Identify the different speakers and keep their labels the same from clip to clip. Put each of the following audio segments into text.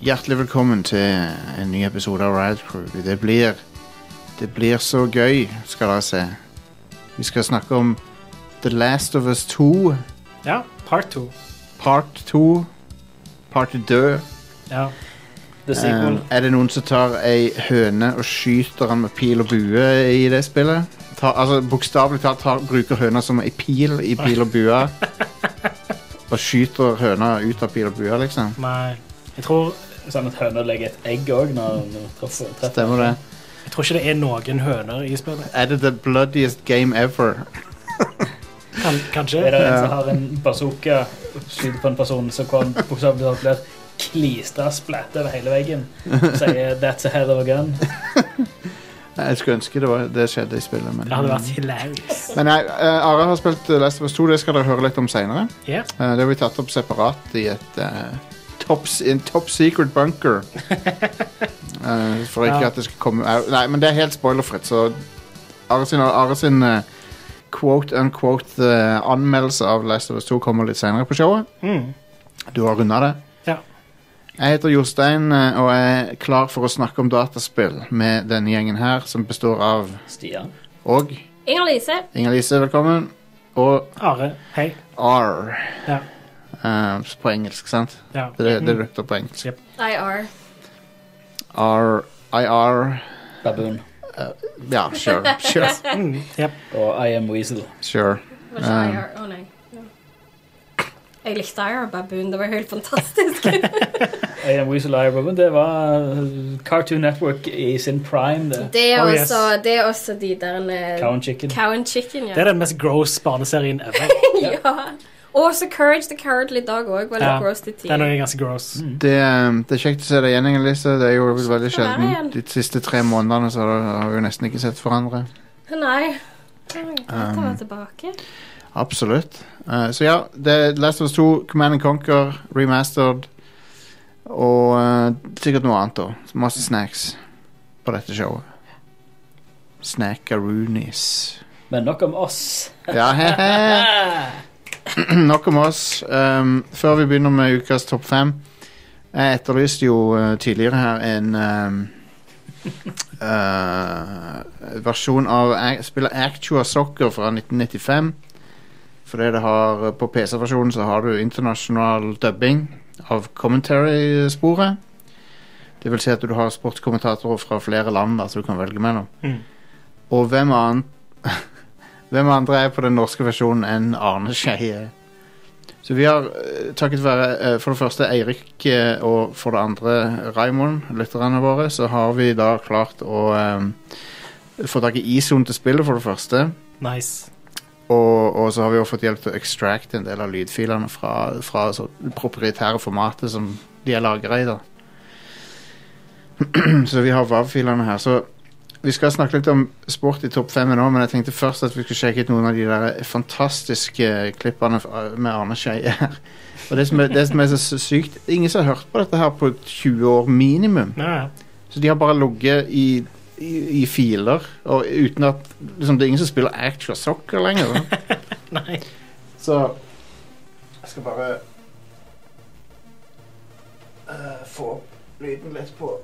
Speaker 1: Hjertelig velkommen til en ny episode av Riot Crew. Det blir Det blir så gøy, skal dere se. Vi skal snakke om The Last of Us 2,
Speaker 2: Ja, part two.
Speaker 1: part 2, part død.
Speaker 2: Ja.
Speaker 3: The sequel.
Speaker 1: Um, er det noen som tar ei høne og skyter han med pil og bue i det spillet? Ta, altså Bokstavelig talt tar, bruker høna som ei pil i pil og bue. Og skyter høna ut av pil og bue, liksom.
Speaker 2: Nei. Jeg tror,
Speaker 3: sånn at høna legger et egg òg når den treffer. treffer.
Speaker 1: Stemmer det?
Speaker 2: jeg tror ikke det er noen høner i spillet.
Speaker 1: Er det the bloodiest game ever?
Speaker 2: Kan,
Speaker 3: Er
Speaker 2: kanskje?
Speaker 3: det en som har en bazooka skyter på en person som kan bokstavelig talt blir klistra splatt over hele veggen, sier 'that's a hell of a gun'.
Speaker 1: Jeg skulle ønske det, var, det skjedde i spillet, men
Speaker 2: Det hadde vært hilarious.
Speaker 1: Men nei, eh, Are har spilt eh, Last of Us 2, det skal dere høre litt om seinere.
Speaker 2: Ja.
Speaker 1: Det har vi tatt opp separat i et eh, top, i en top secret bunker. Eh, for ikke
Speaker 2: Ja.
Speaker 1: at det skal komme au- Nei, men det er helt spoilerfritt, så Are sin, Are sin eh, quote unquote eh, anmeldelse av Last of Us 2 kommer litt seinere på showet.
Speaker 2: Mm.
Speaker 1: Du har runda det.
Speaker 2: Ja.
Speaker 1: Jeg heter Jostein eh, og er klar for å snakke om dataspill med denne gjengen her, som består av
Speaker 3: Stian.
Speaker 1: Og
Speaker 4: Inger Lise.
Speaker 1: Inger-Lise, velkommen. Og
Speaker 2: Are, hei.
Speaker 1: R.
Speaker 2: Ja.
Speaker 1: Eh, på engelsk, sant?
Speaker 2: Ja.
Speaker 1: Det er det- det
Speaker 2: Mm.
Speaker 1: er lukter på engelsk.
Speaker 2: Yep.
Speaker 4: IR.
Speaker 1: R, IR
Speaker 3: Baboon.
Speaker 1: Ja, sure. Sure.
Speaker 2: Mm. Yep.
Speaker 3: Og I am weasel.
Speaker 1: sure.
Speaker 4: Var ikke
Speaker 1: Um.
Speaker 4: IR? Å, nei. Ja. Jeg likte IR og Baboon. Det var helt fantastisk.
Speaker 3: I am weasel, I am baboon. Det var uh, Cartoon Network i sin prime, det.
Speaker 4: Det er
Speaker 2: Oh,
Speaker 4: også,
Speaker 2: yes.
Speaker 4: det er også de der eh,
Speaker 3: Cow and Chicken.
Speaker 4: Cow and Chicken,
Speaker 2: Det
Speaker 4: ja.
Speaker 2: er den mest gross barneserien ever.
Speaker 4: ja. Og så Courage the Cowardly Dog òg. Var litt
Speaker 2: Ja.
Speaker 4: gross til
Speaker 2: Den
Speaker 4: tider.
Speaker 2: er ganske gross.
Speaker 3: Mm.
Speaker 1: Det, eh, det er kjekt å se deg igjen, Inger-Lise. Det er jo veldig
Speaker 4: Skal være
Speaker 1: sjelden.
Speaker 4: igjen.
Speaker 1: De siste tre månedene så har har vi jo nesten ikke sett hverandre.
Speaker 4: Nei. Det var godt å
Speaker 1: Um.
Speaker 4: være tilbake.
Speaker 1: Absolutt. Eh, så ja, det er Last of Us 2, Command and Conquer, remastered. Og eh, sikkert noe annet òg. Masse snacks på dette showet. Snackaroonies.
Speaker 3: Men nok om oss. Ah!
Speaker 1: Ja, he-he. Nok om oss. Um, før vi begynner med ukas topp fem Jeg etterlyste jo uh, tidligere her en um, uh, versjon av A- spillet Actua Soccer fra 1995. Fordi det har eh, På PC-versjonen så har du internasjonal dubbing av commentary-sporet. Det vil si at du har sportskommentatorer fra flere land da, som du kan velge mellom.
Speaker 2: Mm.
Speaker 1: Og hvem annen Hvem andre er på den norske versjonen enn Arne Skeie? Så vi har eh, takket være eh, for det første Eirik eh, og for det andre Raymond, lytterne våre, så har vi da klart å eh, få tak i ISON til spillet, for det første.
Speaker 2: Nice.
Speaker 1: Og, og så har vi også fått hjelp til å extracte en del av lydfilene fra, fra så proprietære formatet som de er lagra i. da. så vi har WAV-filene her. Så vi skal snakke litt om sport i topp fem nå, men jeg tenkte først at vi skulle sjekke ut noen av de der fantastiske klippene fra- med Arne Skeie her. Og det som, er, det som er så sykt Ingen som har hørt på dette her på 20 år minimum.
Speaker 2: Ja, ja.
Speaker 1: Så de har bare ligget i, i, i filer, og uten at liksom, Det er ingen som spiller actual soccer lenger. da.
Speaker 2: Nei.
Speaker 1: Så Jeg skal bare eh, få opp lyden litt på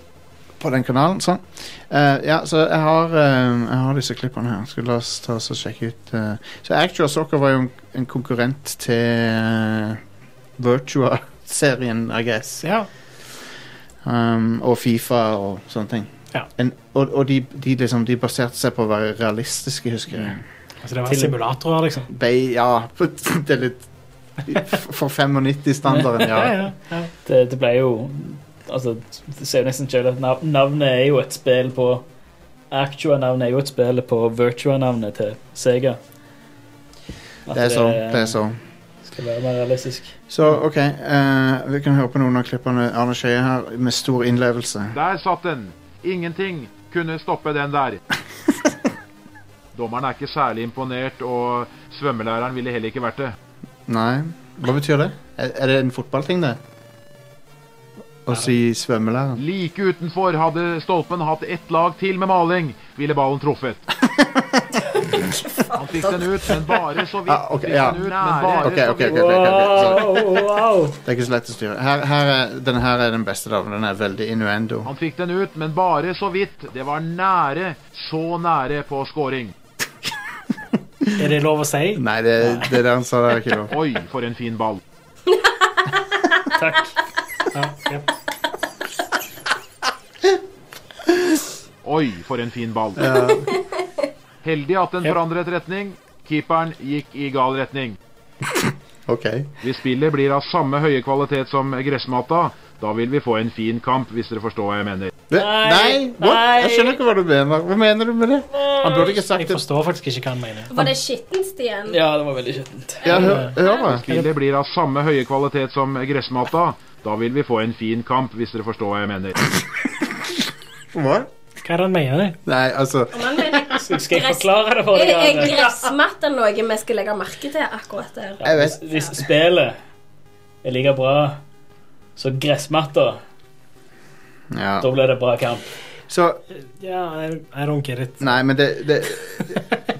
Speaker 1: På den kanalen. Sånn. Eh, ja, så jeg har, eh, jeg har disse klippene her. Skal la oss ta oss og sjekke ut eh. Så Actual Soccer var jo en, en konkurrent til eh, Virtua-serien, I guess.
Speaker 2: Ja.
Speaker 1: Um, og Fifa og sånne ting.
Speaker 2: Ja.
Speaker 1: En, og og de, de, liksom, de baserte seg på å være realistiske, husker jeg.
Speaker 2: Altså, det var
Speaker 3: Til-
Speaker 2: simulatorer, liksom.
Speaker 1: Bay, ja, det er litt For 95-standarden,
Speaker 2: Ja,
Speaker 1: ja.
Speaker 2: ja. ja.
Speaker 3: Det, det ble jo Altså, det ser jo nesten selv at nav navnet er jo et spill på Actua-navnet er jo et spill på Virtua-navnet til Sega. At
Speaker 1: Det er sånn. Det er sånn.
Speaker 3: Skal være mer realistisk.
Speaker 1: Så OK, eh, vi kan høre på noen av klippene Arne Skeie her med stor innlevelse.
Speaker 5: Der satt den. Ingenting kunne stoppe den der. Dommeren er ikke særlig imponert, og svømmelæreren ville heller ikke vært det.
Speaker 1: Nei, hva betyr det? Er, er det en fotballting, det? Å si svømmelærer?
Speaker 5: Like utenfor hadde stolpen hatt ett lag til med maling, ville ballen truffet. Han fikk den ut, men bare så vidt.
Speaker 1: Ah, ok,
Speaker 5: Fikk
Speaker 1: ja.
Speaker 5: den ut, men bare
Speaker 1: Ok,
Speaker 5: så
Speaker 1: ok, ok,
Speaker 5: vidt.
Speaker 1: ok, ok,
Speaker 3: Wow, wow.
Speaker 1: Det er ikke så lett å styre. Her, her er, denne her er den beste, da. for Den er veldig innuendo.
Speaker 5: Han fikk den ut, men bare så vidt. Det var nære, så nære på scoring.
Speaker 2: Er det lov å si?
Speaker 1: Nei, det, det der han sa, det er ikke lov.
Speaker 5: Oi, for en fin ball.
Speaker 3: Takk.
Speaker 2: Ja, jep.
Speaker 5: Oi, for en fin ball. Heldig at den
Speaker 2: Ja.
Speaker 5: forandret retning. Keeperen gikk i gal retning.
Speaker 1: OK.
Speaker 5: Hvis spillet blir av samme høye kvalitet som gressmatta, da vil vi få en fin kamp, hvis dere forstår hva jeg mener.
Speaker 1: Det,
Speaker 3: Nei,
Speaker 1: nei, what? Jeg
Speaker 3: nei.
Speaker 1: skjønner ikke hva du mener. Hva mener du med det? Han burde ikke sagt
Speaker 2: Jeg
Speaker 1: det.
Speaker 2: forstår faktisk ikke hva han mener.
Speaker 4: Var det skittent igjen?
Speaker 3: Ja, det var veldig skittent.
Speaker 1: Ja, hør, hør da.
Speaker 5: Spillet blir av samme høye kvalitet som gressmatta, da vil vi få en fin kamp, hvis dere forstår hva jeg mener.
Speaker 1: Hva?
Speaker 2: Hva er det han mener?
Speaker 1: Nei, altså
Speaker 4: Om han mener
Speaker 3: Skal jeg forklare det for
Speaker 4: Er,
Speaker 3: deg?
Speaker 4: er
Speaker 3: Arne?
Speaker 4: gressmatte noe vi skal legge merke til akkurat der?
Speaker 1: Jeg vet.
Speaker 3: Hvis spillet er like bra som gressmatta,
Speaker 1: Ja.
Speaker 3: da blir det bra kamp.
Speaker 1: Så
Speaker 2: Ja, I, I don't get it.
Speaker 1: Nei, men det, det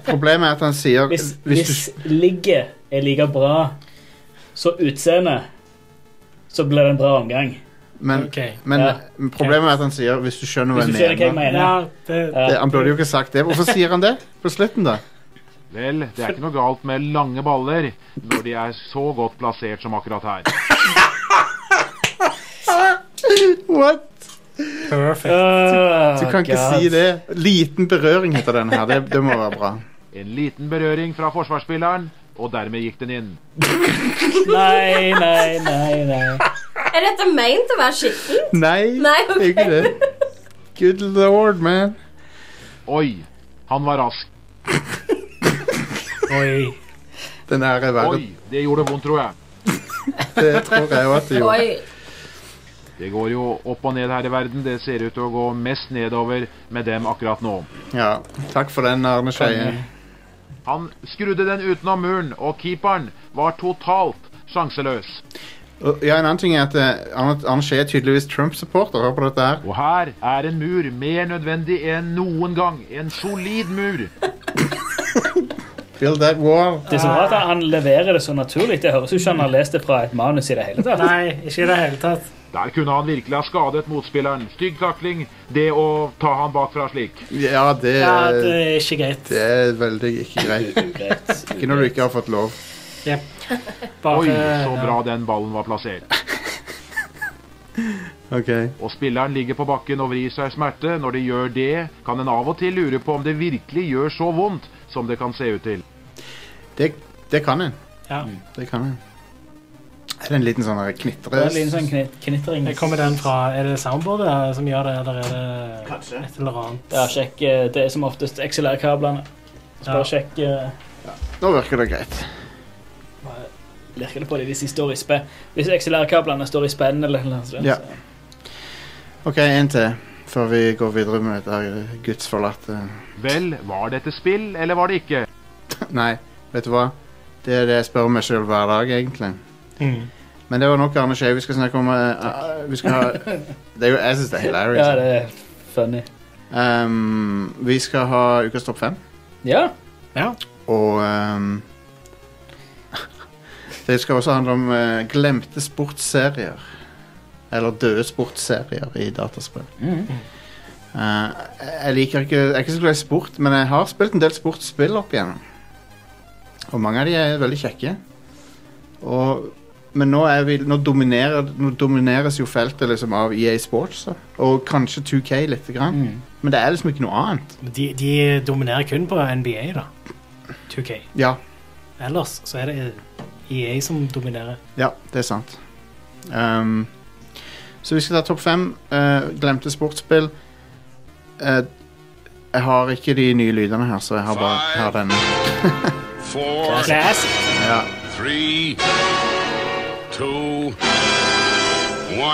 Speaker 1: Problemet er at han sier
Speaker 3: Hvis,
Speaker 1: hvis du,
Speaker 3: hvis ligget er like bra som utseendet, så blir det en bra omgang.
Speaker 1: Men,
Speaker 2: Ok.
Speaker 1: men
Speaker 3: Ja.
Speaker 1: problemet er at han sier hvis du skjønner hva
Speaker 3: Hvis
Speaker 1: jeg
Speaker 3: du skjønner hva jeg
Speaker 1: mener.
Speaker 3: mener.
Speaker 2: Ja, det,
Speaker 3: Ja.
Speaker 1: Det, han burde jo ikke sagt det. Hvorfor sier han det på slutten, da?
Speaker 5: Vel, det er ikke noe galt med lange baller når de er så godt plassert som akkurat her.
Speaker 1: What?
Speaker 3: Eh,
Speaker 2: perfect.
Speaker 3: Åh,
Speaker 1: Du kan ikke
Speaker 3: Oh, God.
Speaker 1: si det. Liten berøring heter den her. Det, det må være bra.
Speaker 5: En liten berøring fra forsvarsspilleren, og dermed gikk den inn.
Speaker 3: Nei, nei, nei. nei.
Speaker 4: Er dette meint å være skitten?
Speaker 1: Nei,
Speaker 4: Nei,
Speaker 1: det er ikke det. Good lord, man.
Speaker 5: Oi, han var rask.
Speaker 2: Oi.
Speaker 1: Den her er verre.
Speaker 5: Oi, det gjorde vondt, tror jeg.
Speaker 1: Det tror jeg jo at det gjorde.
Speaker 4: Oi.
Speaker 5: Det går jo opp og ned her i verden. Det ser ut til å gå mest nedover med dem akkurat nå.
Speaker 1: Ja, takk for den, Arne Skeie.
Speaker 5: Han skrudde den utenom muren, og keeperen var totalt sjanseløs.
Speaker 1: Og- Ja, en annen ting er at eh, Arne Arne Skeie er tydeligvis Trump-supporter. Hør på dette her.
Speaker 5: Og her er en mur mer nødvendig enn noen gang. En solid mur.
Speaker 1: Build that wall.
Speaker 3: Det er så bra at han leverer det så naturlig. Det høres ut som han har lest det fra et manus i det hele tatt.
Speaker 2: Nei, ikke i det hele tatt.
Speaker 5: Der kunne han virkelig ha skadet motspilleren. Stygg takling, det å ta han bakfra slik.
Speaker 1: Ja, det,
Speaker 2: Ja, det er ikke greit.
Speaker 1: det er veldig ikke greit.
Speaker 3: Ugreit.
Speaker 1: Ikke når du ikke har fått lov.
Speaker 2: Bare, eh,
Speaker 5: Oi, så bra den ballen var plassert.
Speaker 1: Ok.
Speaker 5: Og spilleren ligger på bakken og vrir seg i smerte. Når de gjør det, kan en av og til lure på om det virkelig gjør så vondt som det kan se ut til.
Speaker 1: Det, det kan en.
Speaker 2: Ja.
Speaker 1: Det kan en. Er det en liten sånn her
Speaker 3: Det
Speaker 1: knitre...
Speaker 3: er litt sånn knit knitring.
Speaker 2: Det kommer den fra Er det soundboardet eh, som gjør det, eller er det
Speaker 1: Kanskje.
Speaker 2: et eller annet?
Speaker 3: Ja, sjekk eh, det er som oftest XLR-kablene. Så
Speaker 2: Ja.
Speaker 3: bare sjekk eh,
Speaker 1: Nå virker det greit.
Speaker 3: Lirker det på dem hvis de står i spenn. Hvis XLR-kablene står i spenn eller noe sånt.
Speaker 1: Ja.
Speaker 3: så-
Speaker 1: Ok, en til. Før vi går videre med dette gudsforlatte
Speaker 5: Vel, var dette spill, eller var det ikke?
Speaker 1: Nei, vet du hva? Det er det jeg spør meg sjøl hver dag, egentlig.
Speaker 2: Mm.
Speaker 1: Men det var nok Arne Skei. Vi skal snakke om eh, eh, Vi skal ha Det er jo Jeg syns det er hilarious.
Speaker 3: Ja, det er funny.
Speaker 1: Ehm, vi skal ha Ukas topp fem.
Speaker 3: Ja.
Speaker 2: ja.
Speaker 1: Og ehm, Det skal også handle om eh, glemte sportsserier. Eller døde sportsserier i dataspill. Eh, jeg liker ikke Jeg er ikke så glad i sport, men jeg har spilt en del sportsspill opp igjennom. Og mange av de er veldig kjekke. Og, men nå, er vi, nå, dominerer, nå domineres jo feltet liksom av EA Sports. Da. Og kanskje 2K lite grann.
Speaker 3: Mm.
Speaker 1: Men det er liksom ikke noe annet.
Speaker 2: Men De, de dominerer kun på NBA, da. 2K.
Speaker 1: Ja,
Speaker 2: Ellers så er det EA som dominerer.
Speaker 1: Ja, det er sant. Ehm, så vi skal ta topp fem eh, glemte sportsspill. Eh, jeg har ikke de nye lydene her, så jeg har bare jeg har denne.
Speaker 6: four,
Speaker 2: Classic.
Speaker 1: Ja.
Speaker 6: three, two,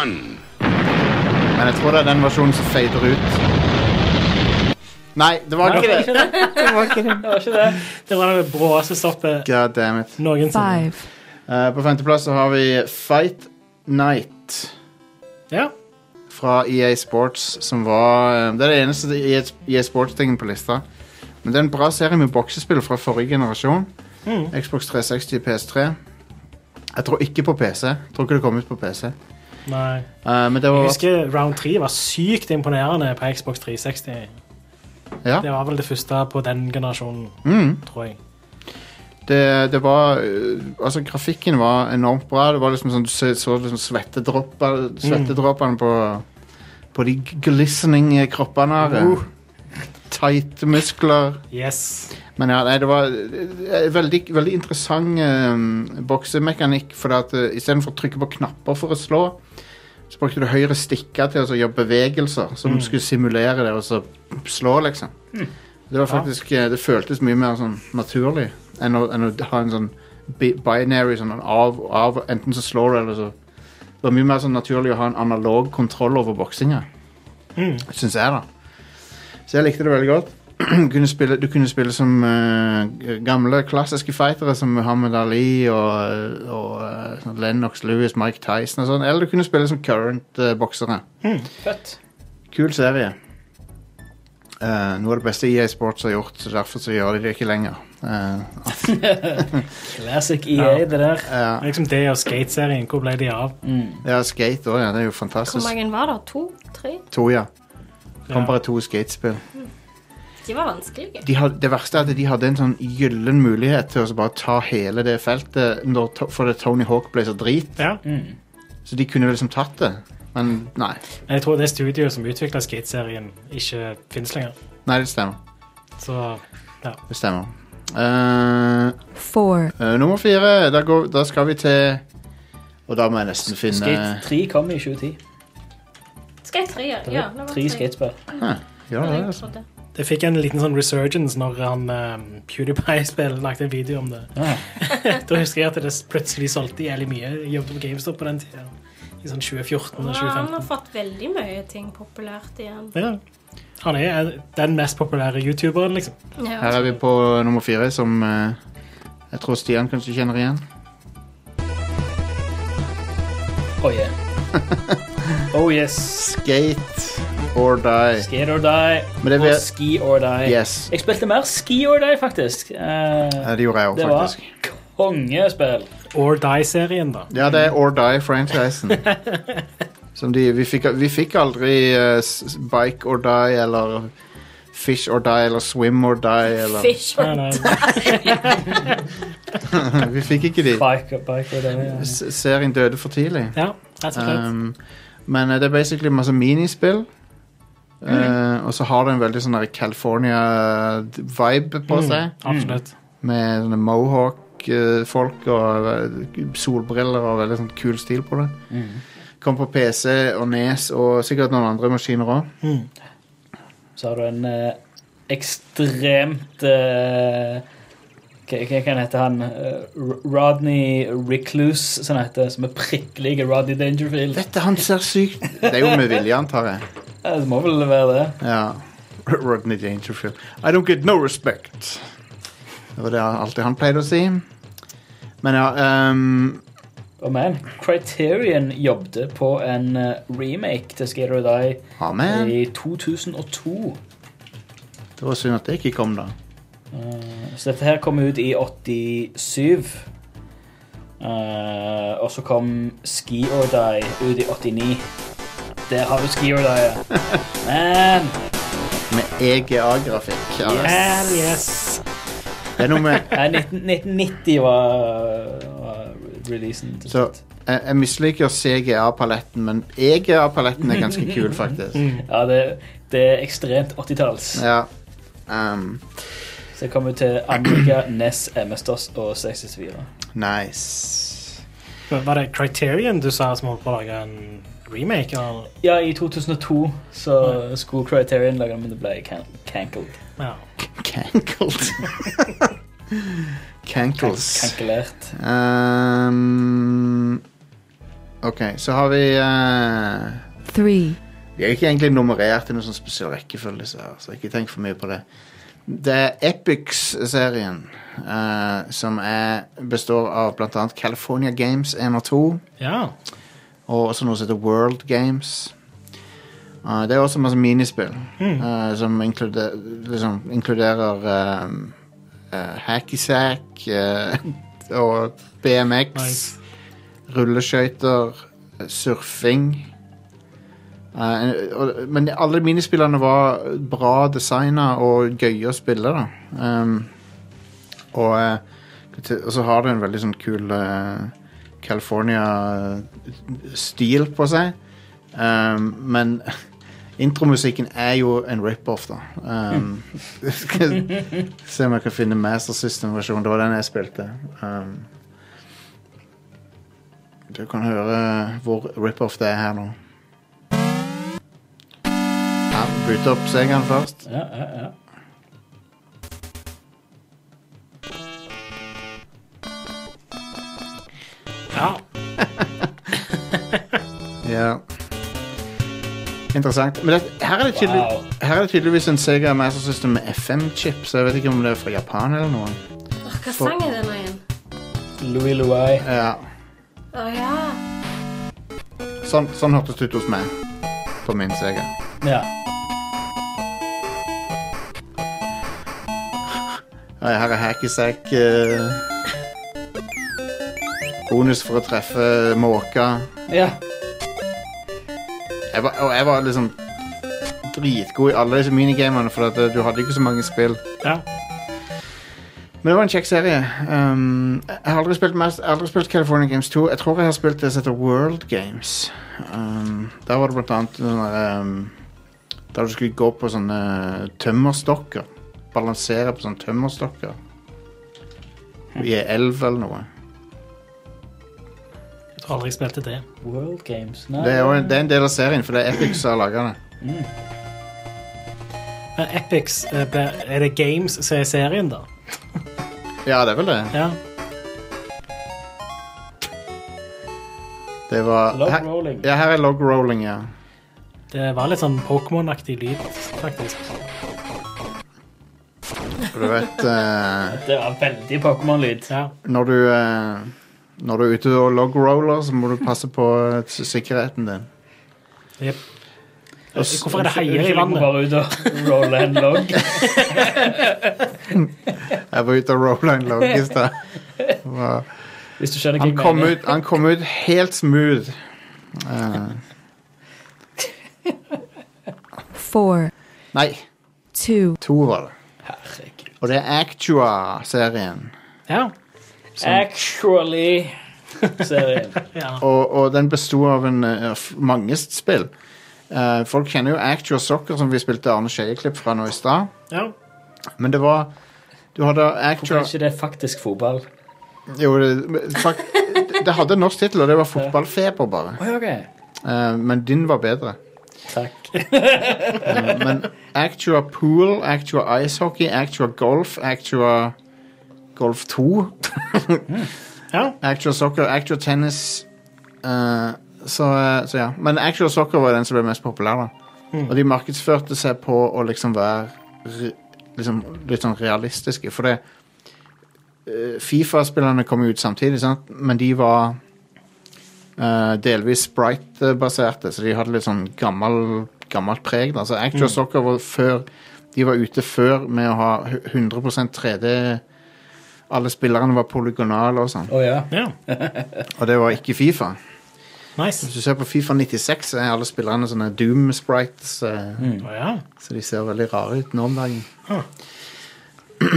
Speaker 6: one.
Speaker 1: Men jeg tror det er den versjonen som fader ut. Nei, det var ikke det.
Speaker 3: Det var ikke det.
Speaker 2: Det var det bråeste stoppet
Speaker 1: God damn it.
Speaker 2: noensinne.
Speaker 7: five,
Speaker 1: Eh, på femteplass så har vi Fight Night E
Speaker 2: Ja.
Speaker 1: fra EA Sports, som var eh, Det er det eneste EA Sports-tingen på lista. Men det er en bra serie med boksespill fra forrige generasjon. Xbox 360, PS3. Jeg tror ikke på PC. Jeg tror ikke det kom ut på PC.
Speaker 2: Nei.
Speaker 1: Eh, men det
Speaker 2: Jeg
Speaker 1: var
Speaker 2: husker Round 3 var sykt imponerende på Xbox 360.
Speaker 1: Ja.
Speaker 2: Det var vel det første på den generasjonen,
Speaker 1: Mm.
Speaker 2: tror jeg.
Speaker 1: det, det var øh, Altså, grafikken var enormt bra. Det var liksom sånn, Du så, så liksom svettedropper, svettedroppene på På de glistening kroppene her.
Speaker 2: Uh.
Speaker 1: Tighte muskler.
Speaker 2: Yes.
Speaker 1: Men ja, nei, det var eh, veldig, veldig interessant eh, boksemekanikk. For at eh, istedenfor å trykke på knapper for å slå, så brukte du høyre stikke til å så gjøre bevegelser som skulle simulere det, og så slå, liksom. Det var faktisk, eh, det føltes mye mer sånn naturlig enn å, enn å ha en sånn bi- binary sånn av, av Enten så slår du, eller så Det var mye mer sånn naturlig å ha en analog kontroll over boksinga.
Speaker 2: Mm.
Speaker 1: Syns jeg, da. Så jeg likte det veldig godt. kunne spille, du kunne spille som eh, gamle, klassiske fightere som Muhammad Ali og, og eh, sånn Lennox Lewis, Mike Tyson og sånn. Eller du kunne spille som current eh, boksere.
Speaker 3: Fett.
Speaker 1: Kul serie. Eh, noe av det beste EA Sports har gjort, så derfor så gjør de det ikke lenger. Eh,
Speaker 3: Classic EA, det der.
Speaker 1: ja.
Speaker 2: Liksom det og skateserien. Hvor ble de av?
Speaker 1: ja, skate òg, ja. Det er jo
Speaker 4: Hvor
Speaker 1: fantastisk.
Speaker 4: mange var det? To? Tre?
Speaker 1: To, ja. Det kom
Speaker 2: Ja.
Speaker 1: bare to skatespill.
Speaker 4: De var vanskelige.
Speaker 1: de had, det verste er at de hadde en sånn gyllen mulighet til å så bare ta hele det feltet når, to- fordi Tony Hawk ble så drit.
Speaker 2: Ja.
Speaker 3: Mm.
Speaker 1: Så de kunne liksom tatt det, men nei.
Speaker 2: Men jeg tror det studioet som utvikla skateserien, ikke fins lenger.
Speaker 1: Nei, det stemmer.
Speaker 2: Så ja.
Speaker 1: Det stemmer. Eh,
Speaker 7: four,
Speaker 1: eh, nummer fire, da, går, da skal vi til Og da må jeg nesten finne
Speaker 3: Skate 3 kom i 2010.
Speaker 4: Skate 3, ja.
Speaker 3: Det
Speaker 4: ja
Speaker 3: var
Speaker 4: det var
Speaker 3: tre skatespill.
Speaker 1: Ja,
Speaker 4: Ja,
Speaker 1: det, er
Speaker 4: jeg
Speaker 1: altså.
Speaker 4: trodde.
Speaker 2: Det fikk en liten sånn resurgence når han eh, PewDiePie-spill lagde en video om det.
Speaker 3: Ah.
Speaker 2: da husker jeg at det plutselig solgte jævlig mye. Jeg jobbet på GameStop på den tida. I sånn 2014 og
Speaker 4: Ja, han har
Speaker 2: 2015.
Speaker 4: fått veldig mye ting populært igjen.
Speaker 2: Ja. Han er eh, den mest populære youtuberen, liksom.
Speaker 1: Her
Speaker 4: Ja.
Speaker 1: er vi på nummer fire, som eh, jeg tror Stian kanskje kjenner igjen.
Speaker 3: Oh yeah. Oh yes.
Speaker 1: Skate or die.
Speaker 3: Skate or die.
Speaker 1: Men det
Speaker 3: og
Speaker 1: vet-
Speaker 3: ski or die.
Speaker 1: Yes.
Speaker 3: Jeg spilte mer ski or die, faktisk. Eh,
Speaker 1: Ja, det gjorde jeg òg,
Speaker 3: det var
Speaker 1: faktisk.
Speaker 3: kongespill.
Speaker 2: Or Die-serien, da.
Speaker 1: Ja, det er Or Die-franchisen. Som de, vi, fikk, vi fikk aldri eh, s- s- Bike or Die eller Fish or Die eller Swim or Die. Eller.
Speaker 4: Fish
Speaker 2: Nei,
Speaker 4: og
Speaker 2: nei.
Speaker 1: vi fikk ikke de.
Speaker 3: Bike, bike or die. ja.
Speaker 1: S- Serien døde for tidlig.
Speaker 2: Ja, rett og slett.
Speaker 1: Um, men eh, det er basically masse minispill. Eh, og så har det en veldig sånn der California-vibe på seg.
Speaker 2: Mm, Absolutt.
Speaker 1: Med sånne mohawk-folk og eh, solbriller og veldig sånn kul stil på det.
Speaker 3: Mm.
Speaker 1: Kom på PC og Nes og sikkert noen andre maskiner òg.
Speaker 3: Så har du en eh, ekstremt eh, Hva hva kan hete han? Eh, R- Rodney Recluse, som han heter. Som er prikkelige Rodney Dangerfield.
Speaker 1: Dette han ser sykt Det er jo med vilje, antar jeg.
Speaker 3: Ja, Det må vel være det.
Speaker 1: Ja. Rodney Dangerfield. I don't get no respect. Det var det han- alltid han pleide å si. Men ja ehm,
Speaker 3: Og man, Criterion jobbet på en eh, remake til Skate or die
Speaker 1: Amen.
Speaker 3: i 2002.
Speaker 1: Det var synd at det ikke kom, da.
Speaker 3: Så dette her kom ut i 87. Eh, og så kom Ski or Die ut i 89. Der har du Ski or Die. ja. Men
Speaker 1: Med EGA-grafikk. Ja, det-
Speaker 2: Hell yes!
Speaker 1: Det er noe med
Speaker 3: eh, 19, 1990 var, var releasen. til
Speaker 1: Så
Speaker 3: slutt.
Speaker 1: jeg, jeg misliker CGA-paletten, men EGA-paletten er ganske kul, faktisk.
Speaker 2: Mm.
Speaker 3: Ja, det, det er ekstremt 80-talls.
Speaker 1: Ja. Ehm,
Speaker 3: Så det kom ut til Amiga, NES, MS-DOS og 64.
Speaker 1: nice.
Speaker 2: Var det Criterion du sa som holdt på å lage en remake? Eller?
Speaker 3: Ja, i 2002 så skulle Criterion lage den, men det ble can cancelled.
Speaker 2: Ja.
Speaker 1: Cankles. Cankles.
Speaker 3: Cancellert.
Speaker 1: Ehm, ok, så har vi eh,
Speaker 7: three,
Speaker 1: De er ikke egentlig nummerert i noen sånn spesiell rekkefølge, så, her, så ikke tenk for mye på det. Det er Epics-serien, eh, som er, består av bl.a. California Games 1 og 2,
Speaker 2: ja.
Speaker 1: og også noe som heter World Games. Eh, det er også masse minispill eh, som inkluder, liksom, inkluderer eh, eh, hacky sack eh, og BMX,
Speaker 2: Nice.
Speaker 1: rulleskøyter, eh, surfing. Eh, en- og, men alle minispillene var bra designa og gøye å spille, da. Ehm, og, eh, til- og så har det en veldig sånn kul eh, California-stil på seg. Ehm, men intromusikken er jo en rip-off, da. Ehm, skal se om jeg kan finne Master System-versjonen. Det var den jeg spilte. Ehm, du kan høre hvor rip-off det er her nå. Ja, Bytte opp sengen først.
Speaker 3: Ja, ja, ja.
Speaker 2: Ja.
Speaker 1: Ja. Interessant. Men det, her, er det tydelig,
Speaker 3: Wow.
Speaker 1: her er det tydeligvis en Sega Master System med FM-chip, så jeg vet ikke om det er fra Japan eller noe.
Speaker 4: Åh, hva sang er det nå igjen?
Speaker 3: Louis Louis.
Speaker 1: Ja,
Speaker 4: Å ja.
Speaker 1: sånn, sånn hørtes det ut hos meg. På min Sega.
Speaker 3: Ja.
Speaker 1: Og her er Hackysack uh, Bonus for å treffe måka.
Speaker 3: ja.
Speaker 1: Jeg var, og jeg var liksom dritgod i alle disse minigamene, for at eh, du hadde ikke så mange spill.
Speaker 2: ja.
Speaker 1: Men det var en kjekk serie. Um, jeg har aldri spilt, mest, jeg har aldri spilt California Games 2. Jeg tror jeg har spilt det som heter World Games. Um, der var det blant annet sånne um, Der du skulle gå på sånne tømmerstokker. Balansere på sånne tømmerstokker.
Speaker 3: Hm.
Speaker 1: I ei elv eller noe.
Speaker 2: Jeg tror aldri jeg spilte det.
Speaker 3: World Games. Nei.
Speaker 1: Det er, jo en, det er en del av serien, for det er Epic som har laga det.
Speaker 2: Men Epics, eh, ble- er det Games som er serien, da?
Speaker 1: Ja, det er vel det.
Speaker 2: Ja.
Speaker 1: Det var
Speaker 3: Log
Speaker 1: her,
Speaker 3: rolling.
Speaker 1: ja, her er log rolling, ja.
Speaker 2: Det var litt sånn Pokémon-aktig lyd, faktisk.
Speaker 1: Og du vet eh,
Speaker 3: Det var veldig Pokémon-lyd.
Speaker 2: Ja.
Speaker 1: når du, eh, når du er ute og logroller, så må du passe på eh, s- sikkerheten din.
Speaker 3: Eh,
Speaker 2: Jep.
Speaker 1: Og s-
Speaker 2: Hvorfor er det heier i
Speaker 3: Unnskyld, Jeg må
Speaker 2: landet?
Speaker 3: bare ut og rolle en log.
Speaker 1: Jeg var ute og rolla en log i stad. Wow.
Speaker 3: Hvis du skjønner hva
Speaker 1: Han,
Speaker 3: jeg
Speaker 1: kom
Speaker 3: mener.
Speaker 1: ut- han kom ut helt smooth. Eh,
Speaker 7: four,
Speaker 1: nei,
Speaker 7: two,
Speaker 1: to var det.
Speaker 3: Herregud.
Speaker 1: Og det er Actua-serien.
Speaker 2: Ja.
Speaker 3: Sånn. Actually Serien.
Speaker 2: ja.
Speaker 1: Og, og den besto av en, eh, f- mange spill. Eh, folk kjenner jo Actua Soccer, som vi spilte Arne Skeie-klipp fra nå i stad.
Speaker 2: ja.
Speaker 1: Men det var Du hadde
Speaker 3: Hvorfor
Speaker 1: Actua
Speaker 3: er ikke det faktisk fotball?
Speaker 1: Jo, det, men fakt, det hadde en norsk tittel, og det var Fotballfeber, bare.
Speaker 3: Oi, ok.
Speaker 1: Eh, men din var bedre.
Speaker 3: Takk.
Speaker 1: Eh, men Actua Pool, Actua Ice Hockey, Actua Golf, Actua Golf 2,
Speaker 2: ja.
Speaker 1: Actua Soccer, Actua Tennis eh, så, eh, så ja. Men Actua Soccer var den som ble mest populær, da. Og de markedsførte seg på å liksom være re- liksom, litt sånn realistiske, for det eh, Fifa-spillerne kom jo ut samtidig, sant? men de var eh, delvis Sprite-baserte, så de hadde litt sånn gammel, gammelt preg. Da. Så Actua Soccer var før De var ute før med å ha 100 3D. Alle spillerne var polygonale og sånn,
Speaker 3: Å ja.
Speaker 2: ja.
Speaker 1: og det var ikke Fifa.
Speaker 2: Nice.
Speaker 1: Hvis du ser på Fifa 96, så er alle spillerne sånne Doom-sprites. eh,
Speaker 2: Å, ja.
Speaker 1: Så de ser veldig rare ut nå om dagen.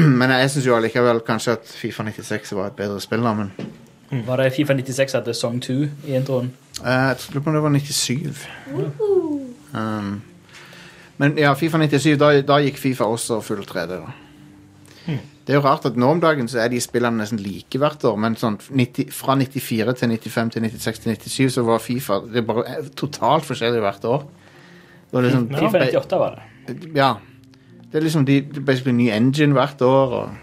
Speaker 1: Men jeg syns jo allikevel kanskje at Fifa 96 var et bedre spill, da. Men
Speaker 3: Var det Fifa 96 hadde Song 2 i introen?
Speaker 1: Eh, jeg tror på det var 97. Um, men ja, Fifa 97, da, da gikk Fifa også full 3D, da. Det er jo rart at nå om dagen så er de spillene nesten like hvert år, men sånn 90, fra 94 til 95 til 96 til 97 så var Fifa det er bare eh, totalt forskjellig hvert år. Det var liksom,
Speaker 3: Fifa 98 var det.
Speaker 1: ja. Det er liksom de, det er basically ny engine hvert år og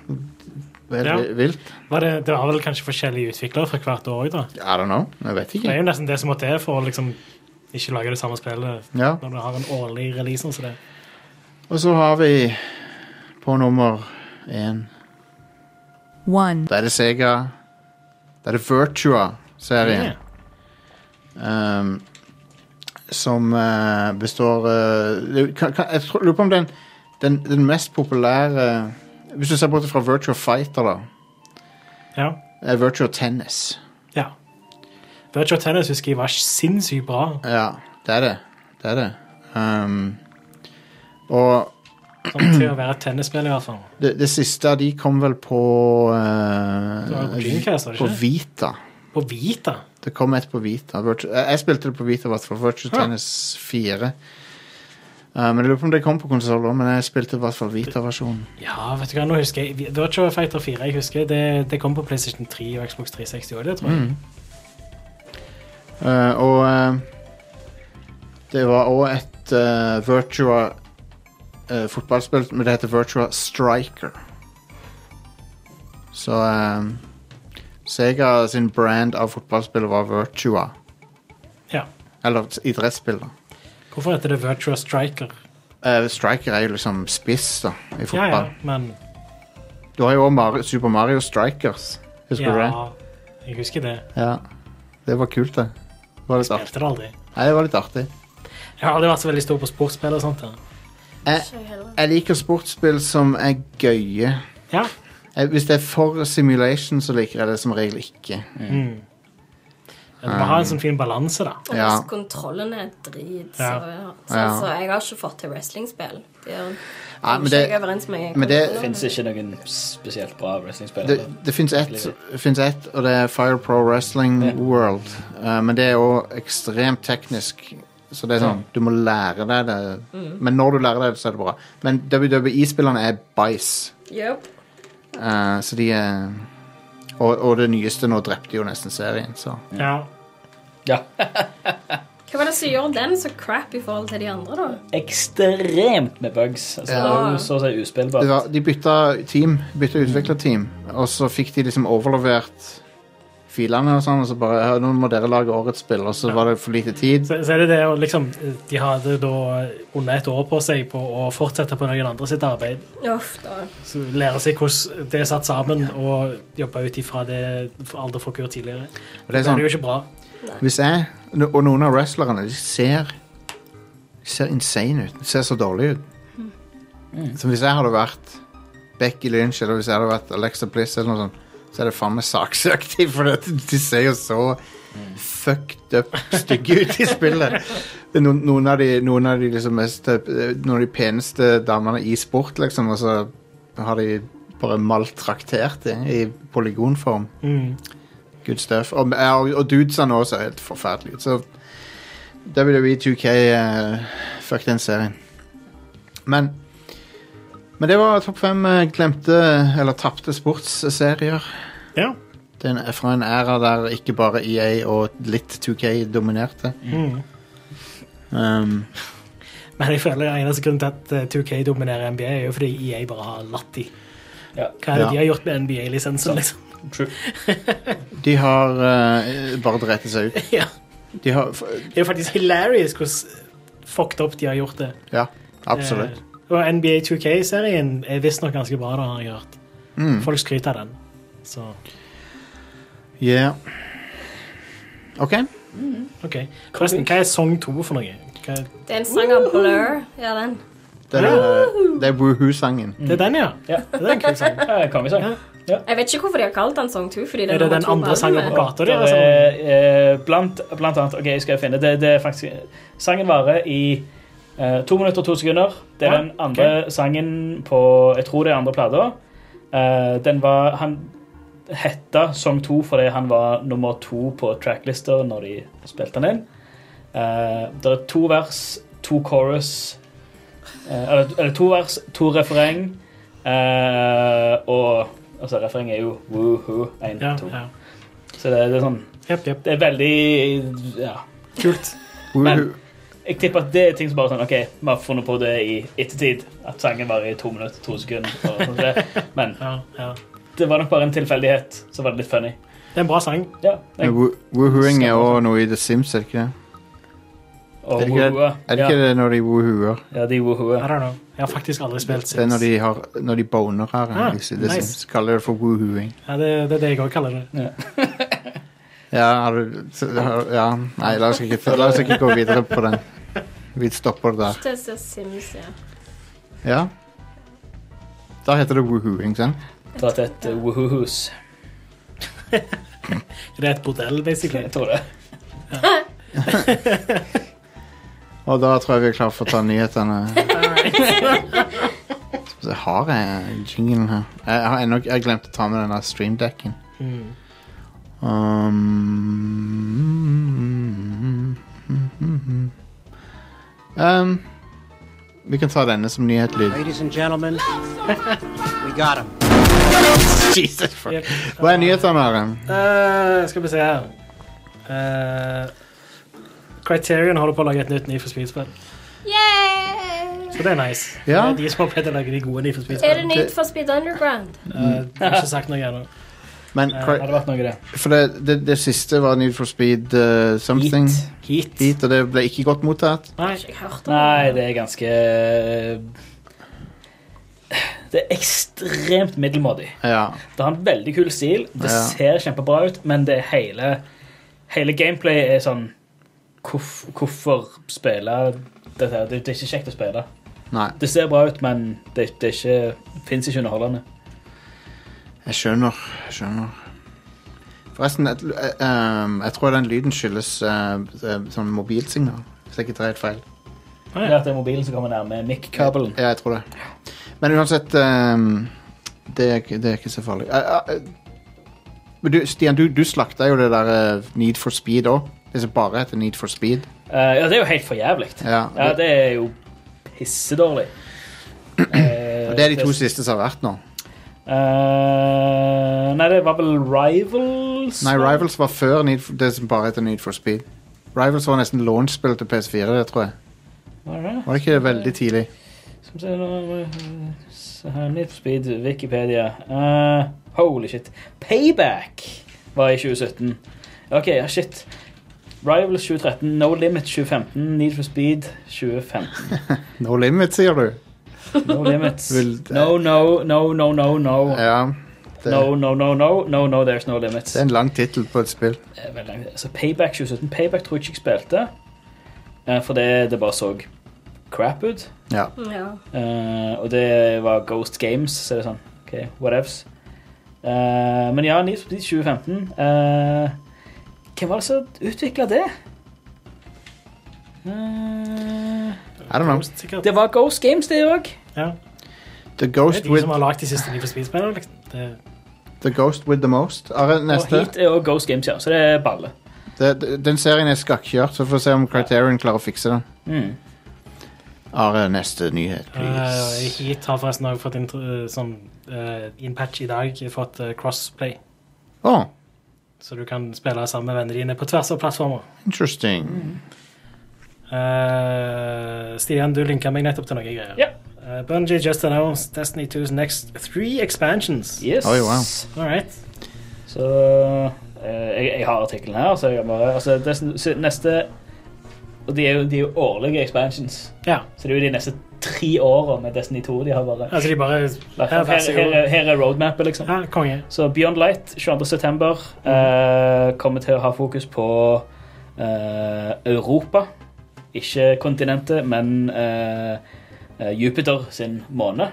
Speaker 1: det er helt
Speaker 2: Ja.
Speaker 1: vilt.
Speaker 2: Var det, det var vel kanskje forskjellige utviklere fra hvert år òg, da?
Speaker 1: I don't know. Jeg vet
Speaker 2: Det
Speaker 1: ikke.
Speaker 2: er jo nesten det som må til for å liksom ikke lage det samme spillet
Speaker 1: Ja.
Speaker 2: når du har en årlig release. sånn som det.
Speaker 1: Og så har vi på nummer én
Speaker 7: one,
Speaker 1: Da er det Sega. Da er det Virtua-serien.
Speaker 2: Ja.
Speaker 1: Um, ehm, som eh, består eh, det- kan, kan, Jeg tror- lurer på om den, den, den mest populære Hvis du ser bort fra Virtua Fighter, da,
Speaker 2: Ja.
Speaker 1: er Virtua Tennis.
Speaker 2: ja. Virtua Tennis husker jeg var sinnssykt bra.
Speaker 1: Ja, det er det. Det er det. Um, og
Speaker 2: Sånn til å være et tennisspill, i hvert fall.
Speaker 1: det, det siste av de kom vel på eh,
Speaker 2: Det var på Dreamcast, var det
Speaker 1: På
Speaker 2: ikke?
Speaker 1: Vita.
Speaker 2: På Vita.
Speaker 1: Det kom et på Vita. Virtu jeg jeg spilte det på Vita, i hvert fall. Virtua
Speaker 2: Ja.
Speaker 1: Tennis 4. Eh, men Jeg lurer på om det kom på konsoll òg, men jeg spilte i hvert fall Vita-versjonen.
Speaker 2: Ja, vet du hva, nå husker jeg Virtua Fighter 4, jeg husker det, det kom på PlayStation 3 og Xbox 360 også, det tror jeg.
Speaker 1: Mm. Eh, og eh, det var òg et eh, Virtua eh, fotballspill, men det heter Virtua Striker. Så eh, Sega sin brand av fotballspill var Virtua.
Speaker 2: Ja.
Speaker 1: Eller idrettsspill, da.
Speaker 2: Hvorfor heter det Virtua Striker?
Speaker 1: Eh, Striker er jo liksom spiss da i
Speaker 2: Ja, ja,
Speaker 1: fotball.
Speaker 2: men
Speaker 1: Du har jo òg Mari Super Mario Strikers. Husker du
Speaker 2: ja,
Speaker 1: det?
Speaker 2: Jeg husker det.
Speaker 1: Ja. Det var kult, det. Det var litt
Speaker 2: Jeg
Speaker 1: artig.
Speaker 2: spilte det aldri.
Speaker 1: Nei, det var litt artig.
Speaker 2: Jeg har aldri vært så veldig stor på sportsspill og sånt. da.
Speaker 1: Jeg,
Speaker 4: Ikke heller.
Speaker 1: jeg liker sportsspill som er gøye.
Speaker 2: Ja.
Speaker 1: Eh, Hvis det er for simulation, så liker jeg det som regel ikke.
Speaker 2: Mm. Du
Speaker 1: Um.
Speaker 2: må ha en sånn fin balanse, da.
Speaker 4: Og
Speaker 1: Ja.
Speaker 4: hvis kontrollen er drit, så,
Speaker 2: Ja.
Speaker 4: så,
Speaker 1: Ja.
Speaker 4: så jeg har ikke fått til wrestlingspill. De er-
Speaker 1: Nei,
Speaker 4: kommer
Speaker 1: men
Speaker 4: ikke jeg
Speaker 1: det,
Speaker 4: overens med
Speaker 1: men det-
Speaker 4: kontrollene.
Speaker 3: Fins ikke noen spesielt bra wrestlingspill.
Speaker 1: det, det fins ett, finnes ett, og det er Fire Pro Wrestling
Speaker 3: Ja.
Speaker 1: World. Eh, men det er òg ekstremt teknisk, så det er sånn du må lære deg det.
Speaker 4: Mm.
Speaker 1: Men når du lærer deg det, så er det bra. Men WWE-spillerne er bæsj,
Speaker 4: Yep.
Speaker 1: Eh, så de er og, og det nyeste nå drepte jo nesten serien, så
Speaker 2: Ja.
Speaker 3: Ja.
Speaker 4: Hva var det som gjorde den så crap i forhold til de andre, da?
Speaker 3: Ekstremt med bugs. Altså, Det
Speaker 1: Ja.
Speaker 3: er jo så å si uspillbart.
Speaker 1: det var, De bytta team, bytta utviklerteam, og så fikk de liksom overlevert filene og sånn, og så bare «Ja, Nå må dere lage årets spill, og så var det for lite tid.
Speaker 2: Så, så er det det å liksom De hadde da under et år på seg på å fortsette på noen andre sitt arbeid.
Speaker 4: Uff, da.
Speaker 2: Så lære seg hvordan det er satt sammen, og jobbe ut ifra det aldri folk gjorde tidligere.
Speaker 1: Og det er
Speaker 2: Det
Speaker 1: sånn,
Speaker 2: er jo ikke bra.
Speaker 1: Hvis jeg no- og noen av wrestlerne de ser de ser insane ut. De ser så dårlige ut.
Speaker 3: Mm.
Speaker 1: Så hvis jeg hadde vært Becky Lynch eller hvis jeg hadde vært Alexa Bliss eller noe sånt, så er det faen meg saksøkt. For det- de ser jo så fucked up stygge ut i spillet. Det er Noen, noen av de, noen av de liksom mest eh, Noen av de peneste damene i sport, liksom, og så har de bare maltraktert det i polygonform.
Speaker 2: Mm.
Speaker 1: Good stuff. Og, ja, og, og dudesene også er helt forferdelige. Så WWE 2K eh, Fuck den serien. Men Men det var topp fem eh, glemte eller tapte sportsserier.
Speaker 2: Ja.
Speaker 1: Det er en- fra en æra der ikke bare EA og litt 2K dominerte.
Speaker 2: Mm.
Speaker 1: Um,
Speaker 2: Men jeg føler den eneste grunnen til at eh, 2K dominerer NBA, er jo fordi EA bare har latt de.
Speaker 3: Ja.
Speaker 2: Hva er det
Speaker 1: Ja.
Speaker 2: de har gjort med NBA-lisensen, liksom?
Speaker 3: True.
Speaker 1: de har eh, bare dreit seg ut.
Speaker 2: Ja.
Speaker 1: De har f-
Speaker 2: Det er jo faktisk hilarious hvordan fucked up de har gjort det.
Speaker 1: Ja, absolutt.
Speaker 2: Eh, og NBA 2K-serien er visstnok ganske bra, da, har jeg hørt.
Speaker 1: Mm.
Speaker 2: Folk skryter av den. Så
Speaker 1: Yeah. OK.
Speaker 2: OK. Forresten, hva er song 2 for noe? Hva,
Speaker 4: Det er en sang av Blur. Ja, den.
Speaker 1: Det er, den, eh, det er Woohoo-sangen.
Speaker 2: det er den, ja?
Speaker 3: Mm. Ja.
Speaker 2: Det er en kul sang.
Speaker 3: Ja, Kongesang.
Speaker 4: Jeg vet ikke hvorfor de har kalt den Song 2. Fordi
Speaker 2: Er det den andre sangen på plata di?
Speaker 3: Der
Speaker 2: altså?
Speaker 3: er, eh, blant, blant annet OK, skal jeg finne det, det er faktisk, Sangen varer i eh, to minutter og to sekunder. Det er
Speaker 2: Ja,
Speaker 3: den andre sangen på Jeg tror det er andre plata. Eh, den var Han hetta Song 2 fordi han var nummer to på tracklista når de spilte den inn. Eh, det er to vers, to chorus eh, eller, eller to vers, to refreng. eh, og altså, refreng er jo woohoo. Én,
Speaker 2: Ja,
Speaker 3: to.
Speaker 2: ja.
Speaker 3: Så det, det er sånn
Speaker 2: Jepp, jepp.
Speaker 3: det er veldig ja.
Speaker 2: Kult.
Speaker 1: Woohoo.
Speaker 3: Jeg tipper at det er ting som bare sånn OK, vi har funnet på det i ettertid. At sangen varer i to minutter, to sekunder. Og sånt det. Men
Speaker 2: Ja, ja.
Speaker 3: det var nok bare en tilfeldighet. Så var det litt funny.
Speaker 2: Det er en bra sang.
Speaker 3: Ja,
Speaker 1: Men
Speaker 3: jeg,
Speaker 1: woo- Woohooing er òg noe i The Sims, er det ikke det?
Speaker 3: og
Speaker 1: Er det ikke,
Speaker 3: woohoo.
Speaker 1: er det, ikke
Speaker 3: ja,
Speaker 1: det når de woohooer?
Speaker 3: ja, de
Speaker 2: I
Speaker 3: woohooer.
Speaker 2: don't know. Jeg har faktisk aldri spilt
Speaker 1: Det er når
Speaker 2: Sims.
Speaker 1: de, har, når de boner her.
Speaker 2: Ah,
Speaker 1: i The
Speaker 2: nice.
Speaker 1: Sims. Kaller det for woohooing.
Speaker 2: Ja, det, det er det jeg òg kaller det.
Speaker 1: Ja, har du s- har- Ja, nei, la oss ikke, la oss ikke gå videre på den. Vi stopper der.
Speaker 4: Til The Sims, ja.
Speaker 1: Ja. Da heter det woohoo, ikke sant?
Speaker 3: Da er det et eh, woohoo-hus.
Speaker 2: Det er et bordell, basically.
Speaker 3: Jeg tror det.
Speaker 1: Og da tror jeg vi er klare for å ta nyhetene. Så jeg har jeg jinglen her. Jeg har ennå jeg glemt å ta med denne streamdekken.
Speaker 2: Mm.
Speaker 1: Um, um, vi kan ta denne som nyhetslyd.
Speaker 8: Ladies and gentlemen, we got him.
Speaker 1: Jesus fuck.
Speaker 2: Yep.
Speaker 1: Hva er nyhetene, Are?
Speaker 2: Eh, skal vi se her Eh, Criterion holder på å lage et nytt Need for Speed-spill.
Speaker 4: Yay!
Speaker 2: Så det er nice.
Speaker 1: Ja.
Speaker 2: Det er de som har pleid å lage de gode Need for
Speaker 4: Er det
Speaker 2: Speed-spillene.
Speaker 4: Need for Speed Underground?
Speaker 2: Eh, jeg har ikke sagt noe ennå.
Speaker 1: Men,
Speaker 2: Eh,
Speaker 1: Cry-
Speaker 3: Hadde vært noe, det.
Speaker 1: for det, det, det siste var Need for Speed eh, something.
Speaker 3: Heat.
Speaker 2: Heat.
Speaker 1: Heat, og det ble ikke godt mottatt.
Speaker 2: Nei.
Speaker 4: Ikke jeg hørt om
Speaker 3: Nei, det er ganske eh, Det er ekstremt middelmådig.
Speaker 1: Ja.
Speaker 3: Det har en veldig kul stil, det
Speaker 1: Ja.
Speaker 3: ser kjempebra ut, men det hele Hele gameplay er sånn hvorf, Hvorfor spille dette? her? Det, det er ikke kjekt å spille.
Speaker 1: Nei,
Speaker 3: Det ser bra ut, men det, det er ikke, finnes ikke underholdende.
Speaker 1: jeg skjønner. Jeg skjønner. Forresten, jeg, jeg, ehm, jeg tror den lyden skyldes eh, eh, sånn mobilsignal. Hvis jeg ikke tar helt feil.
Speaker 3: Det er at det er mobilen som kommer nærme mic-kabelen.
Speaker 1: Ja, jeg tror det. Men uansett ehm, det, er, ikke- det er ikke så farlig. Eh, eh, men du, Stian, du, du slakta jo det der eh, Need for Speed òg. Det som bare heter Need for Speed.
Speaker 3: Eh, ja, det er jo helt for jævlig.
Speaker 1: Ja,
Speaker 3: Ja,
Speaker 1: det,
Speaker 3: det er jo pissedårlig. Eh,
Speaker 1: og det er de to siste som har vært nå.
Speaker 3: Eh, nei, det var vel Rivals?
Speaker 1: Nei, Rivals var før Need for, det som bare heter Need for Speed. Rivals var nesten launch-spill til PS4, det tror jeg.
Speaker 3: Var det det?
Speaker 1: Var det ikke det veldig tidlig?
Speaker 3: Skal vi se nå, eh, se her, Need for Speed, Wikipedia. Eh, holy shit. Payback var i 2017. OK, ja, shit. Rivals 2013, No Limit 2015, Need for Speed 2015.
Speaker 1: No limit, sier du?
Speaker 3: No Limits.
Speaker 1: Vil-
Speaker 3: No, no, no, no, no, no.
Speaker 1: Ja. Det,
Speaker 3: No, no, no, no, no, no, there's no limits.
Speaker 1: det er en lang tittel på et spill.
Speaker 3: Eh, veldig langt. Altså, Payback 2017 Payback tror jeg ikke jeg spilte, eh, for det, det bare så crap ut.
Speaker 1: Ja.
Speaker 4: det. Ja.
Speaker 3: Eh, og det var Ghost Games, så er det sånn. OK, whatevs. Uh, men ja, Need for Speed 2015 eh, Hvem var det som utvikla det? Eh,
Speaker 1: I don't know.
Speaker 2: Sikkert.
Speaker 3: det var Ghost Games, det òg.
Speaker 2: Ja.
Speaker 1: The
Speaker 2: Det er
Speaker 1: Ghost
Speaker 2: de
Speaker 1: with,
Speaker 2: som har lagd de siste Need for Speed-spillene. Liksom. Det-
Speaker 1: the, ghost with the Most. Are,
Speaker 3: Og
Speaker 1: neste.
Speaker 3: Heat er også Ghost Games, ja. Så det er balle.
Speaker 1: Det, det- den serien er skakkjørt, så får vi se om Criterion klarer å fikse den.
Speaker 3: Mm.
Speaker 1: Are, neste nyhet,
Speaker 2: Eh,
Speaker 1: please.
Speaker 2: Heat har forresten også fått intro, eh, sånn, eh, i en patch i dag fått eh, crossplay.
Speaker 1: Å,
Speaker 2: Så du kan spille sammen med vennene dine på tvers av plattformer. Mm.
Speaker 1: interesting.
Speaker 2: Eh, Stian, du linka meg nettopp til noen greier.
Speaker 3: Ja.
Speaker 2: Eh, Bungie just announced Destiny 2's next three expansions.
Speaker 3: Yes.
Speaker 1: Oi, wow.
Speaker 2: All right.
Speaker 3: Så eh, jeg, jeg har artikkelen her, så jeg kan bare altså, det, s- s- Neste Og de er, jo, de er jo årlige expansions,
Speaker 2: Ja.
Speaker 3: så det er jo de neste tre åra med Destiny 2 de har bare
Speaker 2: Altså, de bare
Speaker 3: Her,
Speaker 2: Ja, vær så
Speaker 3: her, her,
Speaker 2: god.
Speaker 3: er- her er roadmapet, liksom.
Speaker 2: Ja, konge.
Speaker 3: Så Beyond Light 22. september
Speaker 2: Mm.
Speaker 3: eh, kommer til å ha fokus på eh, Europa. Ikke kontinentet, men eh, eh, Jupiter sin måne.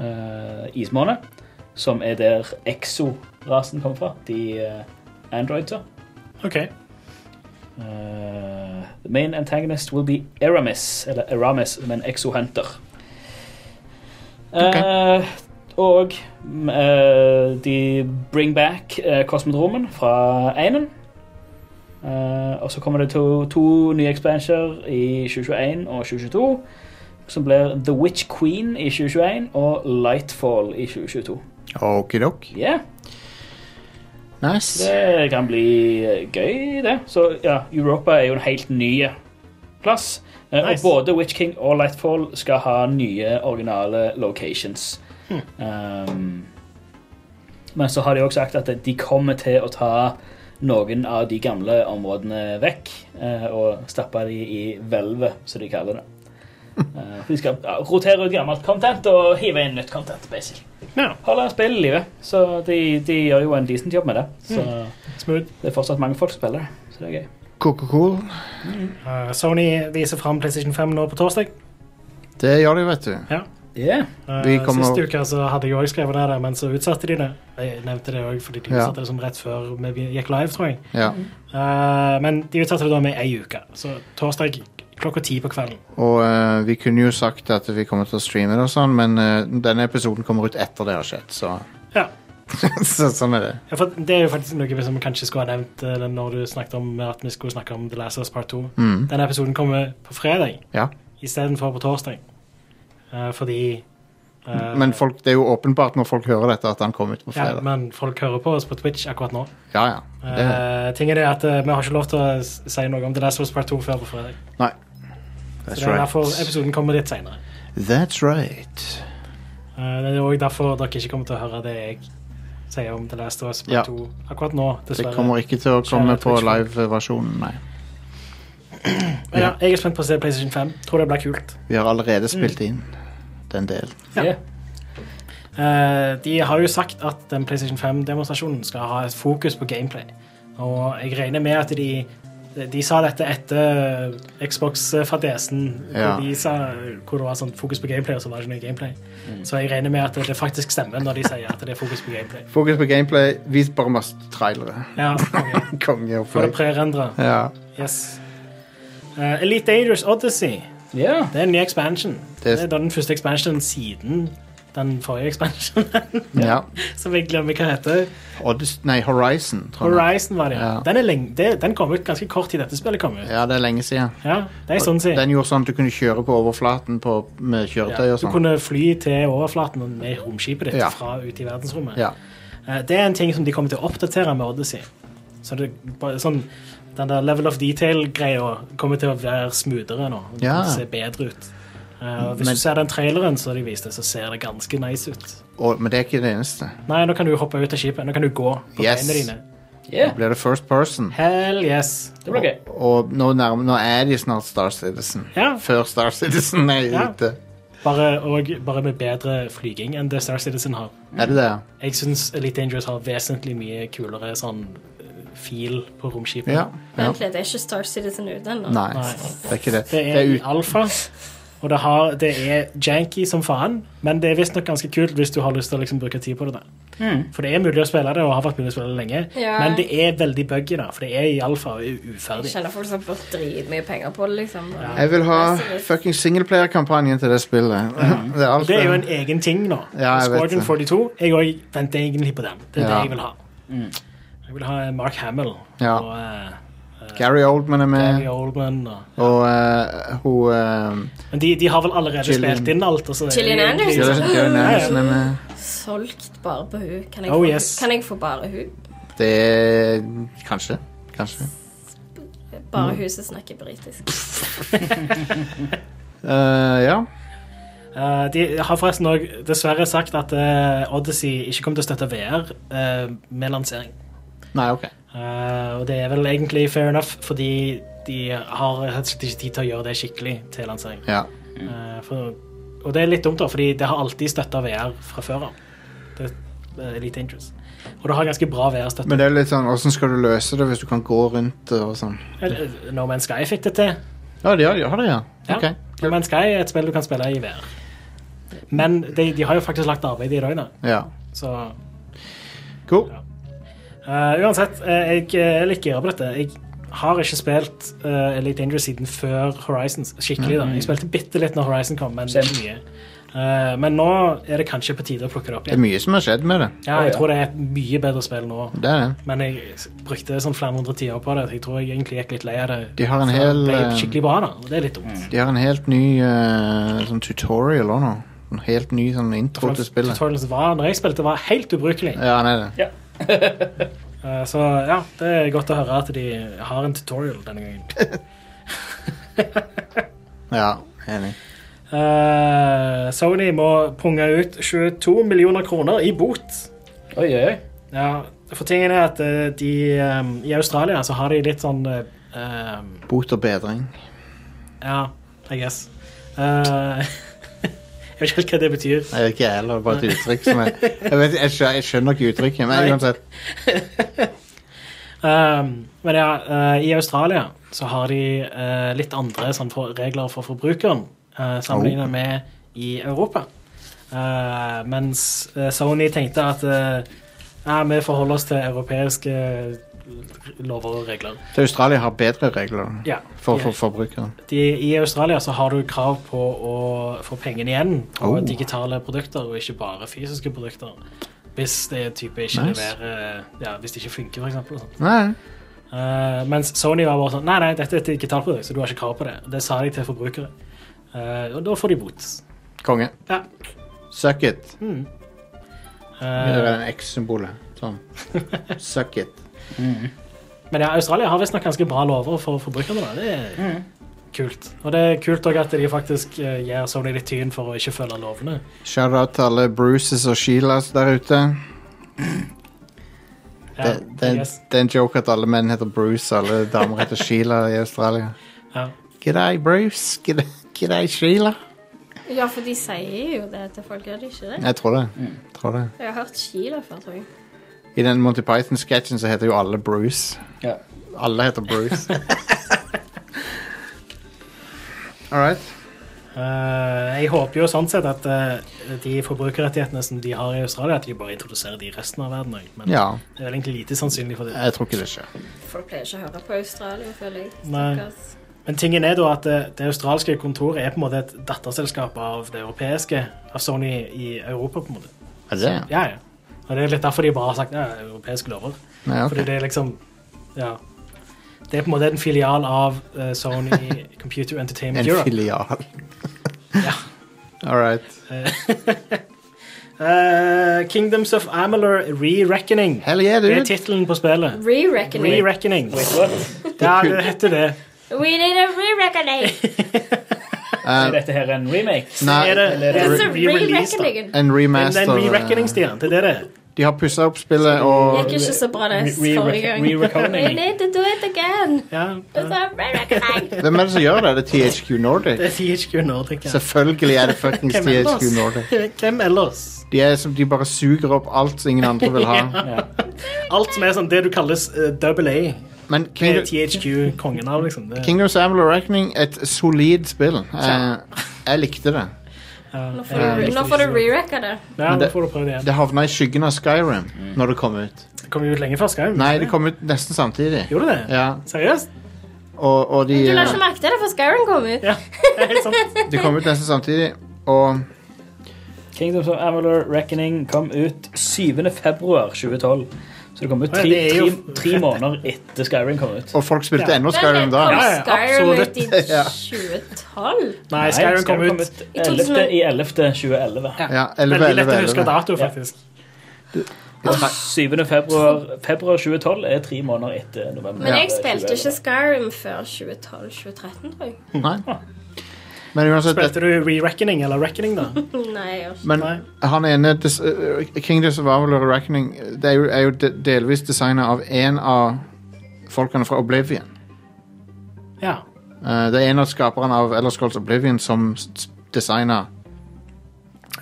Speaker 3: Eh, ismåne. Som er der exo-rasen kommer fra. De eh, androider.
Speaker 2: OK.
Speaker 3: Eh, the main antagonist will be Aramis, eller Aramis, men exo-hunter.
Speaker 1: Ok.
Speaker 3: Eh, og mm, eh, de bring back eh, kosmodromen fra Einen. Eh, og så kommer det to, to nye expansioner i 2021 og 2022. Som blir The Witch Queen i 2021 og Lightfall i 2022.
Speaker 1: Okidok.
Speaker 3: Yeah.
Speaker 1: Nice.
Speaker 3: Det kan bli eh, gøy, det. Så ja, Europa er jo en helt ny plass. Eh,
Speaker 2: Nice.
Speaker 3: Og både Witch King og Lightfall skal ha nye, originale locations.
Speaker 2: Hmm.
Speaker 3: Um, men så har de også sagt at de kommer til å ta noen av de gamle områdene vekk eh, og stappe de i hvelvet, som de kaller det.
Speaker 2: Hmm.
Speaker 3: Eh, for de skal ja, rotere ut gammelt content og hive inn nytt content. basically
Speaker 2: Ja. Hmm.
Speaker 3: holder spillet i live. Så de, de gjør jo en decent jobb med det. Så
Speaker 2: Smooth.
Speaker 3: Det er fortsatt mange folk som spiller det, så det er gøy.
Speaker 1: Coca-Cola.
Speaker 2: Eh, Sony viser fram PlayStation 5 nå på torsdag.
Speaker 1: Det gjør de, vet du.
Speaker 3: Yeah.
Speaker 2: Eh,
Speaker 1: Vi kommer-
Speaker 2: Sist uke så hadde jeg òg skrevet ned det, men så utsatte de det. Jeg nevnte det òg fordi de
Speaker 1: Ja.
Speaker 2: utsatte det sånn rett før vi gikk live, tror jeg.
Speaker 1: Ja.
Speaker 2: Eh, men de utsatte det da med ei uke. Så torsdag klokka ti på kvelden.
Speaker 1: Og eh, vi kunne jo sagt at vi kommer til å streame det og sånn, men eh, denne episoden kommer ut etter det har skjedd, så
Speaker 2: Ja.
Speaker 1: så sånn er det.
Speaker 2: Ja, for det er jo faktisk noe vi som kanskje skulle ha nevnt eh, når du snakket om at vi skulle snakke om The Last of Us Part 2.
Speaker 1: Mm.
Speaker 2: Denne episoden kommer på fredag
Speaker 1: Ja.
Speaker 2: istedenfor på torsdag. Eh, fordi eh,
Speaker 1: Men folk, det er jo åpenbart når folk hører dette, at han kom ut på
Speaker 2: ja,
Speaker 1: fredag.
Speaker 2: men folk hører på oss på Twitch akkurat nå.
Speaker 1: Ja, ja. Det,
Speaker 2: Eh, ting er det at eh, Vi har ikke lov til å s- si noe om The Last of Us Part 2 før på fredag. Så
Speaker 1: that's
Speaker 2: det er derfor
Speaker 1: right.
Speaker 2: episoden kommer litt seinere.
Speaker 1: That's right.
Speaker 2: Eh, det er òg derfor dere ikke kommer til å høre det jeg sier om The Last of Us Part
Speaker 1: Ja.
Speaker 2: 2 akkurat nå,
Speaker 1: Det
Speaker 2: dessverre.
Speaker 1: kommer ikke til å komme
Speaker 2: Kjære
Speaker 1: på
Speaker 2: Twitch-folk.
Speaker 1: live-versjonen, nei.
Speaker 2: Men ja, jeg er spent på å se PlayStation 5. Tror det blir kult.
Speaker 1: Vi har
Speaker 2: Mm.
Speaker 1: allerede spilt inn den delen.
Speaker 2: Ja.
Speaker 3: Yeah.
Speaker 2: Eh, de har jo sagt at den PlayStation 5-demonstrasjonen skal ha et fokus på gameplay. Og jeg regner med at de De sa dette etter eh, Xbox-fadesen,
Speaker 1: Ja.
Speaker 2: hvor, de sa- hvor det var sånn fokus på gameplay, og så var det ikke noe gameplay.
Speaker 1: Mm.
Speaker 2: Så jeg regner med at det faktisk stemmer når de sier at det er fokus på gameplay.
Speaker 1: Fokus på gameplay. Vis bare masse trailere.
Speaker 2: Ja, ok.
Speaker 1: Konge og
Speaker 2: Få det
Speaker 1: fløy.
Speaker 2: prerendra.
Speaker 1: Ja,
Speaker 2: Yes. Eh, Elite Dangerous Odyssey.
Speaker 3: Yeah.
Speaker 2: Det er en ny expansion.
Speaker 1: Det-
Speaker 2: Det er den første expansionen siden den forrige expansionen,
Speaker 1: ja.
Speaker 2: som jeg glemmer hva heter.
Speaker 1: Odyssey- Nei, Horizon, tror jeg.
Speaker 2: Horizon var det, ja.
Speaker 1: Ja.
Speaker 2: Den, er lenge, det, den kom ut ganske kort tid dette spillet kom ut.
Speaker 1: Ja, det er lenge siden.
Speaker 2: Ja, det er sånn siden.
Speaker 1: Den gjorde sånn at du kunne kjøre på overflaten på, med
Speaker 2: Ja,
Speaker 1: kjøretøy og
Speaker 2: du
Speaker 1: sånn.
Speaker 2: kunne fly til overflaten med romskipet ditt
Speaker 1: Ja.
Speaker 2: fra ute i verdensrommet.
Speaker 1: Ja.
Speaker 2: Eh, Det er en ting som de kommer til å oppdatere med Odyssey. Så det, bare sånn, den der level of detail-greia kommer til å være smoothere nå. Den
Speaker 1: Ja.
Speaker 2: kommer til å se bedre ut. Eh, og hvis
Speaker 1: Men-
Speaker 2: du ser den traileren som de viste, så ser det ganske nice ut.
Speaker 1: Og, men det er ikke det eneste.
Speaker 2: Nei, nå kan du hoppe ut av skipet. Nå kan du gå på
Speaker 1: Yes.
Speaker 2: beina dine.
Speaker 1: Nå blir det first person.
Speaker 2: Hell yes.
Speaker 3: Det blir gøy.
Speaker 1: Og nå, nærm- nå er de snart Star Citizen.
Speaker 2: Ja.
Speaker 1: Før Star Citizen er
Speaker 2: Ja.
Speaker 1: ute.
Speaker 2: Bare, og, bare med bedre flyging enn det Star Citizen har.
Speaker 1: Er det det?
Speaker 2: Jeg syns Elite Dangerous har vesentlig mye kulere sånn eh, feel på romskipet.
Speaker 1: Ja. ja.
Speaker 4: Vent litt, det er ikke Star Citizen ute ennå.
Speaker 1: Nei,
Speaker 2: Nei.
Speaker 1: det er ikke det.
Speaker 2: Det
Speaker 1: Det
Speaker 2: er
Speaker 1: er
Speaker 2: i
Speaker 1: ut-
Speaker 2: alfa, og det, har, det er janky som faen, men det er visstnok ganske kult hvis du har lyst til å liksom bruke tid på det. Da. For det er mulig å spille det, og har vært mulig å spille det lenge,
Speaker 4: Ja.
Speaker 2: men det er veldig buggy, da, for det er i alfa og u-
Speaker 4: Jeg
Speaker 2: uferdig.
Speaker 4: kjenner folk som har fått dritmye penger på det, liksom.
Speaker 1: Jeg vil ha fucking singleplayerkampanjen til det spillet. Det er alt
Speaker 2: Det er jo
Speaker 1: det.
Speaker 2: en egen ting nå.
Speaker 1: Ja, jeg vet
Speaker 2: Squadron
Speaker 1: det.
Speaker 2: 42. Jeg òg venter egentlig på den. Det er
Speaker 1: Ja.
Speaker 2: det jeg vil ha. Jeg vil ha Mark Hamill
Speaker 1: Ja. Eh.
Speaker 2: og eh,
Speaker 1: Gary Oldman er
Speaker 2: Gary
Speaker 1: med,
Speaker 2: Oldman og
Speaker 1: og eh, hun eh,
Speaker 2: Men de, de har vel allerede
Speaker 1: Gillian-
Speaker 2: spilt inn alt? og så er det
Speaker 4: Gillian
Speaker 2: egentlig-
Speaker 4: Anderson.
Speaker 1: Gillian Gillian Anderson er med.
Speaker 4: Solgt bare på hun. Kan jeg,
Speaker 2: Oh,
Speaker 4: få,
Speaker 2: yes.
Speaker 4: kan jeg få bare hun?
Speaker 1: Det er Kanskje. Kanskje.
Speaker 2: Mm.
Speaker 4: Bare hun som snakker britisk.
Speaker 1: Eh, ja.
Speaker 2: Eh, de har forresten òg dessverre sagt at eh, Odyssey ikke kommer til å støtte VR eh, med lansering.
Speaker 1: Nei, OK.
Speaker 2: Eh, og det er vel egentlig fair enough, fordi de har rett og slett ikke tid til å gjøre det skikkelig til lansering.
Speaker 1: Ja.
Speaker 2: Eh, for, og det er litt dumt, da, fordi det har alltid støtta VR fra før av. Det er eh, litt dangerous. Og det har ganske bra VR-støtte.
Speaker 1: Men det er litt sånn Åssen skal du løse det hvis du kan gå rundt det og sånn?
Speaker 2: Eh, No Man's Sky fikk det til.
Speaker 1: Ja, de har de har det, ja.
Speaker 2: Ja.
Speaker 1: Ok.
Speaker 2: No Man's Sky er et spill du kan spille i VR. Men de, de har jo faktisk lagt arbeid i døgnet,
Speaker 1: Ja.
Speaker 2: så
Speaker 1: Cool.
Speaker 2: eh, Uansett, eh, jeg eh, er litt gira på dette. Jeg har ikke spilt eh, Elite Dangerous siden før Horizons. Skikkelig, da.
Speaker 1: Mm.
Speaker 2: Jeg spilte bitte litt når Horizon kom, men
Speaker 3: Same.
Speaker 2: ikke mye. Eh, men nå er det kanskje på tide å plukke det opp
Speaker 1: Det er
Speaker 2: igjen.
Speaker 1: mye som har skjedd med det.
Speaker 2: Ja,
Speaker 3: Ja,
Speaker 2: jeg
Speaker 3: ja.
Speaker 2: tror det er et mye bedre spill nå.
Speaker 1: Det er det.
Speaker 2: Men jeg s- brukte sånn flere hundre tider på det. så Jeg tror jeg egentlig gikk litt lei av det.
Speaker 1: De har en
Speaker 2: Så
Speaker 1: hel,
Speaker 2: det ble
Speaker 1: eh, Mm.
Speaker 2: skikkelig bra, da. Og det er litt dumt.
Speaker 1: De har en helt ny eh, sånn tutorial òg nå. En helt ny sånn intro til spillet.
Speaker 2: Tutorials var, når jeg spilte, var helt ubrukelig.
Speaker 1: Ja, han er det.
Speaker 2: Eh, Så ja, det er godt å høre at de har en tutorial denne gangen.
Speaker 1: Ja, enig.
Speaker 2: Eh, Sony må punge ut 22 millioner kroner i bot.
Speaker 3: Oi, oi, oi.
Speaker 2: Ja, for tingen er at eh, de eh, I Australia så har de litt sånn eh, eh,
Speaker 1: Bot og bedring.
Speaker 2: Ja, I guess. Eh, jeg vet ikke helt hva det betyr.
Speaker 1: Jeg vet ikke jeg heller, det er bare et uttrykk som er Jeg, vet, jeg, skjønner, jeg skjønner ikke uttrykket, men
Speaker 2: Nei.
Speaker 1: uansett.
Speaker 2: Um, men ja, eh, i Australia så har de eh, litt andre sånn, for, regler for forbrukeren eh, sammenlignet med i Europa. Eh, mens eh, Sony tenkte at eh, ja, vi forholder oss til europeiske eh, lover og regler.
Speaker 1: Så Australia har bedre regler
Speaker 2: Ja,
Speaker 1: for,
Speaker 2: de-
Speaker 1: for forbrukeren.
Speaker 2: de, I Australia så har du krav på å få pengene igjen på
Speaker 1: Oh.
Speaker 2: digitale produkter, og ikke bare fysiske produkter. Hvis det type ikke
Speaker 1: Nice.
Speaker 2: leverer ja, Hvis det ikke funker, for eksempel. og sånn. sånt.
Speaker 1: Nei.
Speaker 2: Eh, mens Sony var bare sånn Nei, nei, dette er et digitalt produkt, så du har ikke krav på det. Det sa de til forbrukere. Eh, og da får de bot.
Speaker 1: Konge.
Speaker 2: Ja.
Speaker 1: Suck it. Det er
Speaker 2: Eh,
Speaker 1: en X-symbolet. Sånn. Suck it.
Speaker 2: Mm. men ja, Australia har visstnok ganske bra lover for forbrukerne. Da. Det er kult. Og det er kult òg at de faktisk eh, gir Sony litt tyn for å ikke følge lovene.
Speaker 1: Shout-out til alle Bruces og Sheilas der ute.
Speaker 2: Ja,
Speaker 1: det, det,
Speaker 2: yes.
Speaker 1: det er en joke at alle menn heter Bruce, alle damer heter Sheila i Australia.
Speaker 2: Ja.
Speaker 1: G'day, Bruce. G'day, g'day, Sheila.
Speaker 4: Ja, for de sier jo det til folk, gjør de ikke det?
Speaker 1: Jeg tror det. tror det.
Speaker 4: Jeg har hørt Sheila før, tror jeg.
Speaker 1: I den Monty Python-sketsjen så heter jo alle Bruce.
Speaker 3: Ja.
Speaker 1: Alle heter Bruce. All right.
Speaker 2: Eh, jeg håper jo sånn sett at eh, de forbrukerrettighetene som de har i Australia, at de bare introduserer de i resten av verden òg. Men
Speaker 1: Ja,
Speaker 2: det er vel egentlig lite sannsynlig for det.
Speaker 1: jeg tror ikke det skjer.
Speaker 4: Folk pleier ikke å høre på Australia, føler jeg.
Speaker 2: Nei.
Speaker 4: Stakkars.
Speaker 2: Men tingen er da at det, det australske kontoret er på en måte et datterselskap av det europeiske, av Sony i Europa, på en måte.
Speaker 1: Er det det?
Speaker 2: Ja, ja. Og det er litt derfor de bare har sagt ja, europeiske lover.
Speaker 1: Ja, ok.
Speaker 2: Fordi det er liksom Ja. Det er på en måte en filial av eh, Sony Computer Entertainment
Speaker 1: En
Speaker 2: Europe.
Speaker 1: filial.
Speaker 2: Ja.
Speaker 1: All right.
Speaker 2: Eh, Kingdoms of Amalur Re-Reckoning.
Speaker 1: Hell yeah,
Speaker 2: Det er
Speaker 1: dude.
Speaker 2: tittelen på spillet.
Speaker 4: Re-reckoning.
Speaker 2: Re-reckoning.
Speaker 3: Wait, what?
Speaker 2: Ja, det heter det.
Speaker 4: We need a re-reckoning!
Speaker 3: Er dette her en remake?
Speaker 2: Er
Speaker 1: Eh, Nei,
Speaker 2: det, er det
Speaker 4: It's a
Speaker 2: re-release, da?
Speaker 4: altså re-reckoning.
Speaker 1: en
Speaker 2: Men
Speaker 1: remaster. eh,
Speaker 2: Den re-reckoning, Stian. Det er det det er.
Speaker 1: De har pussa opp spillet og
Speaker 4: Gikk ikke så bra det
Speaker 3: Re- re-
Speaker 4: forrige gang.
Speaker 3: re-reckoning.
Speaker 4: We need to do it again!
Speaker 2: Ja,
Speaker 4: It's a re-reckoning!
Speaker 1: Hvem er det som gjør det? Er det THQ Nordic?
Speaker 2: Det er THQ Nordic. Ja.
Speaker 1: Selvfølgelig er det fuckings
Speaker 2: Hvem ellers?
Speaker 1: THQ Nordic.
Speaker 2: Hvem ellers?
Speaker 1: De, er som, de bare suger opp alt som ingen andre vil ha.
Speaker 2: Alt som er sånn det du kalles eh, double A.
Speaker 1: Men
Speaker 2: Det
Speaker 1: Kingdom,
Speaker 2: er THQ kongen av, liksom. Det.
Speaker 1: Kingdom Samuel Reckoning, et solid spill. Eh, jeg likte det.
Speaker 4: Nå får du- Nå får du re-recka det.
Speaker 2: Ja,
Speaker 1: Men
Speaker 2: nå
Speaker 1: det-
Speaker 2: får du prøve det igjen.
Speaker 1: Det havna i skyggen av Skyrim
Speaker 2: Mm.
Speaker 1: når det kom ut.
Speaker 2: Det kom jo ut lenge før Skyrim.
Speaker 1: Nei, det kom ut nesten samtidig.
Speaker 2: Gjorde det?
Speaker 1: Ja,
Speaker 2: Seriøst?
Speaker 1: og, og de,
Speaker 4: Du la
Speaker 1: eh,
Speaker 4: ikke merke til det før Skyrim kom ut.
Speaker 2: Ja, det er helt sant.
Speaker 1: de kom ut nesten samtidig, og
Speaker 3: Kingdoms of Amalur Reckoning kom ut 7. februar 2012. Så det kom ut
Speaker 2: Ja,
Speaker 3: tre,
Speaker 2: det er jo-
Speaker 3: tre, tre måneder etter Skyrim kom ut.
Speaker 1: Og folk spilte
Speaker 2: Ja.
Speaker 1: ennå
Speaker 4: Men
Speaker 1: Skyrim da.
Speaker 4: Kom
Speaker 2: Ja, ja,
Speaker 4: Skyrim ut i
Speaker 1: absolutt. Ja.
Speaker 4: 2012?
Speaker 2: Nei, Skyrim kom ut
Speaker 4: i
Speaker 3: 11.
Speaker 4: 2000.
Speaker 3: i 11. 2011.
Speaker 1: Ja,
Speaker 2: Veldig
Speaker 1: 11,
Speaker 2: lett å
Speaker 1: 11,
Speaker 2: huske
Speaker 1: 11.
Speaker 2: dato, faktisk.
Speaker 3: 7. februar, februar 2012 er tre måneder etter november.
Speaker 4: Men jeg spilte
Speaker 3: 2011.
Speaker 4: ikke Skyrim før 2012-2013, tror jeg.
Speaker 1: Nei. Men uansett, det,
Speaker 2: Spilte du Re-Reckoning eller Reckoning, da?
Speaker 4: Nei, jeg gjør ikke
Speaker 1: Men
Speaker 2: Nei.
Speaker 1: han ene des, uh, Kingdoms of Amalur Reckoning Det er jo, er jo de, delvis designet av en av folkene fra Oblivion.
Speaker 2: Ja.
Speaker 1: Eh, det er en av skaperne av Elder Scrolls Oblivion som s- s- designa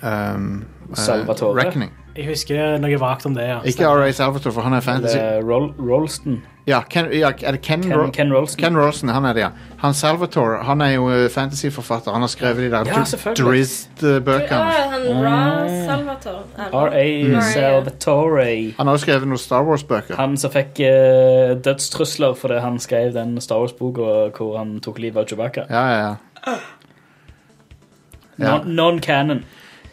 Speaker 1: um, eh,
Speaker 3: Salvatore.
Speaker 1: Reckoning.
Speaker 2: Jeg husker noe vagt om det, ja.
Speaker 1: Ikke R.A. Salvatore, for han er fantasy.
Speaker 3: Eller Rol Rolston.
Speaker 1: Ja, Ken, ja, er det Ken,
Speaker 3: Ken,
Speaker 1: Ro-
Speaker 3: Ken Rolston.
Speaker 1: Ken Rolson, han er det, ja. Han Salvatore han er jo eh, fantasyforfatter. Han har skrevet de der eh,
Speaker 3: Ja, selvfølgelig.
Speaker 4: Å,
Speaker 1: Drizzt-bøkene.
Speaker 4: han Ra Salvatore.
Speaker 2: Ah.
Speaker 3: R.A.
Speaker 4: Mm.
Speaker 3: Salvatore.
Speaker 1: Han har også skrevet noen Star Wars-bøker.
Speaker 3: Han som fikk eh, dødstrusler fordi han skrev den Star Wars-boka hvor han tok livet av Chewbacca.
Speaker 1: Ja, ja, ja. Ja.
Speaker 3: Non- Non-canon.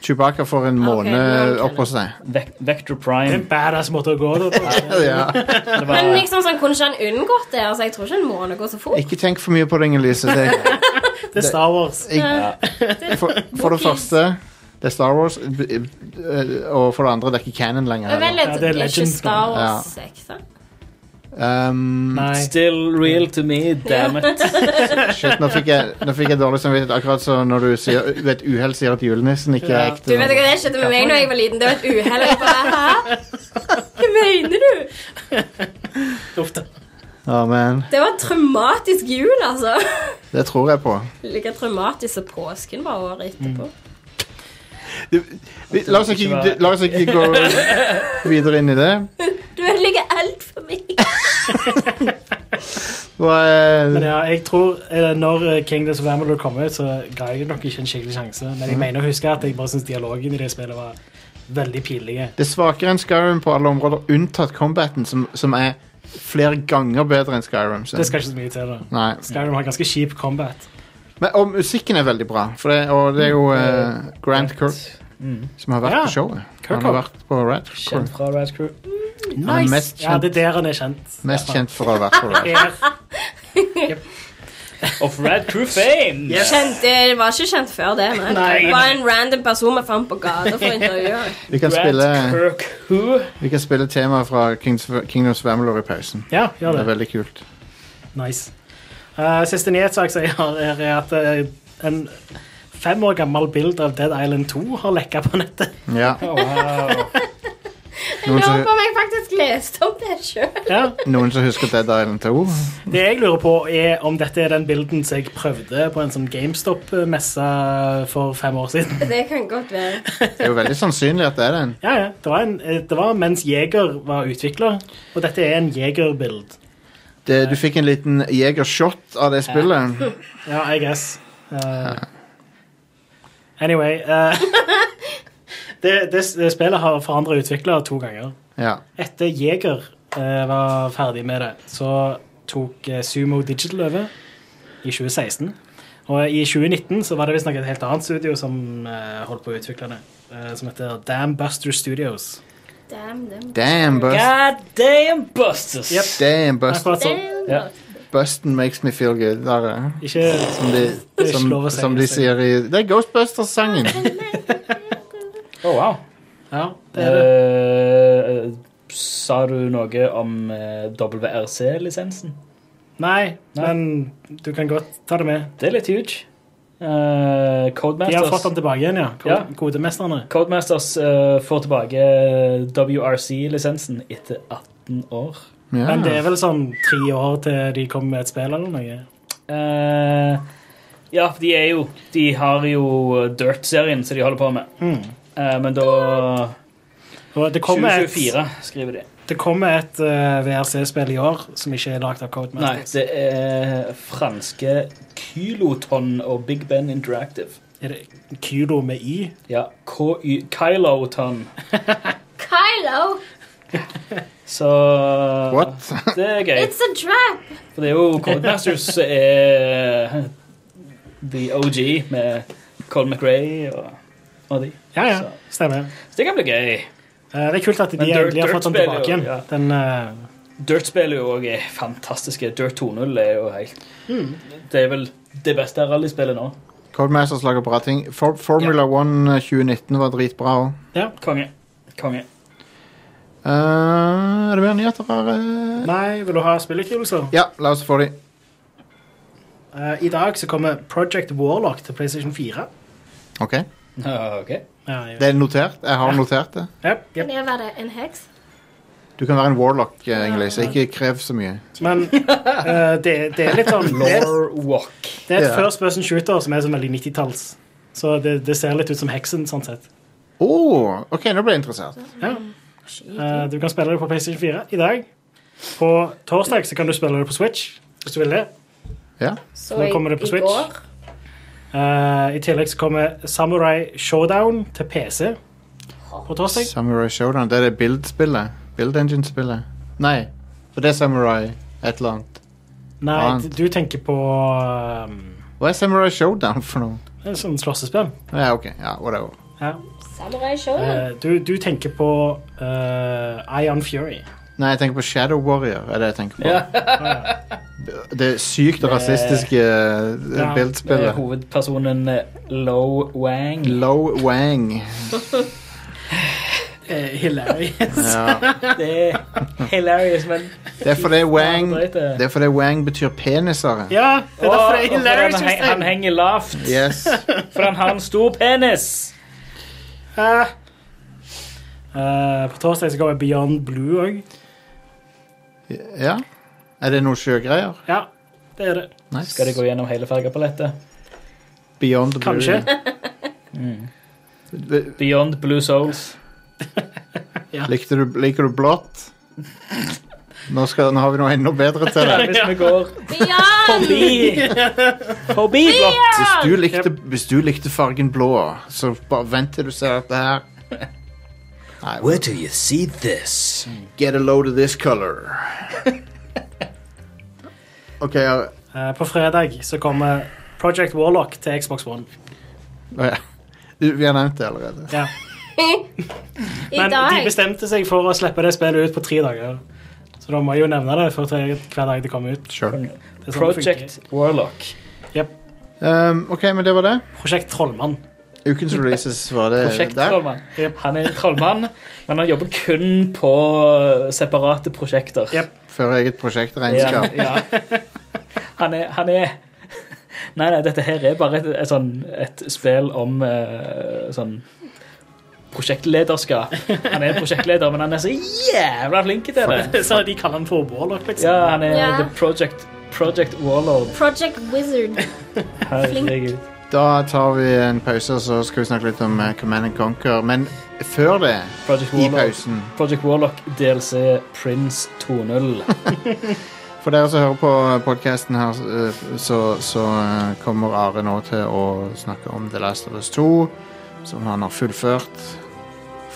Speaker 1: Chewbacca får en måned
Speaker 4: nå er han
Speaker 1: oppå seg.
Speaker 3: Vec Vector
Speaker 2: Det er en
Speaker 3: Prime.
Speaker 2: badass måte å gå da, på.
Speaker 1: Ja.
Speaker 3: Det
Speaker 4: Men
Speaker 3: var,
Speaker 4: liksom sånn, kunne ikke han unngått det? Altså, Jeg tror ikke en måned går så fort.
Speaker 1: Ikke tenk for mye på det, Inger-Lise. Det-
Speaker 2: Det er Star Wars.
Speaker 4: Ja.
Speaker 1: For, for det første, det er Star Wars. b- b- Og for det andre, det er ikke canon lenger.
Speaker 4: Men vel,
Speaker 1: heller.
Speaker 2: Ja, det er
Speaker 4: det er ikke
Speaker 2: Legends
Speaker 4: Star
Speaker 1: nå.
Speaker 4: Wars ekte.
Speaker 1: Um,
Speaker 2: Nei.
Speaker 3: Still real to me, damn it.
Speaker 1: shit, nå fikk, jeg, nå fikk jeg dårlig samvittighet, akkurat som når du sier, ved et uhell sier at julenissen ikke er
Speaker 2: Ja.
Speaker 1: ekte.
Speaker 4: Du vet ikke hva det skjedde med meg da jeg var liten? Det var et uhell. og jeg bare, Hæ? Hva mener du?
Speaker 2: Uff da.
Speaker 1: Å, men,
Speaker 4: Det var en traumatisk jul, altså.
Speaker 1: det tror jeg på.
Speaker 4: Like traumatisk som påsken var året etterpå.
Speaker 1: Vi- La oss ikke, la oss ikke gå videre inn i det.
Speaker 4: Du ødelegger alt for meg.
Speaker 1: Og, eh,
Speaker 2: Men ja, jeg tror eh, når eh, Kingdoms of Amalur kom ut, så ga jeg det nok ikke en skikkelig sjanse. Men jeg mener å huske at jeg bare syns dialogen i det spillet var veldig pinlig.
Speaker 1: det er svakere enn Skyrim på alle områder, unntatt combaten, som, som er flere ganger bedre enn Skyrim. så-
Speaker 2: Det skal ikke så mye til, da.
Speaker 1: Nei.
Speaker 2: Skyrim har ganske kjip combat.
Speaker 1: Men, og musikken er veldig bra, for det, og det er jo eh, Grant Kirk
Speaker 3: Mm.
Speaker 1: som har vært
Speaker 2: Ja,
Speaker 1: på showet.
Speaker 2: Kirkhope.
Speaker 1: Han har vært på Rat
Speaker 3: Kjent fra Rise Crew.
Speaker 1: Han er mest
Speaker 2: Ja,
Speaker 1: kjent,
Speaker 2: det er der han er kjent.
Speaker 1: mest kjent for å ha vært på Rat.
Speaker 2: Der.
Speaker 3: Of Red Crew fame!
Speaker 4: Kjent, jeg var ikke kjent før det, nei.
Speaker 2: Nei.
Speaker 4: Det var en random person vi fant på gata for å intervjue.
Speaker 1: Vi kan
Speaker 3: Red
Speaker 1: spille,
Speaker 3: Kirk Who?
Speaker 1: vi kan spille temaet fra Kings, Kingdoms Vamelor i pausen.
Speaker 2: Ja, gjør
Speaker 1: Det er
Speaker 2: det.
Speaker 1: veldig kult.
Speaker 2: Nice. Eh, siste nyhetssak som jeg har, er at eh, en fem år gammel bild av Dead Island 2 har lekka på nettet.
Speaker 1: Ja.
Speaker 3: Oh, wow.
Speaker 4: Jeg
Speaker 1: Noen,
Speaker 4: lurer på
Speaker 1: som,
Speaker 4: om jeg faktisk leste om det sjøl.
Speaker 2: Ja.
Speaker 1: noen som husker Dead Island 2?
Speaker 2: Det jeg lurer på, er om dette er den bilden som jeg prøvde på en sånn GameStop-messe for fem år siden.
Speaker 4: Det kan godt være.
Speaker 1: Det er jo veldig sannsynlig at det er den.
Speaker 2: Ja, ja. Det var, en, eh, det var mens Jeger var utvikler, og dette er en Jeger-bild.
Speaker 1: Det, du fikk en liten jegershot av det spillet.
Speaker 2: Ja, I guess. Eh, anyway eh, det, det, det spillet har forandra utvikler to ganger.
Speaker 1: Ja.
Speaker 2: Etter Jeger eh, var ferdig med det, så tok eh, Sumo Digital over i 2016. Og i 2019 så var det visstnok et helt annet studio som eh, holdt på å utvikle det, eh, som heter Dam Buster Studios.
Speaker 4: Damn, damn.
Speaker 1: Damn, bust,
Speaker 3: God damn busters!
Speaker 2: Yep.
Speaker 1: damn bust,
Speaker 2: Akkurat sånn.
Speaker 4: damn.
Speaker 3: Ja.
Speaker 1: Busten makes me feel good. Der, er det.
Speaker 2: Ikke
Speaker 1: som de,
Speaker 2: Det er ikke
Speaker 1: som,
Speaker 2: lov å si,
Speaker 1: som de
Speaker 2: så-
Speaker 1: sier i Det er Ghostbusters-sangen!
Speaker 3: Oh, wow.
Speaker 2: Ja, det er det.
Speaker 3: Eh, sa du noe om eh, WRC-lisensen?
Speaker 2: Nei,
Speaker 3: Nei.
Speaker 2: men du kan godt ta det med.
Speaker 3: Det er litt huge.
Speaker 2: De
Speaker 3: Eh,
Speaker 2: har fått
Speaker 3: Codemasters,
Speaker 2: den tilbake igjen, ja. Ko-
Speaker 3: Ja.
Speaker 2: Kodemesterne.
Speaker 3: Codemasters eh, får tilbake eh, WRC-lisensen etter 18 år.
Speaker 1: Ja.
Speaker 2: Men
Speaker 3: Ah.
Speaker 2: det er vel sånn tre år til de kommer med et spill eller noe.
Speaker 3: Eh, ja, de er jo De har jo Dirt-serien som de holder på med.
Speaker 1: Hmm.
Speaker 3: Eh, men da
Speaker 2: Og det kommer et,
Speaker 3: 2024, skriver de.
Speaker 2: det kommer et eh, VRC-spill i år som ikke er lagd av
Speaker 3: Nei,
Speaker 2: Codemasters.
Speaker 3: det er franske Kyloton og Big Ben Interactive.
Speaker 2: Er det Kylo med Y?
Speaker 3: Ja, KY Kyloton.
Speaker 4: Kylo,
Speaker 3: Så
Speaker 1: What?
Speaker 3: Det er gøy.
Speaker 4: it's a trap!
Speaker 3: For det er jo Codemasters som er the OG med Colin McRae og, og de.
Speaker 2: Ja, ja,
Speaker 3: Så-
Speaker 2: stemmer.
Speaker 3: Så det kan bli gøy.
Speaker 2: Eh, det er kult at de
Speaker 3: Men Dirt-
Speaker 2: endelig har fått den
Speaker 3: Dirt-spill er jo-
Speaker 2: tilbake igjen.
Speaker 3: ja.
Speaker 2: Den, eh,
Speaker 3: Dirt-spill er jo òg fantastiske. Dirt 2.0 er jo helt
Speaker 2: Hmm.
Speaker 3: Det er vel det beste rallyspillet nå.
Speaker 1: Codemasters lager bra ting. For, Formula One eh, 2019 var dritbra òg.
Speaker 3: Konge. Konge.
Speaker 1: er det mer nyheter her? eh?
Speaker 2: nei, vil du ha spillutgivelser?
Speaker 1: Ja, la oss få de.
Speaker 2: Eh, I dag så kommer Project Warlock til PlayStation 4.
Speaker 1: OK.
Speaker 3: OK.
Speaker 2: Ja, jeg
Speaker 1: Det er notert. Jeg har notert det.
Speaker 2: Jep, jep.
Speaker 4: Kan jeg være en heks?
Speaker 1: Du kan være en warlock, eh, Ingrid, så ikke krev så mye.
Speaker 2: Men eh, det, det er litt sånn Det, er-
Speaker 3: Lore Walk.
Speaker 2: det er et
Speaker 1: Ja.
Speaker 2: first person shooter som er sånn veldig 90-talls. Så det, det ser litt ut som Heksen, sånn sett.
Speaker 1: Å! Oh, OK, nå ble jeg interessert.
Speaker 2: Ja. Eh, du kan spille det på PlayStation 4 i dag. På torsdag så kan du spille det på Switch, hvis du vil det.
Speaker 1: Ja.
Speaker 4: Så
Speaker 2: Nå
Speaker 4: i-
Speaker 2: kommer det på
Speaker 4: i
Speaker 2: Switch.
Speaker 4: går.
Speaker 2: Eh, I tillegg så kommer Samurai Showdown til PC på torsdag.
Speaker 1: Samurai Showdown. Det er det Build-spillet. Build Engine-spillet. Nei, for det er Samurai et eller annet.
Speaker 2: Nei,
Speaker 1: Annet.
Speaker 2: du tenker på um,
Speaker 1: Hva er Samurai Showdown for noe?
Speaker 2: en sånn slåssespill.
Speaker 1: Ja, OK. Ja, whatever.
Speaker 2: Ja.
Speaker 4: Samurai Show.
Speaker 2: Eh, du, du tenker på eh, Ion Fury.
Speaker 1: Nei, jeg tenker på Shadow Warrior. er det jeg tenker på. Det er sykt rasistiske
Speaker 2: Ja,
Speaker 1: ja,
Speaker 3: Med
Speaker 1: bildspillet.
Speaker 3: hovedpersonen eh, Lo Wang.
Speaker 1: Low Wang.
Speaker 2: Eh, hilarious.
Speaker 1: Ja.
Speaker 3: Det er hilarious, men
Speaker 1: Det er fordi Wang
Speaker 3: Ja, drøyt det.
Speaker 1: Det er fordi Wang betyr penisere.
Speaker 2: ja, det er
Speaker 3: Åh,
Speaker 2: derfor det er
Speaker 3: og for
Speaker 2: hilarious.
Speaker 3: han, heng- han
Speaker 2: Jostein.
Speaker 3: henger lavt,
Speaker 1: Yes.
Speaker 3: for han har en stor penis.
Speaker 2: Ah. Eh, på torsdag så kommer Beyond Blue òg.
Speaker 1: Ja. Er det noe sjøgreier?
Speaker 2: Ja, det er det.
Speaker 1: Nice.
Speaker 3: Skal de gå gjennom hele fargepalettet?
Speaker 1: Beyond the blue.
Speaker 2: Kanskje.
Speaker 3: Mm.
Speaker 1: V-
Speaker 3: Beyond Blue Souls.
Speaker 1: Likte du, liker du blått? Nå, skal, nå har vi noe enda bedre til deg.
Speaker 3: Hvis vi går
Speaker 4: Bjørn!
Speaker 3: forbi Forbi blokk.
Speaker 1: Hvis du likte, hvis du likte fargen blå, så bare vent til du ser dette her.
Speaker 9: Where do you see this?
Speaker 1: Get a load of this color. OK, ja.
Speaker 2: Eh, På fredag så kommer Project Warlock til Xbox One.
Speaker 1: Å, ja. Du, Vi har nevnt det allerede.
Speaker 2: Ja.
Speaker 4: I
Speaker 2: Men de
Speaker 4: dag.
Speaker 2: bestemte seg for å slippe det spillet ut på tre dager. Så da må jeg jo nevne det for tre, hver dag det kommer ut.
Speaker 1: Sure.
Speaker 2: Det er sånn det
Speaker 3: Project Warlock.
Speaker 2: funker. Jep.
Speaker 1: Um, OK, men det var det.
Speaker 2: Prosjekt Trollmann.
Speaker 1: Ukens releases var det der.
Speaker 3: Prosjekt-trollmann. Han er trollmann, men han jobber kun på separate prosjekter.
Speaker 2: Yep.
Speaker 1: Før eget prosjektregnskap.
Speaker 3: Ja, ja. Han er, han er Nei, nei, dette her er bare et, et, sånn, et spill om eh, sånn prosjektlederskap. Han er prosjektleder, men han er så jævla flink til det.
Speaker 2: Så de kaller den for Warlock, liksom.
Speaker 3: Ja, han er
Speaker 4: Ja.
Speaker 3: the project, project warlord.
Speaker 4: Project Wizard.
Speaker 3: Herregud.
Speaker 1: Da tar vi en pause, og så skal vi snakke litt om eh, Command and Conquer. Men før det,
Speaker 3: Project
Speaker 1: i
Speaker 3: Warlock,
Speaker 1: pausen
Speaker 3: project warlock DLC Prince 2.0.
Speaker 1: For dere som hører på podkasten her, eh, så, så eh, kommer Are nå til å snakke om The Last of Us 2, som han har fullført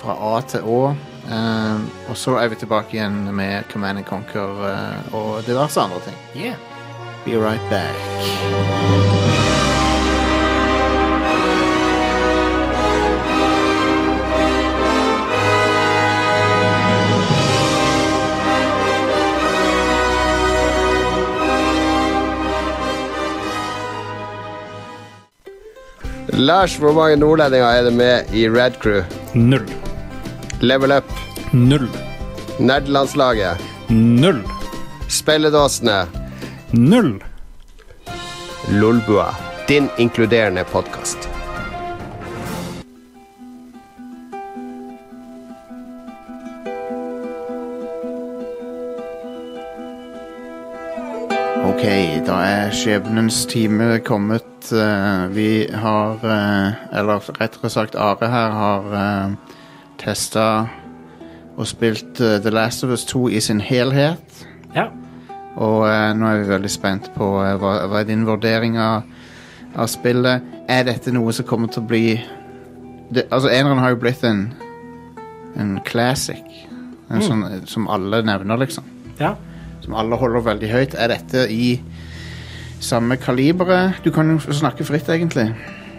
Speaker 1: fra A til Å. Eh, Og så er vi tilbake igjen med Command and Conquer eh, og diverse andre ting.
Speaker 2: Yeah.
Speaker 1: Be right back.
Speaker 10: Lars, hvor mange nordlendinger er det med i Red Crew?
Speaker 11: Null.
Speaker 10: Level Up,
Speaker 11: Null.
Speaker 10: Nerdelandslaget,
Speaker 11: Null.
Speaker 10: Spelledåsene,
Speaker 11: Null.
Speaker 10: Lolbua. Din inkluderende podkast.
Speaker 1: Ok, da er skjebnens time kommet. Eh, vi har eh, Eller rettere sagt, Are her har uh, testa og spilt eh, The Last of Us 2 i sin helhet.
Speaker 2: Ja.
Speaker 1: Og eh, nå er vi veldig spent på eh, hva, hva er din vurdering av, av spillet. Er dette noe som kommer til å bli det, Altså, eneren har jo blitt en, en classic. En sånn eh, som alle nevner, liksom
Speaker 2: ja.
Speaker 1: som alle holder veldig høyt. Er dette i samme kaliberet? Du kan jo snakke fritt, egentlig.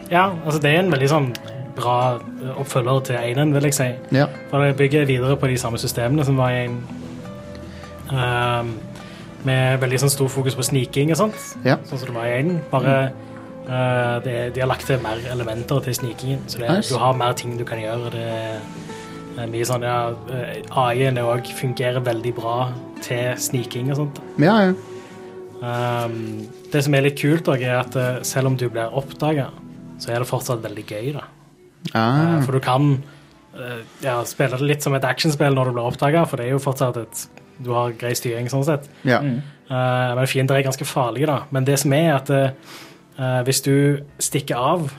Speaker 2: Ja, altså det er en veldig sånn bra eh, oppfølger til Einen, vil jeg si.
Speaker 1: Ja.
Speaker 2: For det bygger videre på de samme systemene som var i en ehm, Med veldig sånn stor fokus på sniking og sånt.
Speaker 1: Ja.
Speaker 2: Sånn som det var i Einen. Bare eh, det, de har lagt til mer elementer til snikingen. Så det, er-
Speaker 1: Nice.
Speaker 2: du har mer ting du kan gjøre. Det er mye sånn ja, eh, AI-en òg fungerer veldig bra til sniking og sånt.
Speaker 1: ja, ja.
Speaker 2: Ehm, det som er litt kult, da, er at eh, selv om du blir oppdaga, så er det fortsatt veldig gøy. da. Eh,
Speaker 1: Ah,
Speaker 2: For du kan eh, ja, spille det litt som et actionspill når du blir oppdaga, for det er jo fortsatt et du har grei styring. sånn sett.
Speaker 1: ja.
Speaker 2: Eh, men fiender er ganske farlige, da. Men det som er, at eh, eh, hvis du stikker av,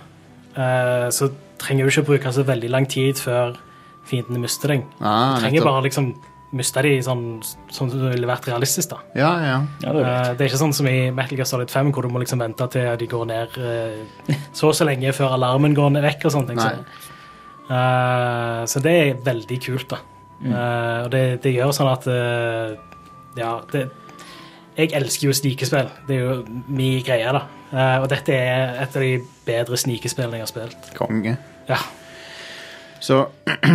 Speaker 2: eh, så trenger du ikke bruke så veldig lang tid før fiendene mister deg.
Speaker 1: Ah,
Speaker 2: Du trenger
Speaker 1: nettopp.
Speaker 2: bare liksom miste dem sånn, sånn som det ville vært realistisk. da.
Speaker 1: Ja, ja.
Speaker 3: Ja, det er
Speaker 2: Eh, det er ikke sånn som i Metal Gear Solid 5, hvor du må liksom vente til de går ned eh, så og så lenge før alarmen går ned vekk. og sånne ting.
Speaker 1: Nei.
Speaker 2: Så, Eh, så det er veldig kult, da. Eh, og det, det gjør sånn at eh, Ja, det Jeg elsker jo snikespill. Det er jo min greie, da. Eh, og dette er et av de bedre snikespillene jeg har spilt.
Speaker 1: Konge.
Speaker 2: Ja.
Speaker 1: Så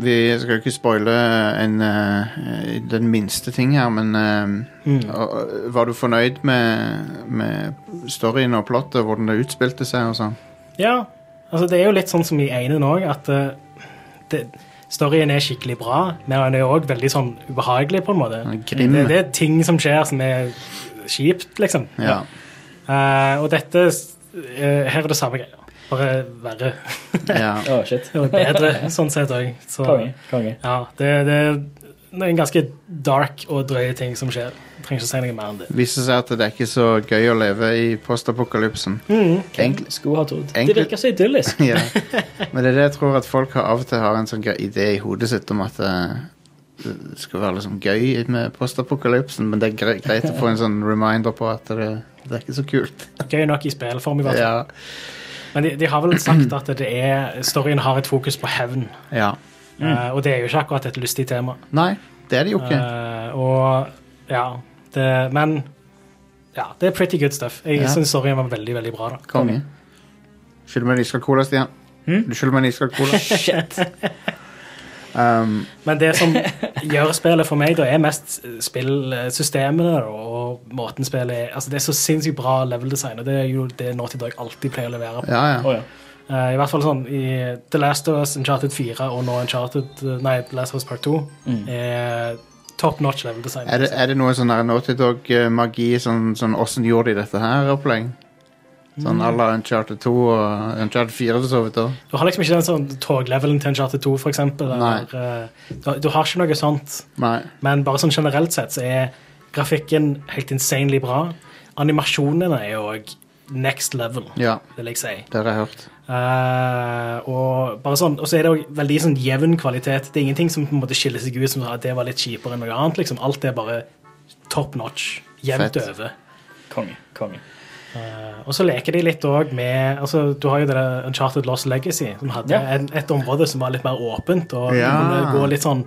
Speaker 1: vi skal jo ikke spoile en, eh, den minste ting her, men eh,
Speaker 2: Mm.
Speaker 1: og- og Var du fornøyd med, med storyen og plottet, hvordan det utspilte seg og sånn?
Speaker 2: Ja, altså det er jo litt sånn som i Einen òg, at eh, det, storyen er skikkelig bra, men den er òg veldig sånn ubehagelig, på en måte.
Speaker 1: Den er grim.
Speaker 2: Det, det er ting som skjer som er kjipt, liksom.
Speaker 1: Ja.
Speaker 2: Eh, og dette eh, Her er det samme greia. Bare verre.
Speaker 1: ja.
Speaker 3: Å, shit.
Speaker 2: Og bedre, sånn sett òg. Så
Speaker 3: Konge. Konge.
Speaker 2: ja, det, det det er en ganske dark og drøye ting som skjer. Jeg trenger ikke si noe mer enn det.
Speaker 1: Viste seg at det er ikke så gøy å leve i postapokalypsen. Egentlig,
Speaker 3: Skulle ha trodd. Det
Speaker 1: Egentlig-
Speaker 3: virker så idyllisk.
Speaker 1: ja. Men det er det jeg tror at folk har av og til har en sånn grei idé i hodet sitt om at eh, det skal være liksom gøy med postapokalypsen, men det er gre- greit å få en sånn reminder på at det, det er ikke så kult.
Speaker 2: Gøy nok i spillform, i hvert fall.
Speaker 1: Ja,
Speaker 2: Men de, de har vel sagt at det er, storyen har et fokus på hevn.
Speaker 1: ja. Mm.
Speaker 2: Eh, og det er jo ikke akkurat et lystig tema.
Speaker 1: Nei, det er det jo ikke.
Speaker 2: Eh, og ja, det, men ja, det er pretty good stuff. Jeg
Speaker 1: Ja.
Speaker 2: synes syns storyen var veldig, veldig bra. da.
Speaker 1: Konge. Skyld meg en iskald cola, Stian. Du skylder meg en iskald cola.
Speaker 3: Shit.
Speaker 1: Um,
Speaker 2: Men det som gjør spillet for meg, da, er mest spillsystemene da, og måten spillet er Altså, det er så sinnssykt bra level-design, og det er jo det Naughty Dog alltid pleier å levere på.
Speaker 1: ja, ja.
Speaker 3: Å, ja.
Speaker 2: Eh, I hvert fall sånn i The Last of Us, Uncharted 4 og nå Uncharted eh, Nei, The Last of Us Part 2 er top notch level design.
Speaker 1: Mm. Er det, er det noe sånn her Naughty Dog-magi? Sånn, sånn åssen gjorde de dette her? opplegg? Sånn à la Uncharted 2 og Uncharted 4 for så vidt òg.
Speaker 2: Du har liksom ikke den sånn toglevelen til Uncharted 2, for eksempel.
Speaker 1: Nei.
Speaker 2: Eller, eh, du, du har ikke noe sånt.
Speaker 1: Nei.
Speaker 2: Men bare sånn generelt sett så er grafikken helt insanely bra. Animasjonene er òg next level,
Speaker 1: Ja,
Speaker 2: vil jeg si.
Speaker 1: det har jeg hørt.
Speaker 2: Eh, og bare sånn, og så er det også veldig sånn jevn kvalitet. Det er ingenting som på en måte skiller seg ut som at det var litt kjipere enn noe annet. liksom. Alt er bare top notch. Jevnt
Speaker 1: Fett.
Speaker 2: over.
Speaker 3: Konge. Konge.
Speaker 2: Eh, og så leker de litt òg med altså, Du har jo det der Uncharted Lost Legacy, som hadde
Speaker 3: Ja.
Speaker 2: en, et område som var litt mer åpent. og
Speaker 1: Ja.
Speaker 2: du kunne gå litt sånn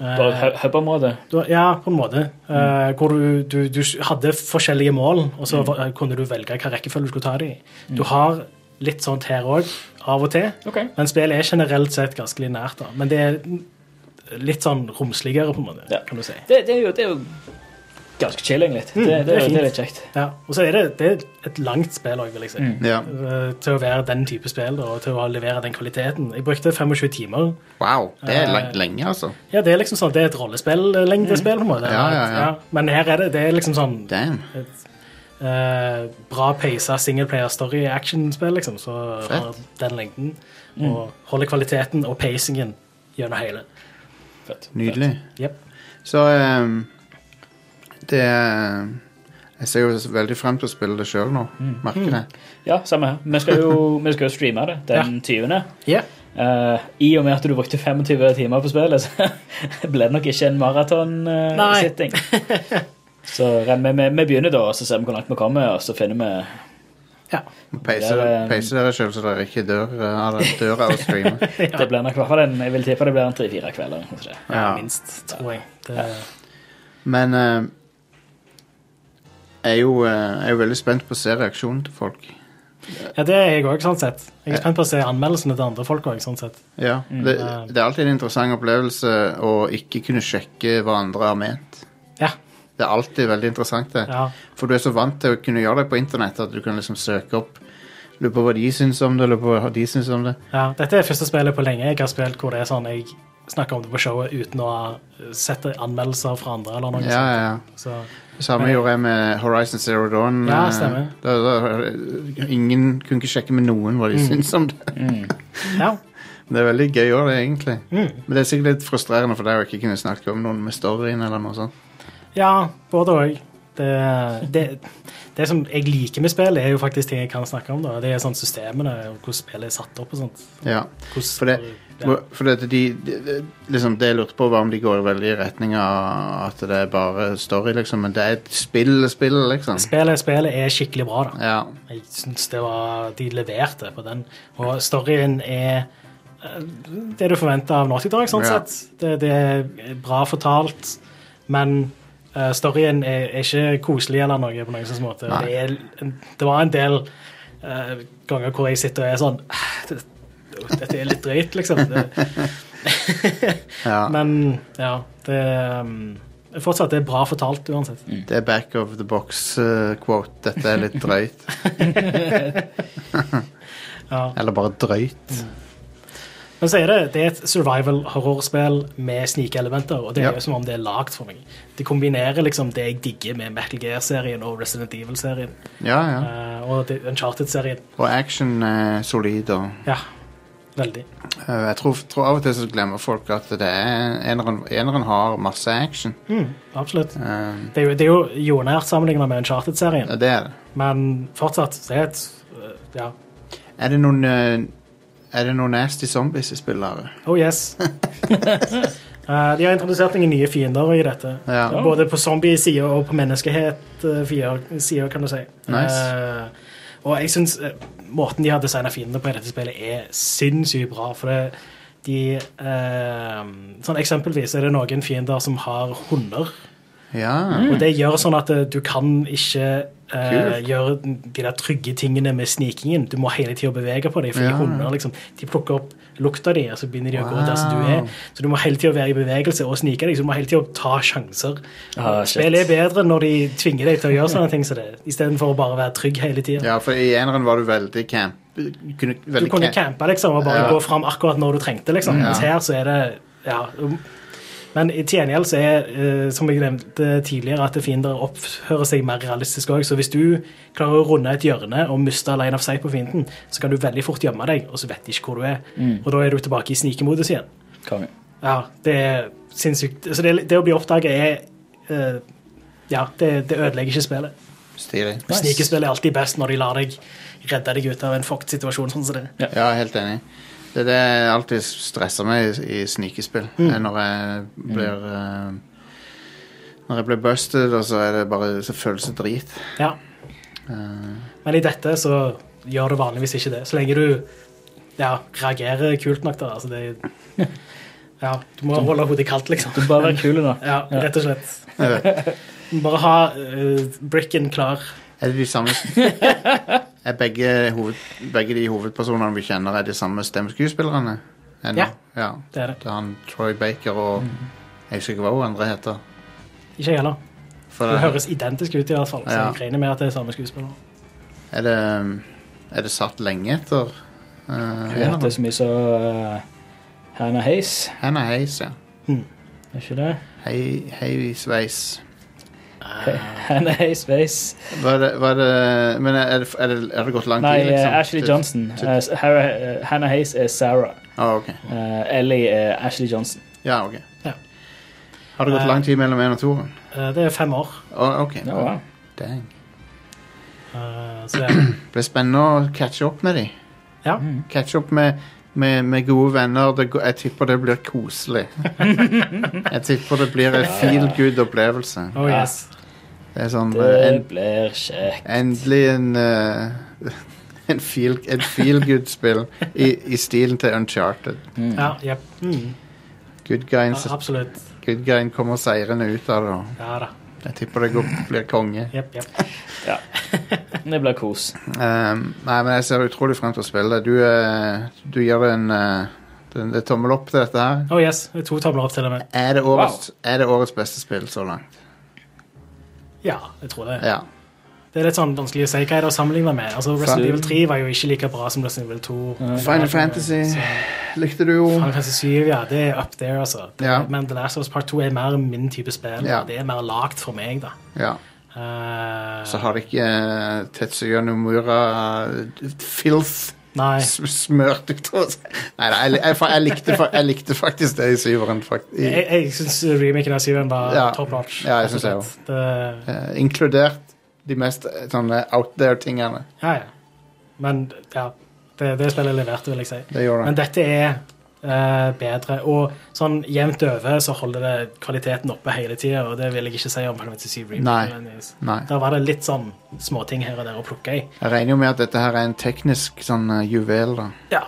Speaker 2: eh,
Speaker 3: Bare hub- hub-området.
Speaker 2: du, Ja, på en måte. Eh, hvor du, du, du hadde forskjellige mål, og
Speaker 3: Mm.
Speaker 2: så eh, kunne du velge hvilken rekkefølge du skulle ta dem i. Du har litt sånt her òg, av og til.
Speaker 3: Ok.
Speaker 2: Men spillet er generelt sett ganske linært, da. Men det er litt sånn romsligere, på en måte,
Speaker 3: Ja.
Speaker 2: kan du si.
Speaker 3: Det, det, er jo, det er jo ganske chilling litt.
Speaker 2: Mm,
Speaker 3: det, det,
Speaker 2: det er
Speaker 3: er,
Speaker 2: fint.
Speaker 3: det er litt kjekt.
Speaker 2: Ja. Og så er det, det er et langt spill òg, vil jeg si.
Speaker 3: Mm.
Speaker 1: Ja.
Speaker 2: Eh, til å være den type spill da, og til å levere den kvaliteten. Jeg brukte 25 timer.
Speaker 1: Wow, det er
Speaker 2: Eh,
Speaker 1: langt lenge, altså.
Speaker 2: Ja, det er liksom sånn, det er et rollespill-lengdespill, på en måte.
Speaker 1: Ja, ja, ja.
Speaker 2: Men her er det, det er liksom sånn
Speaker 1: Damn.
Speaker 2: et eh, bra peisa singleplayer-story-actionspill, liksom, så har den lengden. Og holder kvaliteten og pacingen gjennom hele.
Speaker 3: Fett.
Speaker 1: Nydelig.
Speaker 2: Jep.
Speaker 1: Så ehm, det er- Jeg ser jo veldig frem til å spille det sjøl nå. Merker det.
Speaker 3: Ja, samme her. Vi skal jo, vi skal jo streame det den 20.
Speaker 2: Ja.
Speaker 3: Eh, I og med at du brukte 25 timer på spillet, så ble det nok ikke en
Speaker 2: Nei.
Speaker 3: maraton-sitting. så regner vi, med- vi begynner da, og så ser vi hvor langt vi kommer, og så finner vi
Speaker 1: Peise
Speaker 3: Det er, ehm,
Speaker 1: peise dere sjøl så dere ikke dør eh, av det- dør av å streame.
Speaker 3: Det blir nok i hvert fall en, jeg vil tippe det blir en tre-fire kvelder. kanskje.
Speaker 1: Ja.
Speaker 2: Minst, tror jeg. Det,
Speaker 1: Men ehm, jeg er, jo, eh, jeg er jo veldig spent på å se reaksjonen til folk.
Speaker 2: ja, det er jeg òg, sånn sett. Jeg er spent på å se anmeldelsene til andre folk òg, sånn sett.
Speaker 1: Ja, det,
Speaker 2: Ja.
Speaker 1: det er alltid en interessant opplevelse å ikke kunne sjekke hva andre har ment.
Speaker 2: Ja.
Speaker 1: Det er alltid veldig interessant, det.
Speaker 2: Ja.
Speaker 1: For du er så vant til å kunne gjøre det på internett at du kan liksom søke opp Lurer på hva de syns om det, lurer på hva de syns om det.
Speaker 2: Ja, dette er første spillet på lenge jeg har spilt hvor det er sånn jeg snakker om det på showet uten å ha sett anmeldelser fra andre eller noe
Speaker 1: Ja, ja, ja.
Speaker 2: sånt. Så,
Speaker 1: Det samme gjorde jeg med Horizon Zero Dawn. eh,
Speaker 2: Ja, stemmer.
Speaker 1: Da, da, ingen kunne ikke sjekke med noen hva de
Speaker 2: Mm.
Speaker 1: syns om det.
Speaker 2: ja.
Speaker 1: Det er veldig gøy òg, det, egentlig.
Speaker 2: Mm.
Speaker 1: Men det er sikkert litt frustrerende for deg å ikke kunne snakke om noen med storyen eller noe sånt.
Speaker 2: ja, både òg. Det, det, det som jeg liker med spill, er jo faktisk ting jeg kan snakke om. da. Det er sånn systemene og hvordan spillet er satt opp og sånt.
Speaker 1: Ja.
Speaker 2: Hvordan,
Speaker 1: For det-
Speaker 2: ja.
Speaker 1: For det, at de, de, de, liksom, det jeg lurte på, var om de går veldig i retning av at det er bare story, liksom. Men det er et spill, spill, liksom.
Speaker 2: Spillet, spillet er skikkelig bra, da.
Speaker 1: Ja.
Speaker 2: Jeg syns det var De leverte på den. Og storyen er eh, det du forventer av Naughty Dog, sånn
Speaker 1: Ja.
Speaker 2: sett. Det, det er bra fortalt, men eh, storyen er, er ikke koselig eller noe på noen slags måte.
Speaker 1: Nei.
Speaker 2: Det, er, det var en del eh, ganger hvor jeg sitter og er sånn "Ah, det- Dette er litt drøyt, liksom. Det,
Speaker 1: ja.
Speaker 2: men ja, det um, Fortsatt det er bra fortalt uansett.
Speaker 1: Det er back of the box-quote. Dette er litt drøyt.
Speaker 2: Ja.
Speaker 1: Eller bare drøyt.
Speaker 2: Men så er det, det er et survival horrorspill med snikelementer, og det er
Speaker 1: Ja.
Speaker 2: jo som om det er lagd for meg. Det kombinerer liksom det jeg digger med Metal Gear-serien og Resident Evil-serien.
Speaker 1: Ja, ja.
Speaker 2: eh, og det- Uncharted-serien.
Speaker 1: Og action er solid og
Speaker 2: Ja, veldig.
Speaker 1: Eh, Jeg tror, tror av og til så glemmer folk at det er eneren, eneren har masse action.
Speaker 2: Mm, Absolutt.
Speaker 1: Eh,
Speaker 2: Det er jo, det er jo jordnært sammenlignet med Uncharted-serien,
Speaker 1: ja, det er det.
Speaker 2: men fortsatt så er det et eh, Ja.
Speaker 1: Er det noen eh, Er det noen nasty zombies i spillet?
Speaker 2: Oh yes. Oh, Eh, de har introdusert ingen nye fiender i dette.
Speaker 1: Ja.
Speaker 2: Både på zombie-sida og på menneskehet-sida, kan du si.
Speaker 1: Nice.
Speaker 2: Eh, og jeg syns måten de har designa fiendene på i dette spillet, er sinnssykt bra. For det, de eh, Sånn eksempelvis er det noen fiender som har hunder.
Speaker 1: Ja.
Speaker 2: Og det gjør sånn at eh, du kan ikke eh,
Speaker 1: Mm. Kult.
Speaker 2: gjøre de der trygge tingene med snikingen. Du må hele tida bevege på dem, fordi
Speaker 1: Ja.
Speaker 2: hunder liksom, de plukker opp lukta di, og så begynner de å gå der som du
Speaker 1: Wow.
Speaker 2: er. Så du må hele tida være i bevegelse og snike deg, så du må hele tida ta sjanser.
Speaker 1: Ah, shit.
Speaker 2: Spillet er bedre når de tvinger deg til å gjøre sånne ting som det, istedenfor å bare være trygg hele tida.
Speaker 1: ja, for i eneren var du veldig camp... Kunne,
Speaker 2: Du
Speaker 1: veldig
Speaker 2: kunne
Speaker 1: camp-
Speaker 2: campe liksom, og bare
Speaker 1: Ja. Mm.
Speaker 2: gå fram akkurat når du trengte. Liksom. Mens
Speaker 1: Ja.
Speaker 2: her så er det ja. um, Men i til gjengjeld så er, eh, som jeg nevnte tidligere, at fiender oppfører seg mer realistisk òg. Så hvis du klarer å runde et hjørne og miste line of sight på fienden, så kan du veldig fort gjemme deg, og så vet de ikke hvor du er. Og da er du tilbake i snikemodus igjen.
Speaker 3: Konge.
Speaker 2: Ja, det er sinnssykt. Så det, det å bli oppdaget er eh, Ja, det, det ødelegger ikke spillet.
Speaker 1: Stilig.
Speaker 2: Snikespill er alltid best når de lar deg redde deg ut av en fucked situasjon. sånn som det.
Speaker 1: Ja, jeg er helt enig. Det er det jeg alltid stresser meg i, i snikespill.
Speaker 2: Mm.
Speaker 1: er Når jeg blir eh, Når jeg blir busted, og så er det bare så føles det drit.
Speaker 2: Ja.
Speaker 1: Eh,
Speaker 2: Men i dette så gjør det vanligvis ikke det. Så lenge du ja, reagerer kult nok, da. Altså det, ja, du må holde hodet kaldt, liksom.
Speaker 3: Du bare være kul, da.
Speaker 2: Ja,
Speaker 3: Ja.
Speaker 2: rett og slett.
Speaker 1: Jeg
Speaker 2: Du må Bare ha eh, bricken klar.
Speaker 1: er det de samme Er begge, hoved, begge de hovedpersonene vi kjenner, er de samme stemmeskuespillerne? Ennå?
Speaker 2: Ja, Mm.
Speaker 1: ja.
Speaker 2: det er det.
Speaker 1: Det er han Troy Baker og Jeg husker ikke hva hun andre heter.
Speaker 2: Ikke jeg heller.
Speaker 1: For
Speaker 2: Det
Speaker 1: det-
Speaker 2: høres identisk ut, i hvert fall. Så
Speaker 1: Ja.
Speaker 2: jeg regner med at det er samme skuespiller.
Speaker 1: Er det, er det satt lenge etter? eh,
Speaker 3: Jeg vet det er så mye så eh, Hannah Hayes,
Speaker 1: Hannah Hayes, ja.
Speaker 3: er ikke det?
Speaker 1: Hei, hei sveis.
Speaker 3: Hannah Hayes Face.
Speaker 1: Hva er det, hva er det Men er det, er det, er det gått lang
Speaker 3: Nei,
Speaker 1: tid, liksom?
Speaker 3: eh, Ashley
Speaker 1: Til-
Speaker 3: Johnson.
Speaker 1: til-
Speaker 3: Eh, Sarah- eh, Hannah Hayes er Sarah.
Speaker 1: Ah, ok.
Speaker 3: Eh, Ellie er Ashley Johnson.
Speaker 1: Ja, ok.
Speaker 2: Ja.
Speaker 1: Har det gått
Speaker 2: Eh,
Speaker 1: lang tid mellom én og toeren?
Speaker 2: Eh, det er fem år.
Speaker 1: Å, ok.
Speaker 3: Ja, wow.
Speaker 1: Dang.
Speaker 2: Eh, så det er
Speaker 1: Det blir spennende å catche opp med dem.
Speaker 2: Ja.
Speaker 3: Mm.
Speaker 1: Catche opp med, med, med gode venner. Det, går- jeg tipper det blir koselig. jeg tipper det blir en feel good opplevelse.
Speaker 2: Oh yes.
Speaker 1: Det er sånn eh, en,
Speaker 3: Det blir kjekt.
Speaker 1: Endelig en eh, en feel, Et feel good spill i, i stilen til Uncharted.
Speaker 2: Ja, jep. mm.
Speaker 1: Good guyen,
Speaker 2: ja, absolutt.
Speaker 1: good guyen kommer seirende ut av det. og
Speaker 2: Ja da.
Speaker 1: Jeg tipper det går, blir konge.
Speaker 2: Jepp, jepp.
Speaker 3: Ja. Det blir kos.
Speaker 1: Ehm, nei, men jeg ser utrolig frem til å spille det. Du, eh, du gjør en, eh, den- det er tommel opp til dette her.
Speaker 2: Oh yes. det er To tavler opp til og med.
Speaker 1: Er det årets, er det årets beste spill så langt?
Speaker 2: Ja, jeg tror det.
Speaker 1: Ja.
Speaker 2: Det er litt sånn vanskelig å si hva er det å sammenligne med. Altså, Resident
Speaker 1: Fan-
Speaker 2: Evil 3 var jo ikke like bra som Resident Evil 2.
Speaker 1: Final Fantasy likte du jo.
Speaker 2: Final Fantasy 7, ja, det er up there, altså. Det,
Speaker 1: Ja.
Speaker 2: Men The Last of Us Part 2 er mer min type spill.
Speaker 1: Ja.
Speaker 2: Det er mer lagd for meg, da.
Speaker 1: Ja.
Speaker 2: Eh,
Speaker 1: Så har det ikke eh, Tetsuya Nomura eh, filth
Speaker 2: nei.
Speaker 1: s- smørt ut av seg. Nei, nei, jeg, jeg, fa- jeg, likte, fa- jeg likte faktisk det i syveren. fakt- i-
Speaker 2: Jeg, jeg syns remaken av 7 var
Speaker 1: Ja.
Speaker 2: top notch.
Speaker 1: Ja, jeg synes det
Speaker 2: rett og slett. Det-
Speaker 1: eh, inkludert de mest eh, sånne out there-tingene.
Speaker 2: Ja, ja. Men ja, det, det spillet leverte, vil jeg si.
Speaker 1: Det gjorde
Speaker 2: Men
Speaker 1: det.
Speaker 2: dette er eh, bedre. Og sånn jevnt over så holder det kvaliteten oppe hele tida, og det vil jeg ikke si om Final Fantasy 7
Speaker 1: Nei.
Speaker 2: Remake.
Speaker 1: Nei.
Speaker 2: Der var det litt sånn småting her og der å plukke i.
Speaker 1: Jeg regner jo med at dette her er en teknisk sånn eh, juvel, da.
Speaker 2: Ja,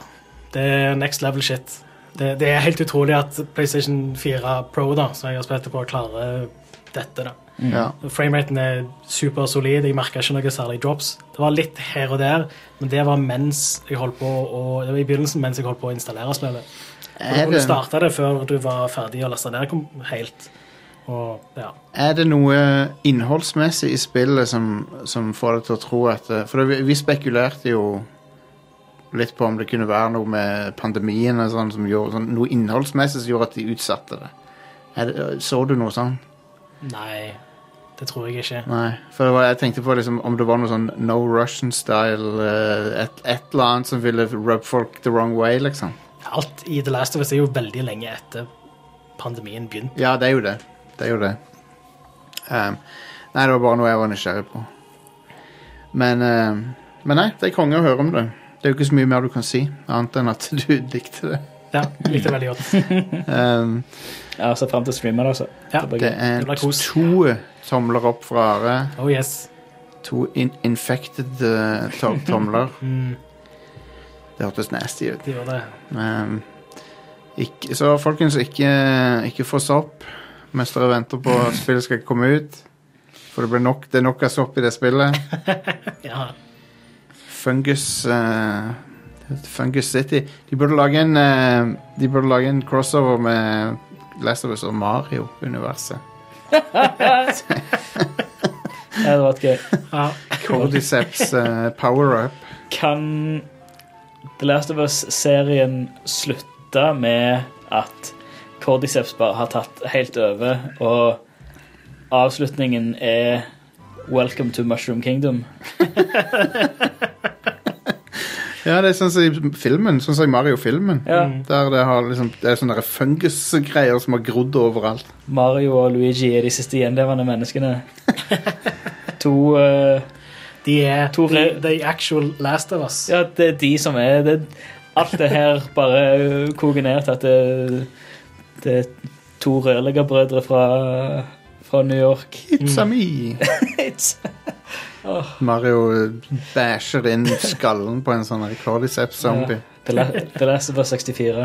Speaker 2: det er next level shit. Det, det er helt utrolig at PlayStation 4 Pro, da, som jeg har spilt det på, klarer dette. da.
Speaker 1: Mm. Ja.
Speaker 2: Frameraten er supersolid. Jeg merka ikke noe særlig drops. Det var litt her og der, men det var mens jeg holdt på å, det var i begynnelsen mens jeg holdt på å installere spillet. Så Du
Speaker 1: Er
Speaker 2: kunne
Speaker 3: eh,
Speaker 1: det-
Speaker 2: starte det før du var ferdig å laste ned kom helt. Og ja.
Speaker 1: Er det noe innholdsmessig i spillet som, som får deg til å tro at eh, For vi, vi spekulerte jo litt på om det kunne være noe med pandemien og sånn, som gjorde, sånn noe innholdsmessig som gjorde at de utsatte det. Er det så du noe sånn?
Speaker 2: Nei, det tror jeg ikke.
Speaker 1: Nei. For det var, jeg tenkte på liksom, om det var noe sånn no Russian style eh, et, et eller annet som ville rub folk the wrong way, liksom.
Speaker 2: Alt i The Last of Us er jo veldig lenge etter pandemien begynte.
Speaker 1: Ja, det er jo det. Det er jo det. Ehm, nei, det var bare noe jeg var nysgjerrig på. Men, ehm, men nei, det er konge å høre om det. Det er jo ikke så mye mer du kan si, annet enn at du likte det.
Speaker 2: Ja, likte veldig godt.
Speaker 1: Um,
Speaker 3: Ja, Se fram til streamen, altså.
Speaker 2: Ja,
Speaker 3: Det blir
Speaker 1: det
Speaker 3: gøy.
Speaker 1: er
Speaker 2: Det blir kos.
Speaker 1: to tomler opp fra Are.
Speaker 2: Oh yes.
Speaker 1: To in infected eh, to tomler.
Speaker 2: Mm,
Speaker 1: Det hørtes nasty ut.
Speaker 2: de gjør det.
Speaker 1: Um, ikke, så folkens, ikke, ikke få sopp mens dere venter på at spillet skal komme ut. For det, blir nok, det er nok av sopp i det spillet.
Speaker 2: Ja.
Speaker 1: Fungus eh, Fungus City. De burde lage en eh, De burde lage en crossover med Last of Us og Mario-universet.
Speaker 3: Det hadde vært gøy.
Speaker 2: ja.
Speaker 1: Cordyceps eh, power-up.
Speaker 3: Kan The Last of Us-serien slutte med at Cordyceps bare har tatt helt over, og avslutningen er Welcome to Mushroom Kingdom?
Speaker 1: Ja, det er sånn som i filmen, sånn som i Mario-filmen.
Speaker 3: Ja.
Speaker 1: Der det, har liksom, det er sånne der fungus-greier som har grodd overalt.
Speaker 3: Mario og Luigi er de siste gjenlevende menneskene. To eh,
Speaker 2: De er
Speaker 3: Tore-
Speaker 2: the, the actual last of us.
Speaker 3: Ja, det er de som er det, Alt det her bare koker ned til at det, det er to rørleggerbrødre fra, fra New York.
Speaker 1: It's a me!
Speaker 3: It's- Åh,
Speaker 1: Mario eh, bæsjer inn skallen på en sånn her cordyceps-zombie.
Speaker 3: The La- The Last of Us 64.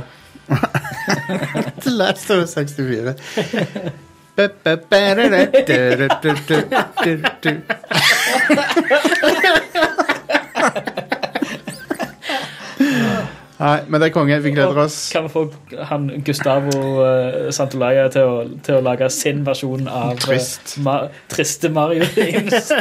Speaker 1: The Last of Us 64. Ba-ba-ba-da-da-da-da-da-da-da-da. Nei, men det er konge. Vi gleder oss.
Speaker 3: Kan vi få han Gustavo eh, Santolaya til å, til å lage sin versjon av eh,
Speaker 1: Trist.
Speaker 3: Ma Triste Mario Games?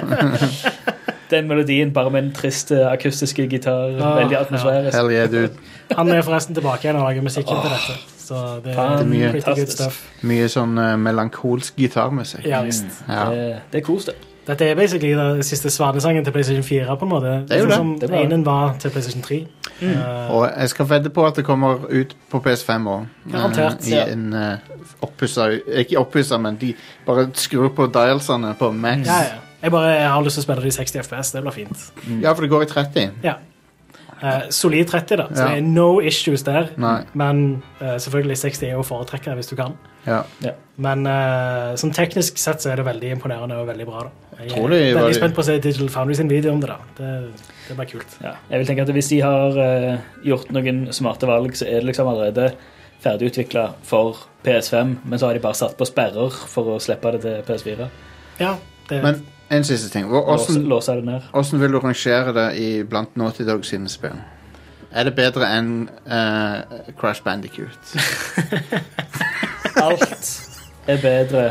Speaker 3: Den melodien bare med en trist eh, akustiske gitar.
Speaker 2: Ah,
Speaker 3: veldig
Speaker 2: ja.
Speaker 3: atmosfærisk.
Speaker 1: Hell yeah, dude.
Speaker 2: Han er forresten tilbake igjen og lager musikken til dette. Så det er
Speaker 1: mye.
Speaker 2: pretty good
Speaker 3: Fantastisk.
Speaker 2: stuff.
Speaker 1: Mye sånn eh, melankolsk gitarmusikk.
Speaker 3: Mm.
Speaker 2: Ja, visst.
Speaker 1: Ja.
Speaker 3: Det, det er kos, det.
Speaker 2: Dette er basically den siste svanesangen til PlayStation 4. på en måte.
Speaker 1: Det er jo det.
Speaker 2: Sånn
Speaker 3: Det
Speaker 2: som
Speaker 3: er bra. Mm.
Speaker 2: enen var til PlayStation 3. Eh,
Speaker 1: Og jeg skal vedde på at det kommer ut på PS5 òg.
Speaker 2: Garantert,
Speaker 1: I
Speaker 3: ja.
Speaker 1: en uh, oppussa Ikke oppussa, men de bare skrur på dialsene på max.
Speaker 2: ja, ja. Jeg bare har lyst til å spille det i 60 FPS. Det blir fint.
Speaker 1: Ja, for det går i 30.
Speaker 2: Ja. Eh, solid 30, da. Så
Speaker 1: Ja.
Speaker 2: det er no issues der.
Speaker 1: Nei.
Speaker 2: Men eh, selvfølgelig 60 er jo å foretrekke hvis du kan.
Speaker 1: Ja.
Speaker 2: Men eh, som teknisk sett så er det veldig imponerende og veldig bra. da. Jeg
Speaker 1: Tror
Speaker 2: er
Speaker 1: de var de-
Speaker 2: veldig spent på å se Digital Foundry sin video om det. da. Det, det blir kult.
Speaker 3: Ja. Jeg vil tenke at Hvis de har eh, gjort noen smarte valg, så er det liksom allerede ferdigutvikla for PS5, men så har de bare satt på sperrer for å slippe det til PS4.
Speaker 2: Ja, det,
Speaker 1: Men en siste ting. Hvor-
Speaker 3: Låse,
Speaker 1: Hvordan
Speaker 3: låse det ned.
Speaker 1: hvordan vil du rangere det i blant Naughty Dog sine spill? Er det bedre enn eh, Crash Bandicoot?
Speaker 3: Alt er bedre.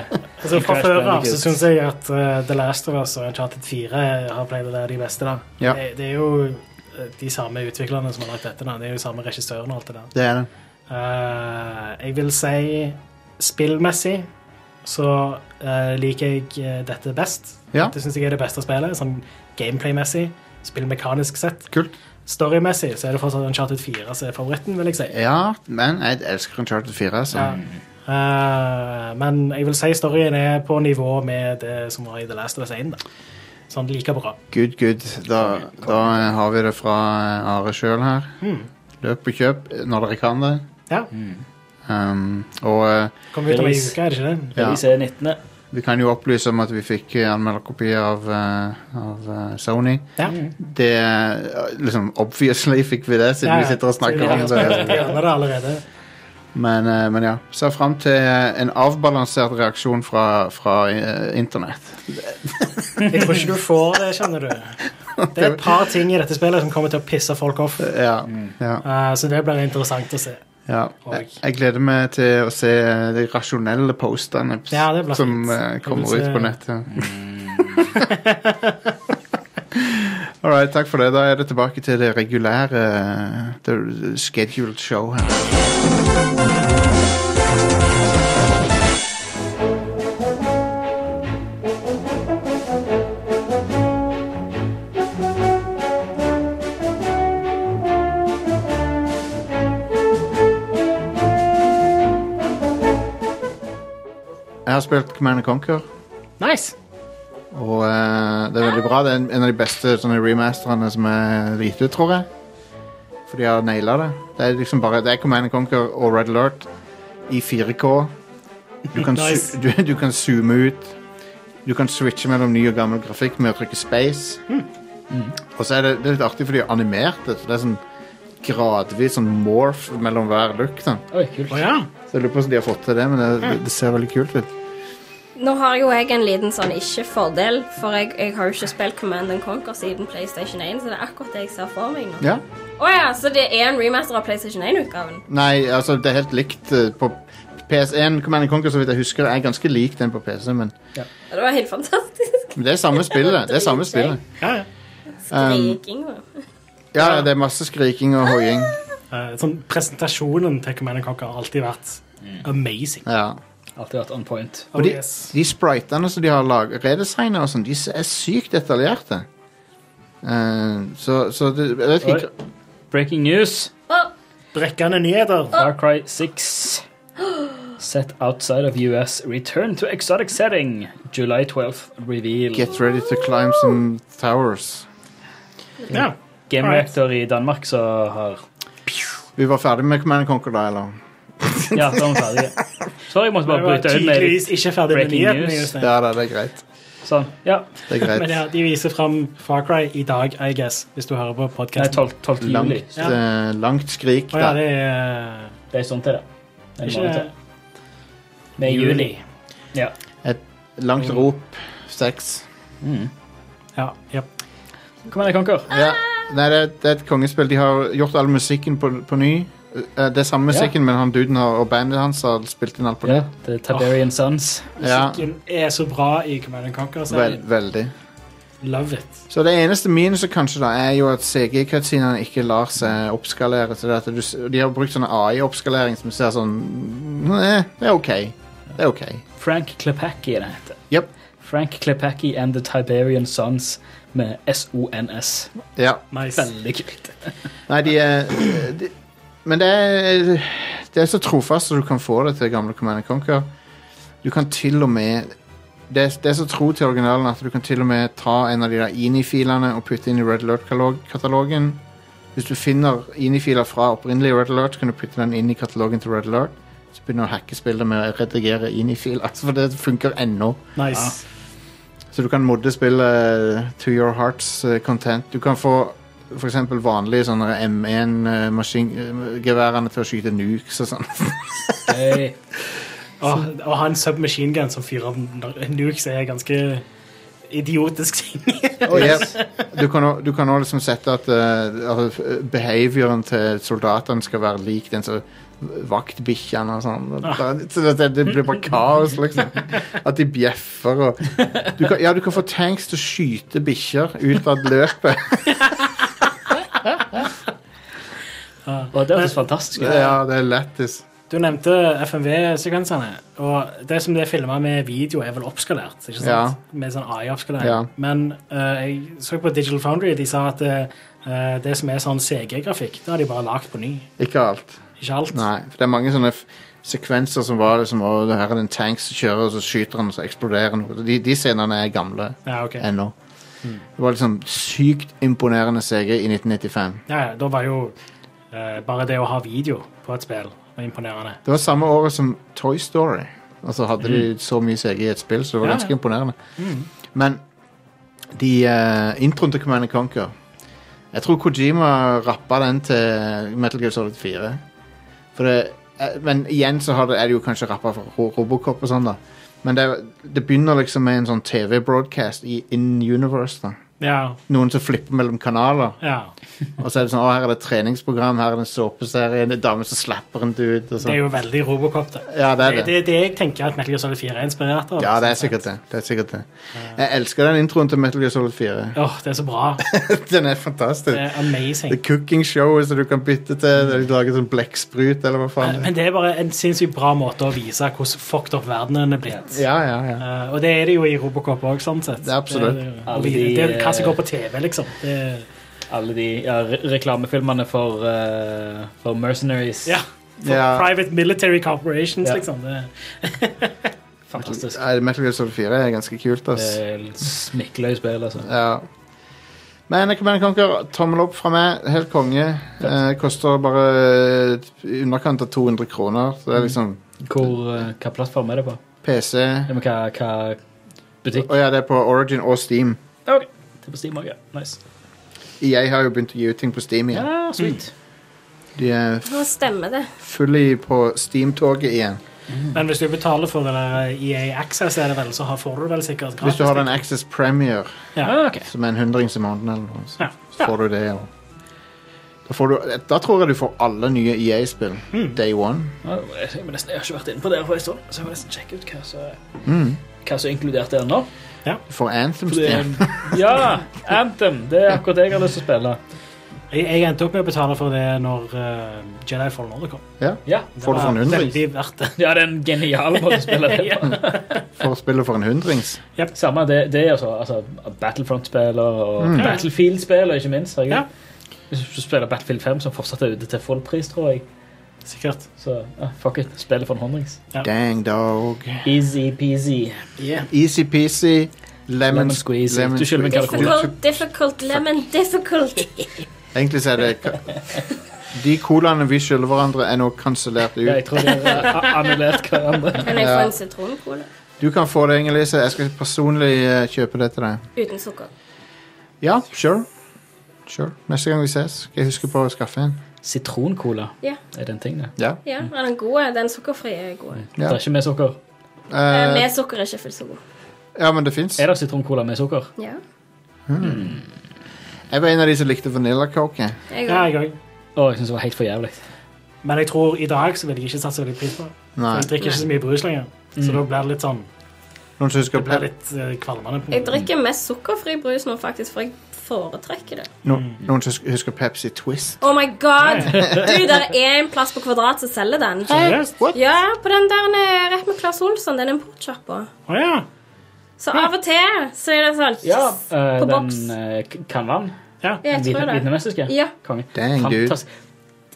Speaker 2: altså, fra
Speaker 3: Crash
Speaker 2: før av
Speaker 3: Bandicoot.
Speaker 2: så syns jeg at eh, The Last of Us og Uncharted 4 har pleid å være de beste. da.
Speaker 1: Ja.
Speaker 2: Det, det er jo eh, de samme utviklerne som har lagt dette. da. Det er jo samme regissøren og alt det der.
Speaker 1: Det er det.
Speaker 2: Eh, jeg vil si spillmessig så eh, liker jeg eh, dette best.
Speaker 1: Ja.
Speaker 2: Det syns jeg er det beste spillet, sånn gameplay-messig. Spillmekanisk sett.
Speaker 1: Kult.
Speaker 2: Storymessig så er det fortsatt Uncharted 4 som er favoritten, vil jeg si.
Speaker 1: Ja, men jeg elsker Uncharted 4. Altså.
Speaker 2: Ja. Eh, men jeg vil si storyen er på nivå med det som var i The Last of Us 1. Da. Sånn like bra.
Speaker 1: Good, good. Da, da eh, har vi det fra eh, Are sjøl her.
Speaker 2: Hmm.
Speaker 1: Løp og kjøp eh, når dere kan det.
Speaker 2: Ja.
Speaker 1: Um, og eh,
Speaker 2: Kommer ut om ei
Speaker 3: Release.
Speaker 2: uke, er det ikke det?
Speaker 1: Ja.
Speaker 3: Release er 19.
Speaker 1: vi kan jo opplyse om at vi fikk eh, anmelderkopi av, eh, av eh, Sony.
Speaker 2: Ja.
Speaker 1: Det eh, liksom Obviously fikk vi det, siden
Speaker 2: Ja, ja.
Speaker 1: vi sitter og snakker om
Speaker 2: Siden vi har-
Speaker 1: det.
Speaker 2: Vi har det allerede.
Speaker 1: Men, eh, men ja. Ser fram til eh, en avbalansert reaksjon fra, fra eh, internett.
Speaker 2: Jeg tror ikke du får det, kjenner du. Det er et par ting i dette spillet som kommer til å pisse folk off, eh,
Speaker 1: Ja. ja,
Speaker 2: så det blir interessant å se.
Speaker 1: ja.
Speaker 2: Og-
Speaker 1: Jeg, jeg gleder meg til å se eh, de rasjonelle postene
Speaker 2: Ja, det blir
Speaker 1: som
Speaker 2: fint.
Speaker 1: eh,
Speaker 2: Jeg vil
Speaker 1: kommer
Speaker 2: se- Mm.
Speaker 1: ut på nettet. All right, takk for det. Da er det tilbake til det regulære eh, the scheduled show her. Jeg har spilt Command Conquer,
Speaker 2: Nice!
Speaker 1: og eh, det er veldig bra. Det er en en av de beste sånne remasterne som er gitt ut, tror jeg. for de har naila det. Det er liksom bare det er Command and Conquer og Red Alert i 4K. Du kan, su-
Speaker 2: Nice.
Speaker 1: du, du kan zoome ut. Du kan switche mellom ny og gammel grafikk med å trykke space. Mhm. Og så er det, det er litt artig, for de har animert det. Så det er sånn gradvis sånn morph mellom hver look. Da.
Speaker 3: Oi, kult.
Speaker 2: ja.
Speaker 1: Så jeg lurer på hvordan de har fått til det, men det, det ser veldig kult ut.
Speaker 4: Nå har jo jeg en liten sånn ikke-fordel, for jeg, jeg har jo ikke spilt Command and Conquer siden PlayStation 1, så det er akkurat det jeg ser for meg nå.
Speaker 1: Ja.
Speaker 4: Å ja, så det er en remaster av PlayStation 1-utgaven?
Speaker 1: Nei, altså, det er helt likt eh, på PS1. Command and Conquer, så vidt jeg husker, er ganske lik den på PC, men
Speaker 4: Det var helt fantastisk.
Speaker 1: men det er samme spillet. Det er samme spillet. Um,
Speaker 4: Skriking og
Speaker 1: ja, det er masse skriking og hoiing.
Speaker 2: Eh, sånn, presentasjonen til Command Conquer har alltid vært
Speaker 3: Mm.
Speaker 2: amazing.
Speaker 1: Ja.
Speaker 3: Alltid vært on point.
Speaker 1: Og de,
Speaker 2: Oh, yes.
Speaker 1: de spritene som de har lag- redesignet og sånn, de er sykt detaljerte. Eh, så, så det, jeg vet ikke
Speaker 3: Oi. Breaking news.
Speaker 4: Å,
Speaker 2: Brekkende nyheter.
Speaker 3: Far Cry 6. Set outside of US. Return to exotic setting. July 12th. Reveal.
Speaker 1: Get ready to climb some towers.
Speaker 2: Ja.
Speaker 3: Game
Speaker 2: Alright.
Speaker 3: Reactor i Danmark så har
Speaker 1: Vi var ferdig med Command Conquer da, eller?
Speaker 3: Ja, da er vi ferdige. Sorry, jeg måtte
Speaker 2: Vi
Speaker 3: bare
Speaker 2: var
Speaker 3: bryte øynene med
Speaker 2: tydeligvis ikke ferdig med
Speaker 3: breaking
Speaker 2: nyhetene.
Speaker 3: news.
Speaker 2: Jostein.
Speaker 1: Ja da, det er greit.
Speaker 3: Sånn. Ja.
Speaker 1: Det er
Speaker 2: Men
Speaker 1: greit.
Speaker 2: ja, de viser fram Far Cry i dag, I guess, hvis du hører på
Speaker 3: Nei,
Speaker 2: podkasten.
Speaker 3: 12. 12. juli.
Speaker 1: Langt, eh, langt skrik
Speaker 2: Å ja,
Speaker 1: der.
Speaker 2: det er eh,
Speaker 3: Det er sånn til, det. Det er en
Speaker 2: Ikke-
Speaker 3: måned til. Det er juli. Ja.
Speaker 1: Langt rop. Sex.
Speaker 2: Ja. ja.
Speaker 3: Kom igjen, Conker.
Speaker 1: Ja. Nei, det, er- det er et kongespill. De har gjort all musikken på, på ny. Eh, det er samme musikken, men han duden har, og bandet hans har spilt inn alt på
Speaker 3: Ja,
Speaker 1: nytt.
Speaker 3: det er Tiberian Sons.
Speaker 1: Ja.
Speaker 2: Musikken er så bra i Command
Speaker 1: Vel,
Speaker 2: Conquer-serien.
Speaker 1: veldig.
Speaker 2: Love it.
Speaker 1: Så det eneste minuset kanskje da er jo at CG-cutscenene ikke lar seg oppskalere. til det at du, s- De har brukt sånne AI-oppskalering som ser sånn Nei, det er OK. Det er OK.
Speaker 3: Frank Klepacki er det heter.
Speaker 1: Yep.
Speaker 3: Frank Klepacki and the Tiberian Sons med S-O-N-S.
Speaker 1: Ja.
Speaker 2: Nice.
Speaker 3: Veldig kult.
Speaker 1: Nei, de er de, Men det er, det er så trofast som du kan få det til gamle Command Conquer. Du kan til og med det er, det er så tro til originalen at du kan til og med ta en av de der INI-filene og putte inn i Red Alert-katalogen. Hvis du finner INI-filer fra opprinnelig Red Alert, så kan du putte den inn i katalogen til Red Alert. Så begynner du å hacke spillet med å redigere INI-filer. Altså, for det funker ennå.
Speaker 2: Nice.
Speaker 1: Så du kan modde spillet eh, to your hearts eh, content. Du kan få f.eks. vanlige sånne eh, M1-geværene til å skyte nukes og sånn.
Speaker 3: Hey.
Speaker 1: Ah.
Speaker 2: Å- Å ha en submachine gun som fyrer n- nukes, er ganske idiotisk ting.
Speaker 1: Du kan også- Du kan òg liksom sette at eh, altså, behavioren til soldatene skal være lik den som vaktbikkjene og sånn. Så det, det- det blir bare kaos, liksom. At de bjeffer og du kan, Ja, du kan få tanks til å skyte bikkjer ut av løpet.
Speaker 3: Og det høres fantastisk ut.
Speaker 1: Ja, det er lættis.
Speaker 2: Du nevnte FMV-sekvensene, og det som det er filma med video, er vel oppskalert? ikke sant?
Speaker 1: Ja.
Speaker 2: Med sånn AI-oppskalering.
Speaker 1: Ja.
Speaker 2: Men eh, jeg så på Digital Foundry, de sa at eh, eh, det som er sånn CG-grafikk, det har de bare lagd på ny.
Speaker 1: Ikke alt.
Speaker 2: Ikke alt.
Speaker 1: Nei, for det er mange sånne f- sekvenser som var liksom, å, det her er en tank som kjører, og så skyter han, og så eksploderer han. De, de scenene er gamle
Speaker 2: Ja, ok. Ja,
Speaker 1: ennå. Det var liksom sykt imponerende CG i 1995.
Speaker 2: ja, da var jo eh, bare det å ha video på et spill var imponerende.
Speaker 1: Det var samme året som Toy Story. Og så hadde de så mye CG i et spill, så det var
Speaker 2: Mm. Ja, Mm.
Speaker 1: ganske
Speaker 2: ja.
Speaker 1: imponerende. Men de eh, introen til Command Conquer Jeg tror Kojima rappa den til Metal Gear Solid 4. For det, eh, men igjen så har det, er det jo kanskje rappa fra Ro- Robocop og sånn, da. Men det, det begynner liksom med en sånn TV-broadcast i In Universe. da
Speaker 2: Ja,
Speaker 1: Noen som flipper mellom kanaler.
Speaker 2: ja.
Speaker 1: Og så er det sånn, å her er det et treningsprogram, her er det en såpeserie, en dame som slapper en dude. Og
Speaker 2: Det er
Speaker 1: sånn.
Speaker 2: jo veldig Robocop, det.
Speaker 1: Ja, det er
Speaker 2: Det,
Speaker 1: det.
Speaker 2: det er det jeg tenker at Metal Gear Solid 4 er inspirert av.
Speaker 1: Ja, det er sikkert det. det, er sikkert det. Jeg elsker den introen til Metal Gear Solid 4.
Speaker 2: Åh, det er så bra.
Speaker 1: Den er
Speaker 2: Det
Speaker 1: fantastisk.
Speaker 2: er amazing.
Speaker 1: Det cooking showet som du kan bytte til. der De lager sånn blekksprut, eller hva faen. det er.
Speaker 2: Men det er bare en sinnssykt bra måte å vise hvordan fucked up verdenen er blitt.
Speaker 1: Ja, ja, ja.
Speaker 2: Eh, og det er det jo i Robocop òg, sånn sett.
Speaker 1: Det er absolutt.
Speaker 2: Det, det,
Speaker 3: Alle
Speaker 2: og vi-
Speaker 3: de,
Speaker 2: det er hva som
Speaker 3: eh,
Speaker 2: går på TV, liksom. Det,
Speaker 3: Alle de ja, re reklamefilmene for, eh, for Mercenaries.
Speaker 2: ja. For
Speaker 1: Ja.
Speaker 2: Private Military Corporations,
Speaker 3: Ja.
Speaker 2: liksom. Det,
Speaker 3: Fantastisk.
Speaker 1: Nei, Metal Gear Solid 4 er ganske kult, ass.
Speaker 3: Det er litt Smikkeløye spill, altså.
Speaker 1: Ja. Men Command Conquer, tommel opp fra meg. Helt konge. Eh, koster bare i underkant av 200 kroner. Så det er liksom
Speaker 3: Hvor, eh, hva plattform er Mm. det på?
Speaker 1: PC.
Speaker 3: Ja, men hva, hva butikk?
Speaker 1: Og ja, det er på Origin og Steam.
Speaker 3: Ok, det er på Steam også, ja. Nice.
Speaker 1: Jeg har jo begynt å gi ut ting på Steam igjen.
Speaker 3: Ja, sweet.
Speaker 1: De eh, er
Speaker 4: Nå stemmer det.
Speaker 1: fully på Steam-toget igjen.
Speaker 2: Mm. Men hvis du betaler for det der EA Access, er det vel, så har- får du det vel sikkert gratis.
Speaker 1: Hvis du har den Access Premier,
Speaker 2: Ja, Ah, ok.
Speaker 1: som er en hundrings i måneden, eller noe, så
Speaker 2: Ja.
Speaker 1: så får du det. Og da, får du, da tror jeg du får alle nye EA-spill
Speaker 3: Hmm.
Speaker 1: day one.
Speaker 3: Ja, Jeg, må nesten, jeg har ikke vært inne på det på en stund, så jeg må nesten sjekke ut hva som
Speaker 1: Mm.
Speaker 3: hva som er inkludert der nå.
Speaker 1: Du får Anthem
Speaker 3: For det
Speaker 1: Steam.
Speaker 3: er- ja, Anthem. Det er akkurat det jeg har lyst til å spille.
Speaker 2: Jeg, jeg endte opp med å betale for det når eh, Jedi Fallen Order kom.
Speaker 1: Ja.
Speaker 3: Ja,
Speaker 1: Får du sånn for en
Speaker 2: var
Speaker 1: hundrings?
Speaker 2: veldig verdt det.
Speaker 3: ja det er en genial måte å spille det på.
Speaker 1: Får spillet for en hundrings.
Speaker 3: Samme det, det er altså, altså Battlefront-spill og
Speaker 1: Mm.
Speaker 3: Battlefield-spill, og ikke minst. herregud.
Speaker 2: Ja.
Speaker 3: Hvis du spiller Battlefield 5, som fortsatt er ute til full pris, tror jeg,
Speaker 2: Sikkert.
Speaker 3: så ja, fuck it. Spillet for en hundrings.
Speaker 2: Ja.
Speaker 1: Dang dog.
Speaker 3: Easy-peasy.
Speaker 1: Easy-peasy. Lemon,
Speaker 3: Lemon squeezy. Du skylder meg en kalkon.
Speaker 4: Difficult, difficult, lemon, difficult.
Speaker 1: Egentlig så er det ka- De colaene vi skylder hverandre, er nå kansellert
Speaker 3: Ja,
Speaker 1: ut.
Speaker 3: jeg tror de har eh, annullert hverandre.
Speaker 4: Kan jeg få
Speaker 1: Ja.
Speaker 4: en sitroncola
Speaker 1: Du kan få det, Inger-Lise. Jeg skal personlig eh, kjøpe det til deg.
Speaker 4: uten sukker?
Speaker 1: Ja, sure. sure. Neste gang vi ses, skal jeg huske på å skaffe en.
Speaker 3: Sitroncola
Speaker 4: Ja.
Speaker 3: er den tingen, det.
Speaker 1: Ja.
Speaker 4: Ja, er den gode? Den sukkerfrie er god.
Speaker 1: Ja.
Speaker 3: Det er ikke med sukker.
Speaker 4: Eh,
Speaker 1: Eh,
Speaker 4: Med sukker er ikke fullt så god.
Speaker 1: ja, men det fins.
Speaker 3: Er det sitroncola med sukker?
Speaker 4: Ja,
Speaker 1: Jeg var en av de som likte Vanilla Coke. jeg.
Speaker 4: jeg
Speaker 2: Ja,
Speaker 4: òg.
Speaker 2: jeg òg.
Speaker 3: Å, jeg syns det var helt for jævlig.
Speaker 2: Men jeg tror i dag så vil jeg ikke satse veldig pris på det. For
Speaker 1: Nei.
Speaker 2: Jeg drikker ikke så mye brus lenger. Så da blir det litt sånn
Speaker 1: Noen som husker
Speaker 2: Det blir litt eh, kvalmende. på
Speaker 3: Mm.
Speaker 4: Jeg drikker mest sukkerfri brus nå, faktisk, for jeg foretrekker det.
Speaker 1: no, noen som husker Pepsi Twist?
Speaker 4: Oh my god! Du, der er en plass på Kvadrat som selger den.
Speaker 2: Seriøst? Å
Speaker 4: Ja, på den der nede rett med Claes Olsson, den importsjappa.
Speaker 2: ja.
Speaker 4: Så av og til så er det sånn yes.
Speaker 3: Eh,
Speaker 4: På
Speaker 3: den
Speaker 4: boks.
Speaker 3: eh, k- kanvaen.
Speaker 4: Ja, jeg tror det.
Speaker 3: Vietnamesiske.
Speaker 4: Ja.
Speaker 3: Konge.
Speaker 1: Dang, dude.
Speaker 3: Fantas-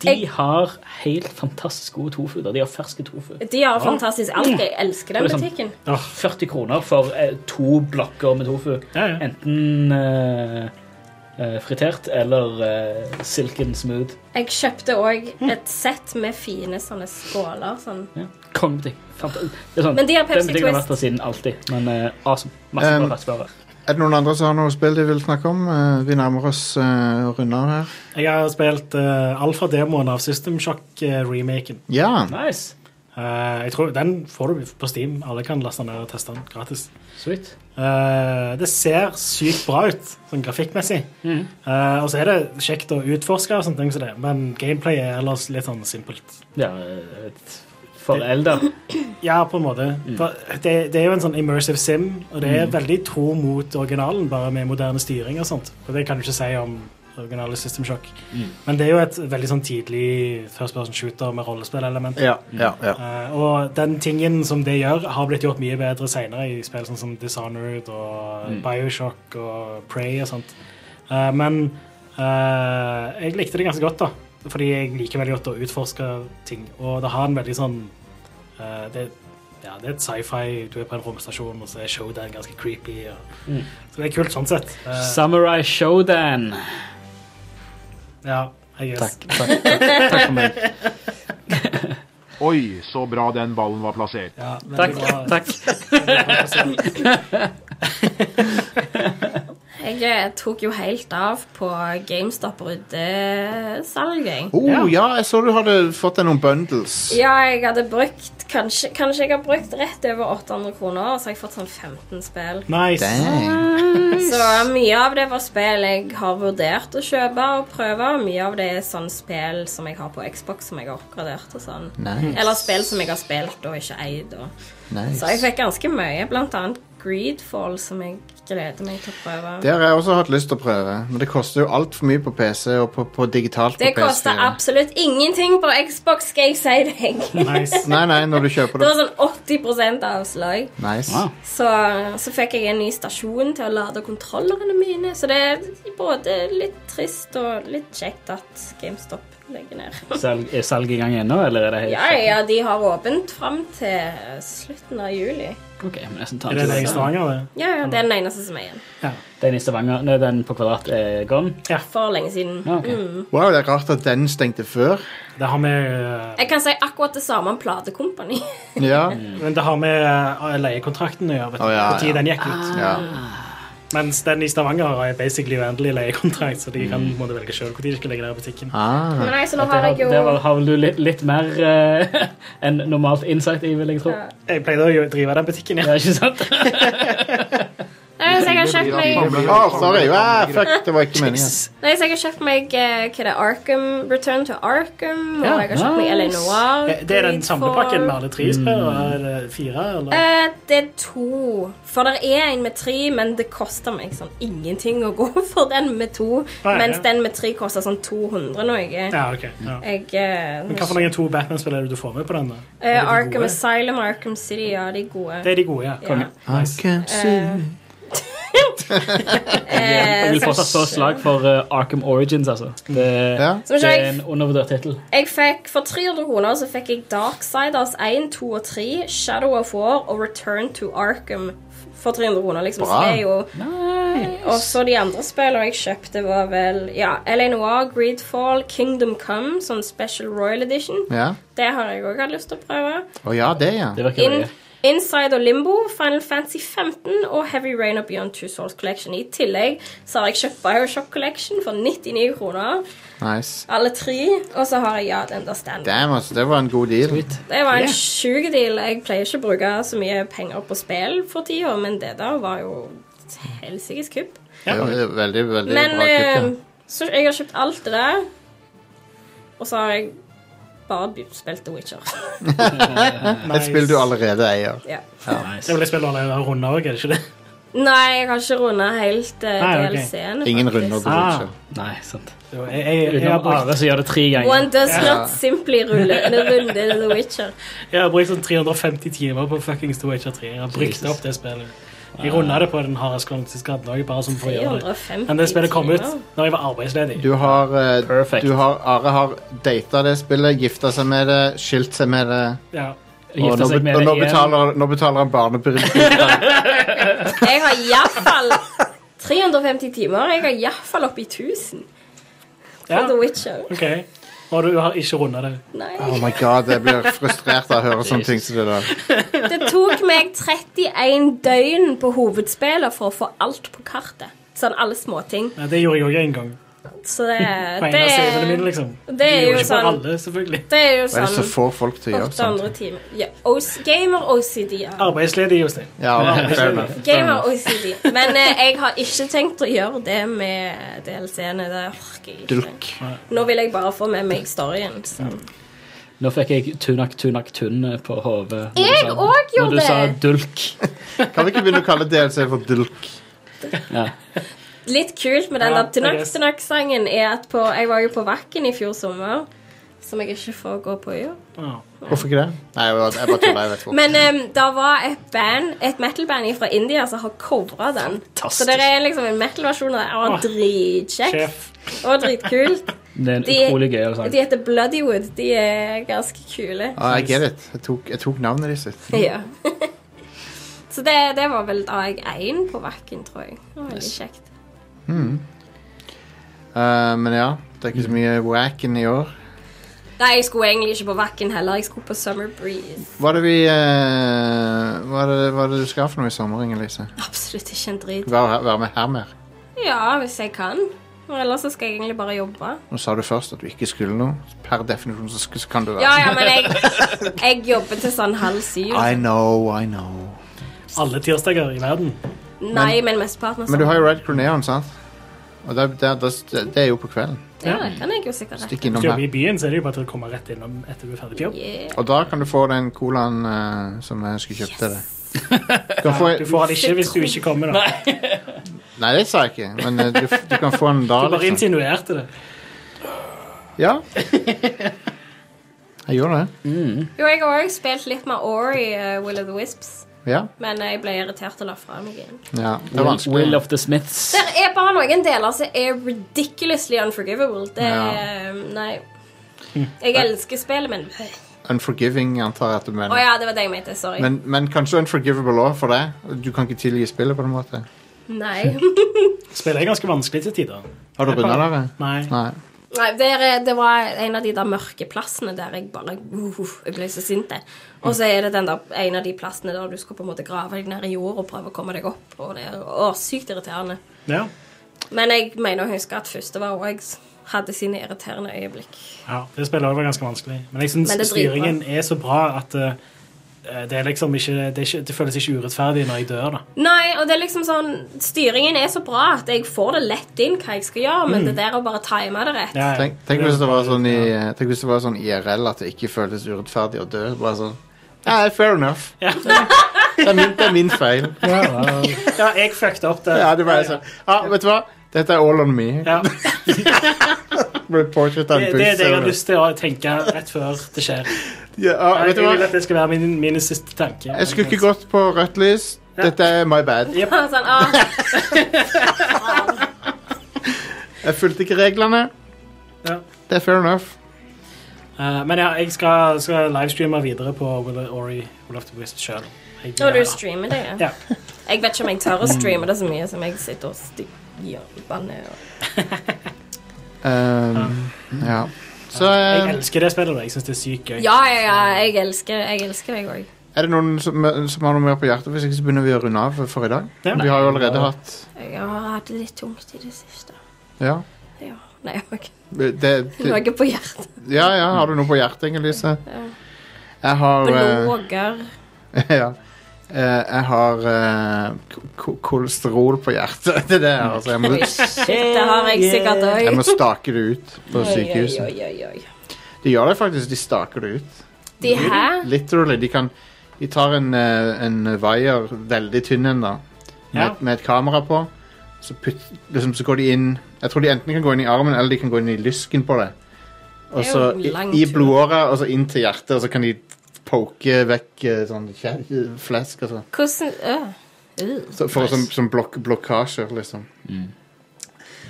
Speaker 3: De har helt fantastisk gode tofu. da. De har ferske tofu.
Speaker 4: De har fantastisk alt. Jeg elsker den
Speaker 3: Det er sånn- sant.
Speaker 4: butikken.
Speaker 3: 40 kroner for eh, to blokker med tofu.
Speaker 2: Ja, ja.
Speaker 3: Enten eh, eh, fritert eller eh, silken smooth.
Speaker 4: Jeg kjøpte òg et sett med fine sånne skåler. Sånn.
Speaker 3: Ja. Kongebutikk. Fanta- Det er sånn,
Speaker 4: Men de har
Speaker 3: den
Speaker 4: Pepsi
Speaker 3: butikken har vært
Speaker 4: Twist.
Speaker 3: der siden alltid. Men eh, awesome. Masse
Speaker 1: Um,
Speaker 3: bra ferskvarer.
Speaker 1: Er det noen andre som har noe spill de vil snakke om? Eh, vi nærmer oss uh, runder her.
Speaker 2: Jeg har spilt uh, alfa-demoen av System Shock-remaken.
Speaker 1: Ja.
Speaker 3: Nice.
Speaker 2: Eh, jeg tror Den får du på Steam. Alle kan laste den ned og teste den gratis.
Speaker 3: Sweet.
Speaker 2: Eh, det ser sykt bra ut, sånn grafikkmessig.
Speaker 4: Mm.
Speaker 2: Eh, og så er det kjekt å utforske, og sånne ting som det men gameplay er ellers litt sånn simpelt.
Speaker 3: Ja, eh, et forelder.
Speaker 2: Ja, på en måte. For det, det er jo en sånn immersive sim, og det er veldig tro mot originalen, bare med moderne styring og sånt. Og det kan du ikke si om originale System Shock.
Speaker 3: Mm.
Speaker 2: Men det er jo et veldig sånn tidlig first person shooter med rollespillelement.
Speaker 1: Ja, ja, ja.
Speaker 2: Eh, og den tingen som det gjør, har blitt gjort mye bedre senere i spill sånn som Dishonored og
Speaker 1: Mm.
Speaker 2: Bioshock og Prey og sånt. Eh, men eh, jeg likte det ganske godt, da. Fordi jeg liker veldig godt å utforske ting. Og det har en veldig sånn eh, det, ja, det er et sci-fi. Du er på en romstasjon, og så er showdown ganske creepy. Og,
Speaker 3: Mm.
Speaker 2: Så det er kult sånn sett. Eh,
Speaker 3: Samurai Showdown.
Speaker 2: ja, I guess.
Speaker 3: Takk, takk, takk, takk for meg.
Speaker 5: Oi, så bra den ballen var plassert.
Speaker 2: Ja, veldig
Speaker 3: Takk,
Speaker 2: bra.
Speaker 3: takk.
Speaker 4: Jeg eh, tok jo helt av på GameStop-ryddesalget.
Speaker 1: Oh, ja. jeg så du hadde fått deg noen bundles.
Speaker 4: Ja, jeg hadde brukt kanskje, kanskje jeg har brukt rett over 800 kroner, og så har jeg fått sånn 15 spill.
Speaker 2: Nice.
Speaker 1: Dang.
Speaker 4: Så mye av det var spill jeg har vurdert å kjøpe og prøve. og Mye av det er sånn spill som jeg har på Xbox som jeg har oppgradert og sånn.
Speaker 1: Nice.
Speaker 4: Eller spill som jeg har spilt og ikke eid. Og. Så jeg
Speaker 1: nice.
Speaker 4: fikk ganske mye, blant annet Greedfall, som jeg gleder meg til å prøve.
Speaker 1: Det har jeg også hatt lyst til å prøve, men det koster jo altfor mye på PC og på, på digitalt på
Speaker 4: Det koster
Speaker 1: PS4.
Speaker 4: absolutt ingenting på Xbox, skal jeg si deg.
Speaker 2: nice.
Speaker 1: Nei, nei, når du kjøper
Speaker 4: Det
Speaker 1: det.
Speaker 4: var sånn 80 avslag.
Speaker 1: Nice.
Speaker 3: Wow.
Speaker 4: Så, så fikk jeg en ny stasjon til å lade kontrollerne mine. Så det er både litt trist og litt kjekt at GameStop legger ned.
Speaker 12: Salg, er salget i gang ennå, eller er det helt
Speaker 4: Ja, ja, de har åpent fram til eh, slutten av juli.
Speaker 12: Ok, men nesten tar
Speaker 2: Er det den i Stavanger, det?
Speaker 4: Ja, ja, det er den eneste som er igjen.
Speaker 12: Den i Stavanger, nei, den på kvadrat er gone?
Speaker 4: For lenge siden.
Speaker 2: Ah,
Speaker 4: Mm.
Speaker 1: Wow, det er rart at den stengte før.
Speaker 2: Det har vi
Speaker 4: Jeg kan si akkurat det samme om platekompani.
Speaker 1: Ja.
Speaker 12: Ah.
Speaker 2: Men det har med eh, leiekontrakten å gjøre. vet du,
Speaker 1: Å, ja,
Speaker 2: Når tid
Speaker 1: ja. Ah.
Speaker 2: den gikk ut. Mens den i Stavanger har basically uendelig leiekontrakt, så de
Speaker 1: Mm.
Speaker 2: kan måtte velge sjøl når de skal legge ned butikken.
Speaker 12: Ah.
Speaker 4: Nei, så nå
Speaker 12: At
Speaker 4: har
Speaker 12: det
Speaker 4: jeg jo-
Speaker 12: Der var- har vel du litt, litt mer eh, enn normalt insight i, vil jeg tro.
Speaker 2: Jeg pleide å jo- drive den butikken, ja.
Speaker 12: Det er ikke sant?
Speaker 4: Nei, så jeg har kjøpt meg
Speaker 1: Å, sorry. Ah, fuck, det var ikke meningen.
Speaker 4: Nei, så jeg har kjøpt meg eh, hva er det, Arkham, Return to Arkham, og
Speaker 2: Ja,
Speaker 4: jeg har kjøpt meg LA Noir.
Speaker 2: Eh, Det er den
Speaker 4: Greedfall.
Speaker 2: samlepakken med alle tre
Speaker 1: Mm.
Speaker 2: spillere? Eller fire? Eller?
Speaker 4: Eh, det er to. For det er en med tre, men det koster meg sånn ingenting å gå for den med to.
Speaker 2: Nei,
Speaker 4: mens
Speaker 2: ja.
Speaker 4: den med tre koster sånn 200 noe.
Speaker 2: Ja, ok. Ja.
Speaker 4: Jeg, eh,
Speaker 2: Men hva for noen to Batman-spill er det du får med på den? da?
Speaker 4: eh,
Speaker 2: Er det de
Speaker 4: Arkham
Speaker 2: gode?
Speaker 4: Asylum, Arkham City, ja, de er gode.
Speaker 2: Det er de gode, ja. Konge. Nice.
Speaker 4: Eh,
Speaker 12: Jeg vil fortsatt stå slag for eh, Arkham Origins, altså. Det,
Speaker 4: Som
Speaker 12: det er
Speaker 4: jeg-
Speaker 12: en undervurdert tittel.
Speaker 4: Jeg fikk For 300 kroner så fikk jeg Darksiders 1, 2 og 3, Shadow of War og Return to Arkham f- for 300 kroner. liksom. Så
Speaker 12: Bra.
Speaker 4: det er jo... Og så de andre spillene jeg kjøpte, var vel ja, LA Noir, Greedfall, Kingdom Come, sånn Special Royal Edition.
Speaker 1: Ja.
Speaker 4: Det har jeg òg hatt lyst til å prøve.
Speaker 1: Å ja, det, ja.
Speaker 4: In, Inside og Limbo, Final Fantasy 15 og Heavy Rain og Beyond Two Souls Collection. I tillegg så har jeg kjøpt Bioshock Collection for 99 kroner.
Speaker 1: Nice.
Speaker 4: Alle tre. Og så har jeg ja, den der stand.
Speaker 1: Damn, altså, det var en god deal.
Speaker 4: Det var en sjuk deal. Jeg pleier ikke å bruke så mye penger på spill for tida, men det der var jo et helsikes kupp.
Speaker 1: Det var et veldig, veldig
Speaker 4: Men
Speaker 1: bra kutt.
Speaker 4: eh, så jeg har kjøpt alt det der, og så har jeg bare begynt- spilt The Witcher.
Speaker 1: Ja. Et spill du allerede eier.
Speaker 4: Ja.
Speaker 2: Det er vel et spill du allerede har runda òg, er det ikke det?
Speaker 4: Nei, jeg har ikke runda helt uh,
Speaker 2: Nei, ok.
Speaker 4: DLC-en.
Speaker 1: Ingen runder på
Speaker 12: Ah,
Speaker 1: Witcher.
Speaker 12: Nei, sant.
Speaker 2: Jo, jeg- jeg- jeg har
Speaker 12: Utenom
Speaker 2: brukt-
Speaker 12: Are, som gjør det tre ganger.
Speaker 4: One does
Speaker 2: Ja.
Speaker 4: not simply rulle en runde i The Witcher.
Speaker 2: Jeg har brukt sånn 350 timer på fuckings The Witcher 3. Jeg har brukt
Speaker 12: Jesus.
Speaker 2: opp det spillet. Jeg runda det på den hardeste konsekvensen òg, bare som for å gjøre det.
Speaker 4: 350
Speaker 2: Men det spillet kom ut
Speaker 4: timer.
Speaker 2: når jeg var arbeidsledig.
Speaker 1: Du har, eh, du har Are har data det spillet, gifta seg med det, skilt seg med det.
Speaker 2: Ja.
Speaker 1: Og nå,
Speaker 12: Gifta seg
Speaker 1: be-
Speaker 12: med
Speaker 1: og
Speaker 12: det
Speaker 1: nå,
Speaker 12: igjen.
Speaker 1: betaler, nå betaler han barnebidrag.
Speaker 4: Jeg har iallfall 350 timer. Jeg har iallfall oppi 1000 for
Speaker 2: Ja.
Speaker 4: The Witcher.
Speaker 2: OK. Og du har ikke runda det.
Speaker 4: Nei.
Speaker 1: Oh my god, jeg blir frustrert av å høre sånne ting som det der.
Speaker 4: Det tok meg 31 døgn på hovedspillet for å få alt på kartet. Sånn alle småting.
Speaker 2: Ja, det gjorde jeg òg en gang.
Speaker 4: Så det,
Speaker 2: På en
Speaker 4: det,
Speaker 2: av serverne mine, liksom.
Speaker 4: det er jo
Speaker 2: ikke på
Speaker 4: sånn
Speaker 2: alle, selvfølgelig.
Speaker 4: Det er jo
Speaker 1: Hva er det som
Speaker 4: sånn
Speaker 1: får folk til å gjøre sånt?
Speaker 4: 800 timer. Ja, OC gamer OCD. ja.
Speaker 2: Ah, Arbeidsledig, Jostein.
Speaker 1: Ja, fair enough.
Speaker 4: Gamer OCD. Men eh, jeg har ikke tenkt å gjøre det med DLC-ene. Det orker jeg ikke.
Speaker 1: Dulk.
Speaker 4: Nå vil jeg bare få med meg storyen. Så.
Speaker 12: Nå fikk jeg tunak, tunak, tunn på hodet. når du
Speaker 4: Jeg
Speaker 12: sa-
Speaker 4: òg
Speaker 12: Når
Speaker 4: gjorde
Speaker 12: du sa
Speaker 4: det.
Speaker 12: dulk.
Speaker 1: Kan vi ikke begynne å kalle DLC for dulk?
Speaker 12: Ja.
Speaker 4: Litt kult med den
Speaker 1: Ja,
Speaker 4: der
Speaker 1: I guess.
Speaker 4: Tunux-Tunux-sangen er at på, jeg var jo på Vakken i fjor sommer, som jeg ikke får gå på i år.
Speaker 1: Hvorfor ikke det? Nei, jeg bare jeg bare tuller. Jeg vet ikke.
Speaker 4: Men um, det var et band, et metal-band fra India som har covra den. Så det er liksom en metal-versjon av det. Og
Speaker 12: Sjef.
Speaker 4: dritkjekt. Og dritkult.
Speaker 12: Det er en
Speaker 4: De-
Speaker 12: utrolig gøy sang.
Speaker 4: De heter Bloodywood. De er ganske kule.
Speaker 1: Ah, I get it. Jeg tok, jeg tok navnet de sitt.
Speaker 4: Ja. Så det, det var vel dag én på Vakken, tror jeg. Det var veldig kjekt.
Speaker 1: Hmm. Eh, men ja, det er ikke så mye wacken i år.
Speaker 4: Nei, jeg skulle egentlig ikke på Vakken heller. Jeg skulle på Summer Breeze.
Speaker 1: Hva er det vi eh, hva, er det, hva er det du skal for noe i sommer, Inger-Lise?
Speaker 4: Absolutt ikke en drit.
Speaker 1: Være vær med her mer.
Speaker 4: Ja, hvis jeg kan. Og ellers så skal jeg egentlig bare jobbe.
Speaker 1: Nå sa du først at du ikke skulle noe. Per definisjon så, sk- så kan du være sånn.
Speaker 4: Ja, ja, men jeg, jeg jobber til sånn halv syv.
Speaker 1: I know, I know.
Speaker 2: Alle tirsdager i verden.
Speaker 4: Nei, men mesteparten av
Speaker 1: Men du har
Speaker 4: sommeren.
Speaker 1: jo Red Crew Neon, sant? Og det, det, det, det er jo på kvelden.
Speaker 4: Ja, det kan jeg jo sikkert
Speaker 1: Stikk
Speaker 4: rette.
Speaker 1: innom
Speaker 2: Hvis du jobber
Speaker 1: her.
Speaker 2: i byen, så er det jo bare til å komme rett innom etter du er ferdig på jobb.
Speaker 4: Yeah.
Speaker 1: Og da kan du få den colaen eh, som jeg skulle kjøpt til deg. Du, kan få,
Speaker 2: Du får den ikke hvis du ikke kommer, da.
Speaker 1: Nei, det sa jeg ikke, men eh, du, f- du kan få den da.
Speaker 2: Du bare
Speaker 1: Liksom.
Speaker 2: insinuerte det.
Speaker 1: Ja. Jeg gjorde det.
Speaker 4: Jo, jeg har også spilt litt med Ori uh, Will of the Wisps.
Speaker 1: Ja.
Speaker 4: Men jeg ble irritert og la fra meg igjen.
Speaker 1: ja det er
Speaker 12: Will-
Speaker 1: vanskelig.
Speaker 12: Will of the Smiths.
Speaker 4: Der er bare noen deler som er ridiculously unforgivable. Det er eh, Nei. Jeg elsker spillet, men Å
Speaker 1: Unforgiving antar jeg at du mener.
Speaker 4: ja, det var det jeg mente. Sorry.
Speaker 1: men, men kanskje Unforgivable òg, for det. Du kan ikke tilgi spillet på en måte.
Speaker 4: Nei.
Speaker 2: Spillet er ganske vanskelig til tider.
Speaker 1: Har du
Speaker 2: Jeg
Speaker 1: runda
Speaker 2: bare-
Speaker 1: det?
Speaker 2: Nei.
Speaker 4: Nei, der, er- det var en av de der mørke plassene der jeg bare uh, Jeg ble så sint. jeg. Og så er det den der, en av de plassene der du skal på en måte grave deg ned i jord og prøve å komme deg opp. Og det er å, sykt irriterende.
Speaker 2: Ja.
Speaker 4: Men jeg mener å huske at første var òg jeg hadde sine irriterende øyeblikk.
Speaker 2: Ja, det spillet også var ganske vanskelig. Men jeg syns
Speaker 4: Men det er dritbra.
Speaker 2: styringen er så bra at eh, det, er liksom ikke, det, er ikke, det føles ikke urettferdig når jeg dør, da.
Speaker 4: Nei, og det er liksom sånn Styringen er så bra at jeg får det lett inn hva jeg skal gjøre, men
Speaker 1: Mm.
Speaker 4: det der å bare time det rett
Speaker 1: Tenk, tenk, hvis det var sånn i, tenk hvis det var sånn IRL at det ikke føltes urettferdig å dø. Bare sånn Ja, fair enough. Det, er min, det er min feil.
Speaker 2: Ja, jeg fucked opp det.
Speaker 1: Ja, det var sånn. Ja, vet du hva? Dette er all on me. Ble påkjørt av
Speaker 2: Det,
Speaker 1: en
Speaker 2: det er det jeg har
Speaker 1: buss.
Speaker 2: lyst til å tenke rett før det skjer.
Speaker 1: Ja, ja, vet
Speaker 2: jeg
Speaker 1: du hva?
Speaker 2: vil at det skal være min, mine siste tanker.
Speaker 1: Jeg skulle ikke gått på rødt lys. Dette er my bad.
Speaker 4: sånn, ah,
Speaker 1: Jeg fulgte ikke reglene.
Speaker 2: Ja.
Speaker 1: Det er fair enough.
Speaker 2: Eh, men ja, jeg skal, skal livestreame videre på Will Ori Will of the West sjøl.
Speaker 4: Når du streamer det, ja.
Speaker 2: Ja.
Speaker 4: Jeg vet ikke om jeg tør å streame det så mye som jeg sitter og styrer i bandet.
Speaker 1: Um, ja. Så eh,
Speaker 2: Jeg elsker det spillet. da. Jeg syns det er sykt gøy.
Speaker 4: Ja, ja, ja. Jeg elsker, jeg elsker deg òg.
Speaker 1: er det noen som, som har noe mer på hjertet? Hvis ikke så begynner vi å runde av for, for i dag. Vi har jo allerede hatt
Speaker 4: Jeg har hatt det litt tungt i det siste.
Speaker 1: Ja.
Speaker 4: Ja. Nei, jeg har ikke
Speaker 1: Det, det,
Speaker 4: noe på hjertet.
Speaker 1: ja, ja. Har du noe på hjertet, Inger-Lise?
Speaker 4: Ja.
Speaker 1: Jeg har eh,
Speaker 4: Blodåger.
Speaker 1: ja. Eh, jeg har eh, ko- ko- kolesterol på hjertet. Det er det jeg har. Så jeg må,
Speaker 4: Shit, det har jeg sikkert òg.
Speaker 1: jeg må stake det ut på
Speaker 4: Oi,
Speaker 1: sykehuset.
Speaker 4: oi, oi, oi.
Speaker 1: De gjør det faktisk. De staker det ut.
Speaker 4: De her
Speaker 1: Literally. De, kan, de tar en, eh, en wire, veldig tynn en, da, med,
Speaker 4: Ja.
Speaker 1: med et kamera på. Så, putt, liksom, så går de inn Jeg tror de enten kan gå inn i armen, eller de kan gå inn i lysken på det. Og
Speaker 4: Det er
Speaker 1: så
Speaker 4: jo
Speaker 1: i,
Speaker 4: lang
Speaker 1: i
Speaker 4: tur.
Speaker 1: blodåra, og så inn til hjertet, og så kan de poke vekk eh, sånn kje- flesk og sånn.
Speaker 4: Hvordan øh. Øh.
Speaker 1: Så for som, som blok blokkasjer, liksom.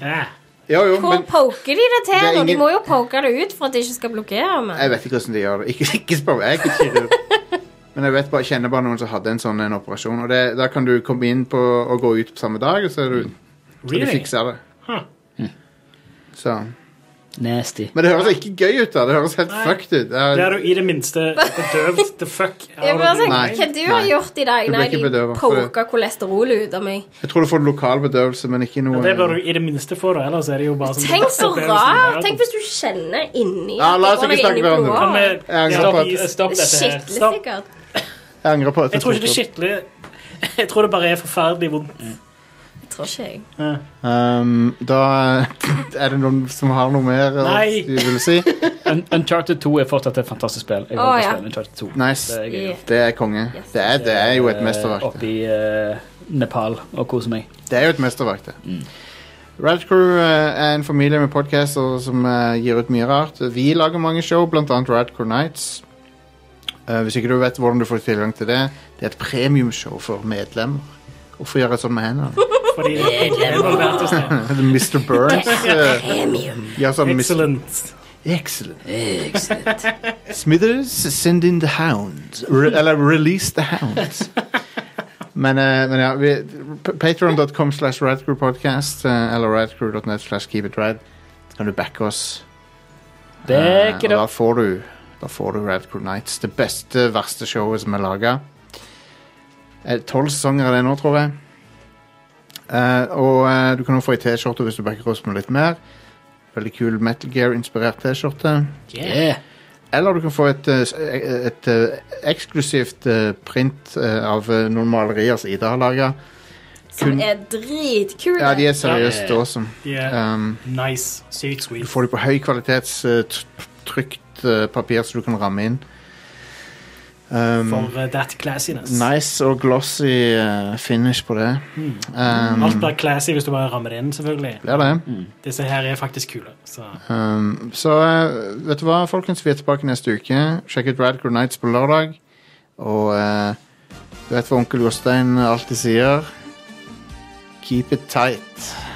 Speaker 2: Ja.
Speaker 1: Jo, jo,
Speaker 4: Hvor
Speaker 1: men
Speaker 4: poker de det til?
Speaker 1: Det er
Speaker 4: nå? De
Speaker 1: ingen-
Speaker 4: må jo poke det ut for at det ikke skal blokkere
Speaker 1: jeg
Speaker 4: meg.
Speaker 1: vet ikke hvordan de gjør det. Ikke, ikke spør meg. Jeg er ikke kirurg. Men jeg vet bare, kjenner bare noen som hadde en sånn en operasjon. Og det, Da kan du komme inn på og gå ut på samme dag, og så er du, så du
Speaker 12: Really?
Speaker 1: fikser det. Mm.
Speaker 2: Huh.
Speaker 1: Så.
Speaker 3: Nasty.
Speaker 1: Men det høres ikke gøy ut, da. Det høres helt
Speaker 2: Nei.
Speaker 1: fucked ut. Jeg-
Speaker 2: Det er du i det minste bedøvd the fuck
Speaker 4: Jeg bare sånn,
Speaker 1: Nei.
Speaker 4: Hva du har
Speaker 1: Nei.
Speaker 4: gjort i dag?
Speaker 1: Du ble
Speaker 4: Nei,
Speaker 1: ikke
Speaker 4: de
Speaker 1: bedøvet, for det-
Speaker 4: poka kolesterolet ut av meg.
Speaker 1: Jeg tror du får lokal bedøvelse, men ikke noe
Speaker 2: Ja, det bør du i det minste få, da. Ellers er det jo bare sånn
Speaker 4: Tenk så rart! Tenk hvis du kjenner inni
Speaker 1: Ja,
Speaker 4: at
Speaker 1: la
Speaker 4: det
Speaker 1: oss ikke
Speaker 4: går noe
Speaker 1: snakke
Speaker 4: inn i
Speaker 1: mer om det.
Speaker 4: blodet.
Speaker 1: Kan vi- Jeg angrer på at- Stopp
Speaker 4: Det er
Speaker 1: dette her.
Speaker 4: skittelig
Speaker 2: Stopp.
Speaker 4: sikkert.
Speaker 1: Jeg angrer på at
Speaker 2: Jeg tror ikke det er skikkelig Jeg tror det bare er forferdelig vondt.
Speaker 4: Jeg tror ikke jeg.
Speaker 1: Um, da er det noen som har noe mer
Speaker 12: Nei.
Speaker 1: du vil si?
Speaker 12: Un Uncharted 2 er fortsatt et fantastisk spill. Jeg
Speaker 4: Å,
Speaker 12: håper å
Speaker 4: ja.
Speaker 12: spille Uncharted 2.
Speaker 1: Nice.
Speaker 12: Det er gøy.
Speaker 1: Det er konge. Det er, det er jo et mesterverk.
Speaker 12: Oppe i eh, Nepal og kose meg.
Speaker 1: Det er jo et mesterverk, det. Red Crew eh, er en familie med podcaster som eh, gir ut mye rart. Vi lager mange show, blant annet Red Crew Nights. Eh, hvis ikke du vet hvordan du får tilgang til det, det er et premiumshow for medlemmer. Hvorfor gjør jeg sånn med hendene?
Speaker 2: Fordi det er bare verdt å se.
Speaker 1: Mr. Burns. eh, gjør sånn Mr.
Speaker 2: Excellent.
Speaker 1: Excellent. Smithers, send in the hounds. Re eller release the hounds. Men, eh, men ja, vi- p- patreon.com slash radcrewpodcast eh, eller radcrew.net slash keepitrad. Så kan du backe oss. Eh,
Speaker 12: Back
Speaker 1: og
Speaker 12: it
Speaker 1: da
Speaker 12: up.
Speaker 1: får du, da får du Radcrew Nights. Det beste, verste showet som er laga. Tolv sesonger er det nå, tror jeg. Eh, og eh, du kan også få ei T-skjorte hvis du backer oss med litt mer. Veldig kul Metal Gear-inspirert T-skjorte.
Speaker 12: Yeah.
Speaker 1: Eller du kan få et, eh, s- eh, et eh, eksklusivt eh, print eh, av eh, noen malerier som Ida har laga.
Speaker 4: Som er dritkule.
Speaker 1: Ja, de er seriøst
Speaker 2: Ja.
Speaker 1: awesome.
Speaker 2: De er
Speaker 1: Um,
Speaker 2: nice. Sykt
Speaker 1: du
Speaker 2: sweet.
Speaker 1: får de på høy kvalitets eh, t- trykt eh, papir som du kan ramme inn. Um,
Speaker 2: For uh, that classiness.
Speaker 1: nice og glossy eh, finish på det.
Speaker 2: Mm.
Speaker 1: Um,
Speaker 2: Alt blir classy hvis du bare rammer det inn, selvfølgelig.
Speaker 1: Blir det.
Speaker 2: Disse her er faktisk kule. Så.
Speaker 1: Um, så eh, vet du hva, folkens, vi er tilbake neste uke. Sjekk ut Radcrew Nights på lørdag. Og eh, du vet hva onkel Jostein alltid sier? Keep it tight.